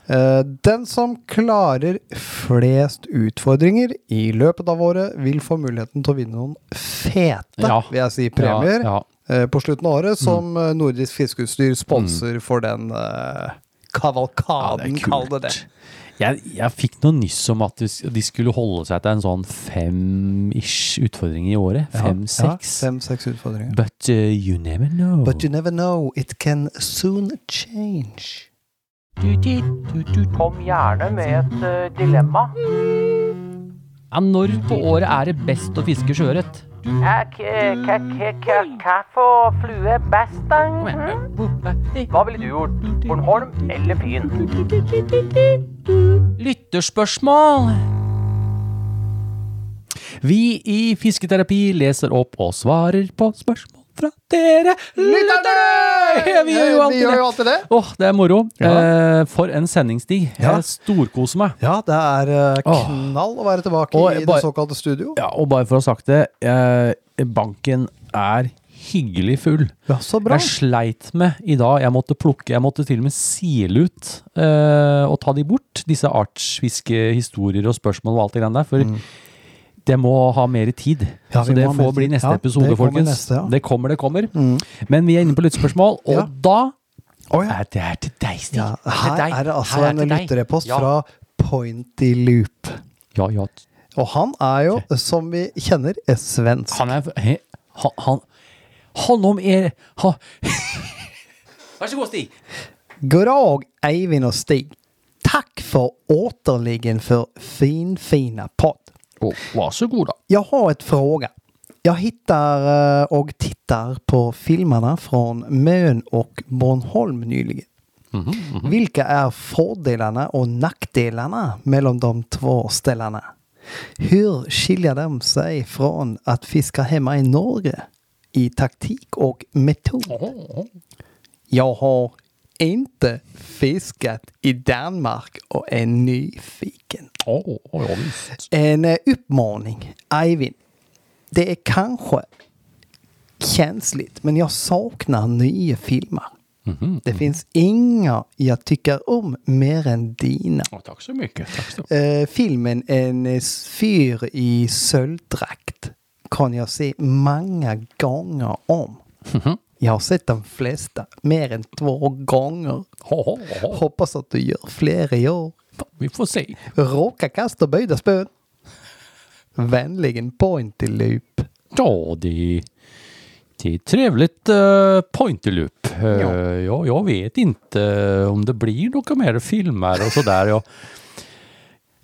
[SPEAKER 6] Eh, Den som klarer flest utfordringer i løpet av året, vil få muligheten til å vinne noen fete,
[SPEAKER 1] Ja.
[SPEAKER 6] vil jeg si, premier
[SPEAKER 1] Ja, Mm. ja.
[SPEAKER 6] eh, på slutten av året, som eh, Nordisk Fiskeutstyr sponser for den eh,
[SPEAKER 1] Mm. Ja,
[SPEAKER 6] kavalkaden,
[SPEAKER 1] det er
[SPEAKER 6] kall
[SPEAKER 1] kult.
[SPEAKER 6] det det.
[SPEAKER 1] Jeg, jeg fikk noe nyss om at de s- de skulle holde seg til en sånn fem-ish utfordring i året. Fem-seks.
[SPEAKER 6] Ja, Fem-seks utfordringer.
[SPEAKER 1] But uh, you never know.
[SPEAKER 6] But you never know, it can soon change.
[SPEAKER 3] Kom gjerne med et eh, dilemma.
[SPEAKER 1] Ja, når på året er det best å fiske sjøørret?
[SPEAKER 3] Hva for flue er best, da? Mhm. Hva ville du gjort? Bornholm eller Fyn?
[SPEAKER 1] Lytterspørsmål! Vi i Fisketerapi leser opp og svarer på spørsmål fra dere lyttere! Vi gjør jo
[SPEAKER 6] Vi gjør
[SPEAKER 1] alltid det.
[SPEAKER 6] jo alltid det!
[SPEAKER 1] Åh, det er moro.
[SPEAKER 6] Ja.
[SPEAKER 1] Eh, for en sendingstid.
[SPEAKER 6] Ja.
[SPEAKER 1] Jeg storkoser meg.
[SPEAKER 6] Ja, det er eh,
[SPEAKER 1] Åh.
[SPEAKER 6] knall å være tilbake
[SPEAKER 1] Og
[SPEAKER 6] i
[SPEAKER 1] bare-
[SPEAKER 6] det såkalte studio.
[SPEAKER 1] Ja, og bare for å ha sagt det, eh, banken er hyggelig full.
[SPEAKER 6] Ja, så bra.
[SPEAKER 1] Jeg sleit med i dag. Jeg måtte plukke, jeg måtte til og med sile ut eh, og ta de bort, disse artsfiskehistorier og spørsmål og alt det greiene der. For det må ha mer tid.
[SPEAKER 6] Mm. Ja,
[SPEAKER 1] så
[SPEAKER 6] vi
[SPEAKER 1] det
[SPEAKER 6] må ha
[SPEAKER 1] får
[SPEAKER 6] mer
[SPEAKER 1] bli
[SPEAKER 6] tid.
[SPEAKER 1] neste
[SPEAKER 6] Ja, det
[SPEAKER 1] episode,
[SPEAKER 6] kommer
[SPEAKER 1] folkens.
[SPEAKER 6] neste, ja. Mm.
[SPEAKER 1] Det kommer, det kommer. Men vi er inne på lyttespørsmål, og
[SPEAKER 6] Ja.
[SPEAKER 1] da
[SPEAKER 6] Å, ja.
[SPEAKER 1] er det her til deg, Stig.
[SPEAKER 6] Ja,
[SPEAKER 1] Det
[SPEAKER 6] her
[SPEAKER 1] deg.
[SPEAKER 6] er det altså
[SPEAKER 1] Her
[SPEAKER 6] en
[SPEAKER 1] til deg.
[SPEAKER 6] lytterepost
[SPEAKER 1] ja.
[SPEAKER 6] fra Pointy Loop.
[SPEAKER 1] Ja, ja.
[SPEAKER 6] Og han er jo, som vi kjenner, eh, svensk.
[SPEAKER 1] Han er he, han, han, han om er ha. Vær så god, Stig.
[SPEAKER 6] God dag, Eivind og Stig. Takk for återliggen for finfina podd.
[SPEAKER 1] vær så god, da.
[SPEAKER 6] Jag har ett fråga. Jag hittar eh, och tittar på filmerna från Mön och Bornholm nyligen. Vilka är fördelarna och nackdelarna mellan de två ställena? Hur skiljer de sig från att fiska hemma i Norge i taktik och metod? Jag har inte fiskat i Danmark och är nyfiken. En eh, uppmaning, Eivind. Det är kanske känsligt, men jag saknar nya filmer. Det finns inga jag tycker om mer än dina.
[SPEAKER 1] takk så mye. Takk så
[SPEAKER 6] Eh, filmen En eh, fyr i söldrakt kan jag se många gånger om. Jag har sett de flesta mer än två gånger. Hoppas att du gör fler i år.
[SPEAKER 1] Vi får se.
[SPEAKER 6] Råka kast och böjda spön. Vänligen Pointy Loop.
[SPEAKER 1] Ja, det, det är trevligt uh, pointerloop. Eh, jag, jag vet inte om det blir några mer filmer och sådär. Jag,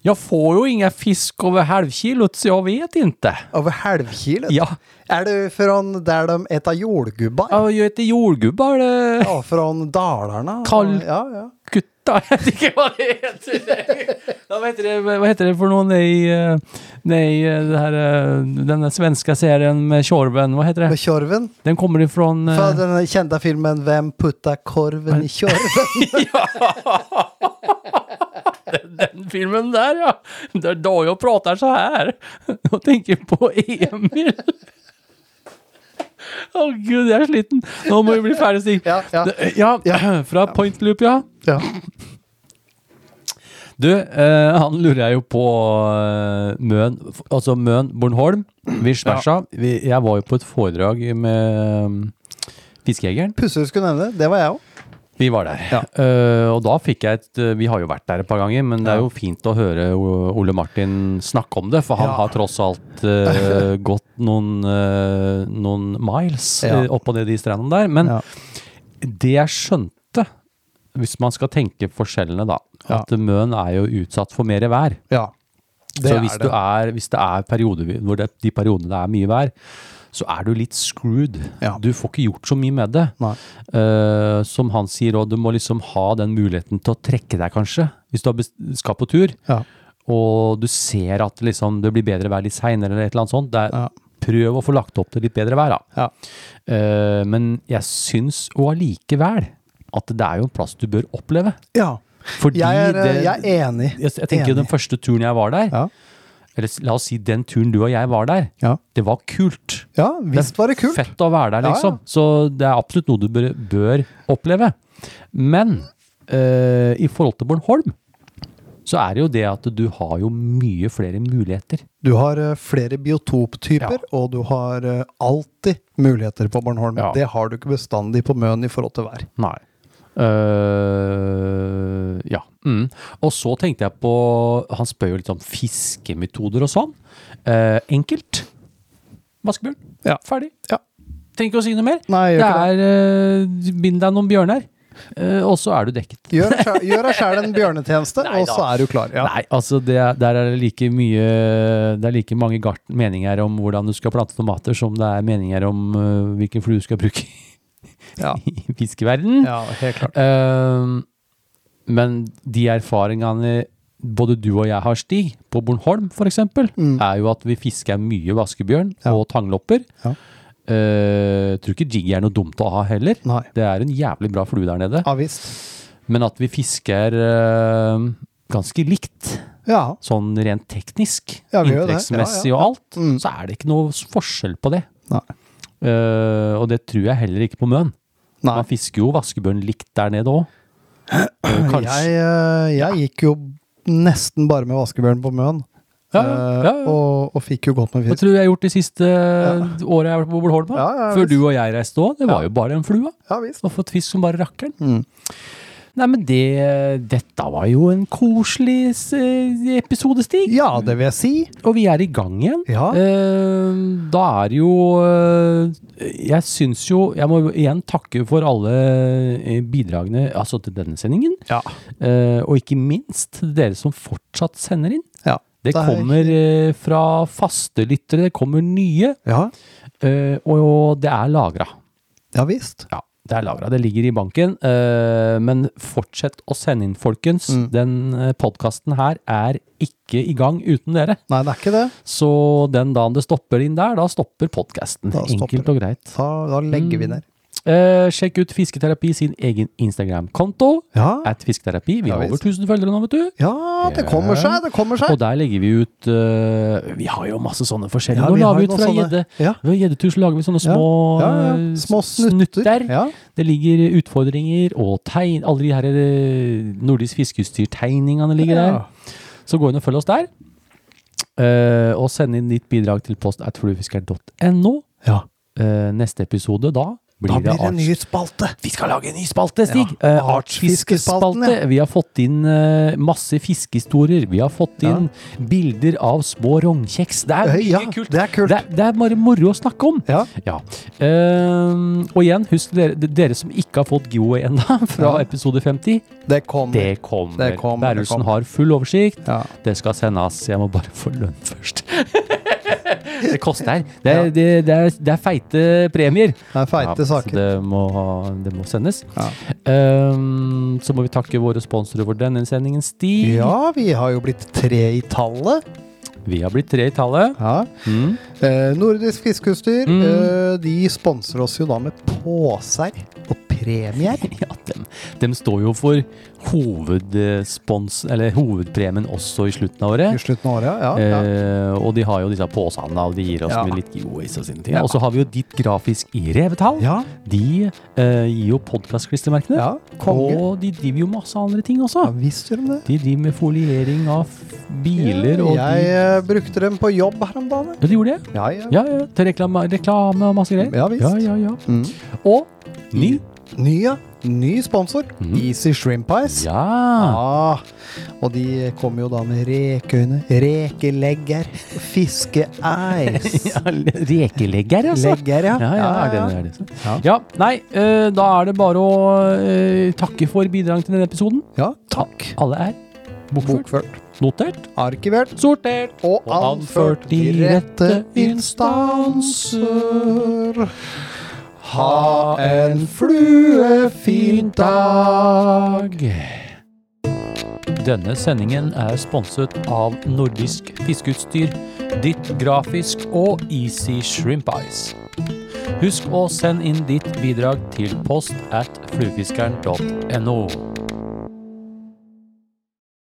[SPEAKER 1] jag får ju inga fisk över halvkilot så jag vet inte.
[SPEAKER 6] Over halvkilet?
[SPEAKER 1] Ja.
[SPEAKER 6] Er du fra der de eter jordgubber? Ja,
[SPEAKER 1] Jag heter jordgubbar, eh,
[SPEAKER 6] fra Dalarna?
[SPEAKER 1] Kall-
[SPEAKER 6] Ja, ja.
[SPEAKER 1] gutta. Jag vet inte vad det heter. Ja, Vad heter det, vad heter det för någon i, eh, nej, eh, det här, eh, den där svenska serien med Tjorven, vad heter det?
[SPEAKER 6] Med kjorven?
[SPEAKER 1] Den kommer ifrån... eh,
[SPEAKER 6] Fra den kjente filmen 'Hvem putta korven i kjorven'?
[SPEAKER 1] Den filmen där ja. Det är då jag pratar så här. Jag tänker på Emil. Åh gud, jeg er sliten. Nå må vi bli ferdig, Stig.
[SPEAKER 6] Ja, ja.
[SPEAKER 1] Det- ja, fra Point Loop, ja.
[SPEAKER 6] Ja.
[SPEAKER 1] Du, eh, han lurer jeg jo på eh, Møn, f- altså Møn Bornholm, vice versa. Vi, jeg var jo på et foredrag med um, Fiskejegeren.
[SPEAKER 6] Pussig du skulle nevne det. Det var jeg òg.
[SPEAKER 1] Vi var der. Eh, og da fikk jeg et eh, Vi har jo vært der et par ganger, men det er jo fint å høre O- Ole Martin snakke om det, for han
[SPEAKER 6] Ja.
[SPEAKER 1] har tross alt
[SPEAKER 6] [LAUGHS]
[SPEAKER 1] eh, gått noen, eh, noen miles
[SPEAKER 6] Ja.
[SPEAKER 1] eh, oppå ned de strendene der. Men
[SPEAKER 6] Ja.
[SPEAKER 1] det jeg skjønte, hvis man skal tenke forskjellene, da,
[SPEAKER 6] Ja.
[SPEAKER 1] at Møn er jo utsatt for mer vær.
[SPEAKER 6] Ja.
[SPEAKER 1] så hvis, du er, hvis det er perioder hvor det, de periodene det er mye vær, så er du litt screwed.
[SPEAKER 6] Ja.
[SPEAKER 1] Du får ikke gjort så mye med det.
[SPEAKER 6] Nei.
[SPEAKER 1] Eh, som han sier, og du må liksom ha den muligheten til å trekke deg, kanskje, hvis du har best- skal på tur,
[SPEAKER 6] Ja.
[SPEAKER 1] og du ser at liksom, det blir bedre vær litt seinere, eller et eller annet sånt. Det er,
[SPEAKER 6] Ja.
[SPEAKER 1] Prøv å få lagt opp til litt bedre vær, da.
[SPEAKER 6] Ja.
[SPEAKER 1] Eh, men jeg syns og allikevel at det er jo en plass du bør oppleve.
[SPEAKER 6] ja.
[SPEAKER 1] Fordi
[SPEAKER 6] Jeg, er, eh,
[SPEAKER 1] det,
[SPEAKER 6] jeg er enig.
[SPEAKER 1] jeg, jeg tenker jo
[SPEAKER 6] Enig.
[SPEAKER 1] den første turen jeg var der,
[SPEAKER 6] Ja.
[SPEAKER 1] eller s- la oss si den turen du og jeg var der,
[SPEAKER 6] Ja.
[SPEAKER 1] det var kult.
[SPEAKER 6] ja, visst var det kult.
[SPEAKER 1] Fett å være der,
[SPEAKER 6] Ja,
[SPEAKER 1] liksom. Så det er absolutt noe du bør, bør oppleve. Men eh, i forhold til Bornholm, så er det jo det at du har jo mye flere muligheter.
[SPEAKER 6] Du har eh, flere biotoptyper, og du har eh, alltid muligheter på Bornholm.
[SPEAKER 1] Ja.
[SPEAKER 6] Det har du ikke bestandig på Møn i forhold til vær.
[SPEAKER 1] Nei. Eh, ja. Mm. Og så tenkte jeg på Han spør jo litt om fiskemetoder og sånn. Eh, enkelt. Vaskebjørn.
[SPEAKER 6] Ja.
[SPEAKER 1] Ferdig.
[SPEAKER 6] Ja.
[SPEAKER 1] Trenger ikke å si noe mer.
[SPEAKER 6] Nei,
[SPEAKER 1] det
[SPEAKER 6] gjør
[SPEAKER 1] er eh, Bind deg noen bjørner, eh, og så er du dekket.
[SPEAKER 6] Gjør deg sjæl- gjør deg sjæl en bjørnetjeneste,
[SPEAKER 1] Nei
[SPEAKER 6] og
[SPEAKER 1] da.
[SPEAKER 6] så er du klar. Ja.
[SPEAKER 1] Nei, altså det, er- der er det like mye Det er like mange gart meninger om hvordan du skal plante tomater, som det er meninger om eh, hvilken flue du skal bruke [LAUGHS]
[SPEAKER 6] Ja.
[SPEAKER 1] i fiskeverden.
[SPEAKER 6] ja, helt klart.
[SPEAKER 1] Ehm, men de erfaringene både du og jeg har, Stig, på Bornholm f.eks., eksempel, er jo at vi fisker mye vaskebjørn
[SPEAKER 6] Mm. Ja.
[SPEAKER 1] og tanglopper.
[SPEAKER 6] Ja.
[SPEAKER 1] Eh, tror ikke jig er noe dumt å ha heller.
[SPEAKER 6] Nei.
[SPEAKER 1] Det er en jævlig bra flue der nede.
[SPEAKER 6] Ja visst.
[SPEAKER 1] Men at vi fisker eh, ganske likt,
[SPEAKER 6] Ja.
[SPEAKER 1] sånn rent teknisk,
[SPEAKER 6] Ja, vi gjør det.
[SPEAKER 1] inntektsmessig
[SPEAKER 6] Ja, ja,
[SPEAKER 1] og alt,
[SPEAKER 6] Mm.
[SPEAKER 1] så er det ikke noe s- forskjell på det.
[SPEAKER 6] Nei.
[SPEAKER 1] Eh, og det tror jeg heller ikke på Møn.
[SPEAKER 6] Nei.
[SPEAKER 1] Man fisker jo vaskebjørn likt der nede òg.
[SPEAKER 6] Jeg, eh, jeg gikk jo nesten bare med vaskebjørn på Møn,
[SPEAKER 1] Ja, ja,
[SPEAKER 6] eh,
[SPEAKER 1] ja, ja.
[SPEAKER 6] Og, og fikk jo godt med
[SPEAKER 1] Hva
[SPEAKER 6] fisk.
[SPEAKER 1] tror du jeg har gjort de siste eh, året jeg har vært på Bornholm?
[SPEAKER 6] Ja, ja,
[SPEAKER 1] Før
[SPEAKER 6] visst.
[SPEAKER 1] du og jeg reiste òg. Det var jo bare en flue.
[SPEAKER 6] Ja visst.
[SPEAKER 1] Og fått fisk som bare rakkeren.
[SPEAKER 6] Mm.
[SPEAKER 1] Nei, men det Dette var jo en koselig s- episode, Stig.
[SPEAKER 6] Ja, det vil jeg si.
[SPEAKER 1] Og vi er i gang igjen.
[SPEAKER 6] Ja.
[SPEAKER 1] Eh, da er det jo eh, Jeg syns jo Jeg må jo igjen takke for alle eh, bidragene altså til denne sendingen.
[SPEAKER 6] Ja.
[SPEAKER 1] Eh, og ikke minst til dere som fortsatt sender inn.
[SPEAKER 6] Ja.
[SPEAKER 1] Det
[SPEAKER 6] Det er-
[SPEAKER 1] kommer eh, fra faste lyttere, det kommer nye,
[SPEAKER 6] Ja,
[SPEAKER 1] eh, og det er lagra.
[SPEAKER 6] ja visst.
[SPEAKER 1] Ja, det er lagra. Det ligger i banken. eh, men fortsett å sende inn, folkens.
[SPEAKER 6] Mm.
[SPEAKER 1] Den podkasten her er ikke i gang uten dere.
[SPEAKER 6] Nei, det er ikke det.
[SPEAKER 1] Så den dagen det stopper inn der, da stopper podkasten.
[SPEAKER 6] Da stopper
[SPEAKER 1] Enkelt
[SPEAKER 6] det.
[SPEAKER 1] og greit.
[SPEAKER 6] Da, da legger vi ned.
[SPEAKER 1] Eh, sjekk ut Fisketerapi sin egen Instagram-konto.
[SPEAKER 6] Ja.
[SPEAKER 1] At Fisketerapi. Vi
[SPEAKER 6] Ja,
[SPEAKER 1] har over
[SPEAKER 6] visst.
[SPEAKER 1] 1000 følgere nå, vet du.
[SPEAKER 6] Ja, det kommer seg, det kommer seg.
[SPEAKER 1] Og der legger vi ut eh, Vi har jo masse sånne forskjellige.
[SPEAKER 6] Ja,
[SPEAKER 1] Nå
[SPEAKER 6] vi har
[SPEAKER 1] lager vi
[SPEAKER 6] jo
[SPEAKER 1] ut
[SPEAKER 6] noen
[SPEAKER 1] fra
[SPEAKER 6] sånne-
[SPEAKER 1] gjedde.
[SPEAKER 6] ja.
[SPEAKER 1] Ved gjeddetur så lager vi sånne små,
[SPEAKER 6] ja, ja.
[SPEAKER 1] eh,
[SPEAKER 6] Små snutter. Ja.
[SPEAKER 1] Det ligger utfordringer og tegn. Alle de her eh, nordisk fiskeutstyrtegningene ligger
[SPEAKER 6] Ja.
[SPEAKER 1] der. Så gå inn og følg oss der. Eh, og send inn ditt bidrag til post at fluefisker.no.
[SPEAKER 6] Ja.
[SPEAKER 1] Eh, neste episode da blir,
[SPEAKER 6] Da blir det
[SPEAKER 1] arts-
[SPEAKER 6] en ny spalte.
[SPEAKER 1] Vi skal lage en ny spalte, Stig!
[SPEAKER 6] Ja.
[SPEAKER 1] Eh,
[SPEAKER 6] Artsfiskespalten,
[SPEAKER 1] Artsfiskespalte. Vi har fått inn eh, masse fiskehistorier. Vi har fått inn bilder av små rognkjeks. Det er
[SPEAKER 6] Eh,
[SPEAKER 1] mye
[SPEAKER 6] ja,
[SPEAKER 1] kult.
[SPEAKER 6] det er kult.
[SPEAKER 1] Det, det er bare moro å snakke om.
[SPEAKER 6] Ja.
[SPEAKER 1] Ja. Ehm, og igjen, husk dere, dere som ikke har fått giveaway ennå, [LAUGHS] fra
[SPEAKER 6] Ja.
[SPEAKER 1] episode 50,
[SPEAKER 6] Det kommer.
[SPEAKER 1] det kommer.
[SPEAKER 6] Det kommer, det
[SPEAKER 1] Bærumsen
[SPEAKER 6] kommer.
[SPEAKER 1] har full oversikt.
[SPEAKER 6] Ja.
[SPEAKER 1] Det skal sendes. Jeg må bare få lønn først. [LAUGHS] det koster. Det er,
[SPEAKER 6] Ja.
[SPEAKER 1] det, det er, det er feite premier.
[SPEAKER 6] Det er feite
[SPEAKER 1] Ja, så
[SPEAKER 6] saker.
[SPEAKER 1] Det må, det må sendes.
[SPEAKER 6] Ja.
[SPEAKER 1] Ehm, så må vi takke våre sponsorer for denne sendingen, Stig.
[SPEAKER 6] Ja, vi har jo blitt tre i tallet.
[SPEAKER 1] Vi har blitt tre i tallet. [LAUGHS]
[SPEAKER 6] Ja.
[SPEAKER 1] Mm.
[SPEAKER 6] Eh, nordisk fiskeutstyr,
[SPEAKER 1] Mm.
[SPEAKER 6] eh, de sponser oss jo da med poser og premier.
[SPEAKER 1] Ja, dem, de står jo for hovedspons, eller hovedpremien også i slutten av
[SPEAKER 6] I
[SPEAKER 1] året.
[SPEAKER 6] slutten av året, ja. ja.
[SPEAKER 1] Eh, og de har jo disse posene, og de gir oss
[SPEAKER 6] Ja.
[SPEAKER 1] med litt giveaways og sine ting. Og så har vi jo ditt grafisk i revetall.
[SPEAKER 6] Ja.
[SPEAKER 1] De eh, gir jo podkast-klistremerkene.
[SPEAKER 6] Ja, konge.
[SPEAKER 1] Og de driver jo masse andre ting
[SPEAKER 6] Ja,
[SPEAKER 1] også.
[SPEAKER 6] visst gjør de det.
[SPEAKER 1] De driver med foliering av f- biler og
[SPEAKER 6] Jeg
[SPEAKER 1] de,
[SPEAKER 6] eh, brukte dem på jobb her om dagen.
[SPEAKER 1] ja, de gjorde det.
[SPEAKER 6] Ja, ja.
[SPEAKER 1] Ja, ja, Til reklame, reklame og masse greier.
[SPEAKER 6] Ja, visst.
[SPEAKER 1] Ja, ja, ja.
[SPEAKER 6] Mm.
[SPEAKER 1] Og ny.
[SPEAKER 6] Ny, ja. Ny sponsor. Easy Shrimp Ice.
[SPEAKER 1] Mhm. Ja.
[SPEAKER 6] Ah, og de kommer jo da med rekeøyne, rekelegger,
[SPEAKER 1] [LAUGHS]
[SPEAKER 6] fiskeeis.
[SPEAKER 1] Rekelegger, altså.
[SPEAKER 6] Legger, ja.
[SPEAKER 1] Ja, ja, er det det, er det.
[SPEAKER 6] Ja.
[SPEAKER 1] ja, nei, eh, da er det bare å eh, takke for bidrag til denne episoden.
[SPEAKER 6] Ja, takk.
[SPEAKER 1] Alle er bokført,
[SPEAKER 6] Bokført,
[SPEAKER 1] notert,
[SPEAKER 6] arkivert
[SPEAKER 1] sortert
[SPEAKER 6] og
[SPEAKER 1] og anført i rette instanser.
[SPEAKER 6] Ha en fluefin
[SPEAKER 1] Fint dag! Denne sendingen er sponset av Nordisk Fiskeutstyr, Ditt Grafisk og Easy Shrimp Ice. Husk å sende inn ditt bidrag til post at fluefiskeren.no.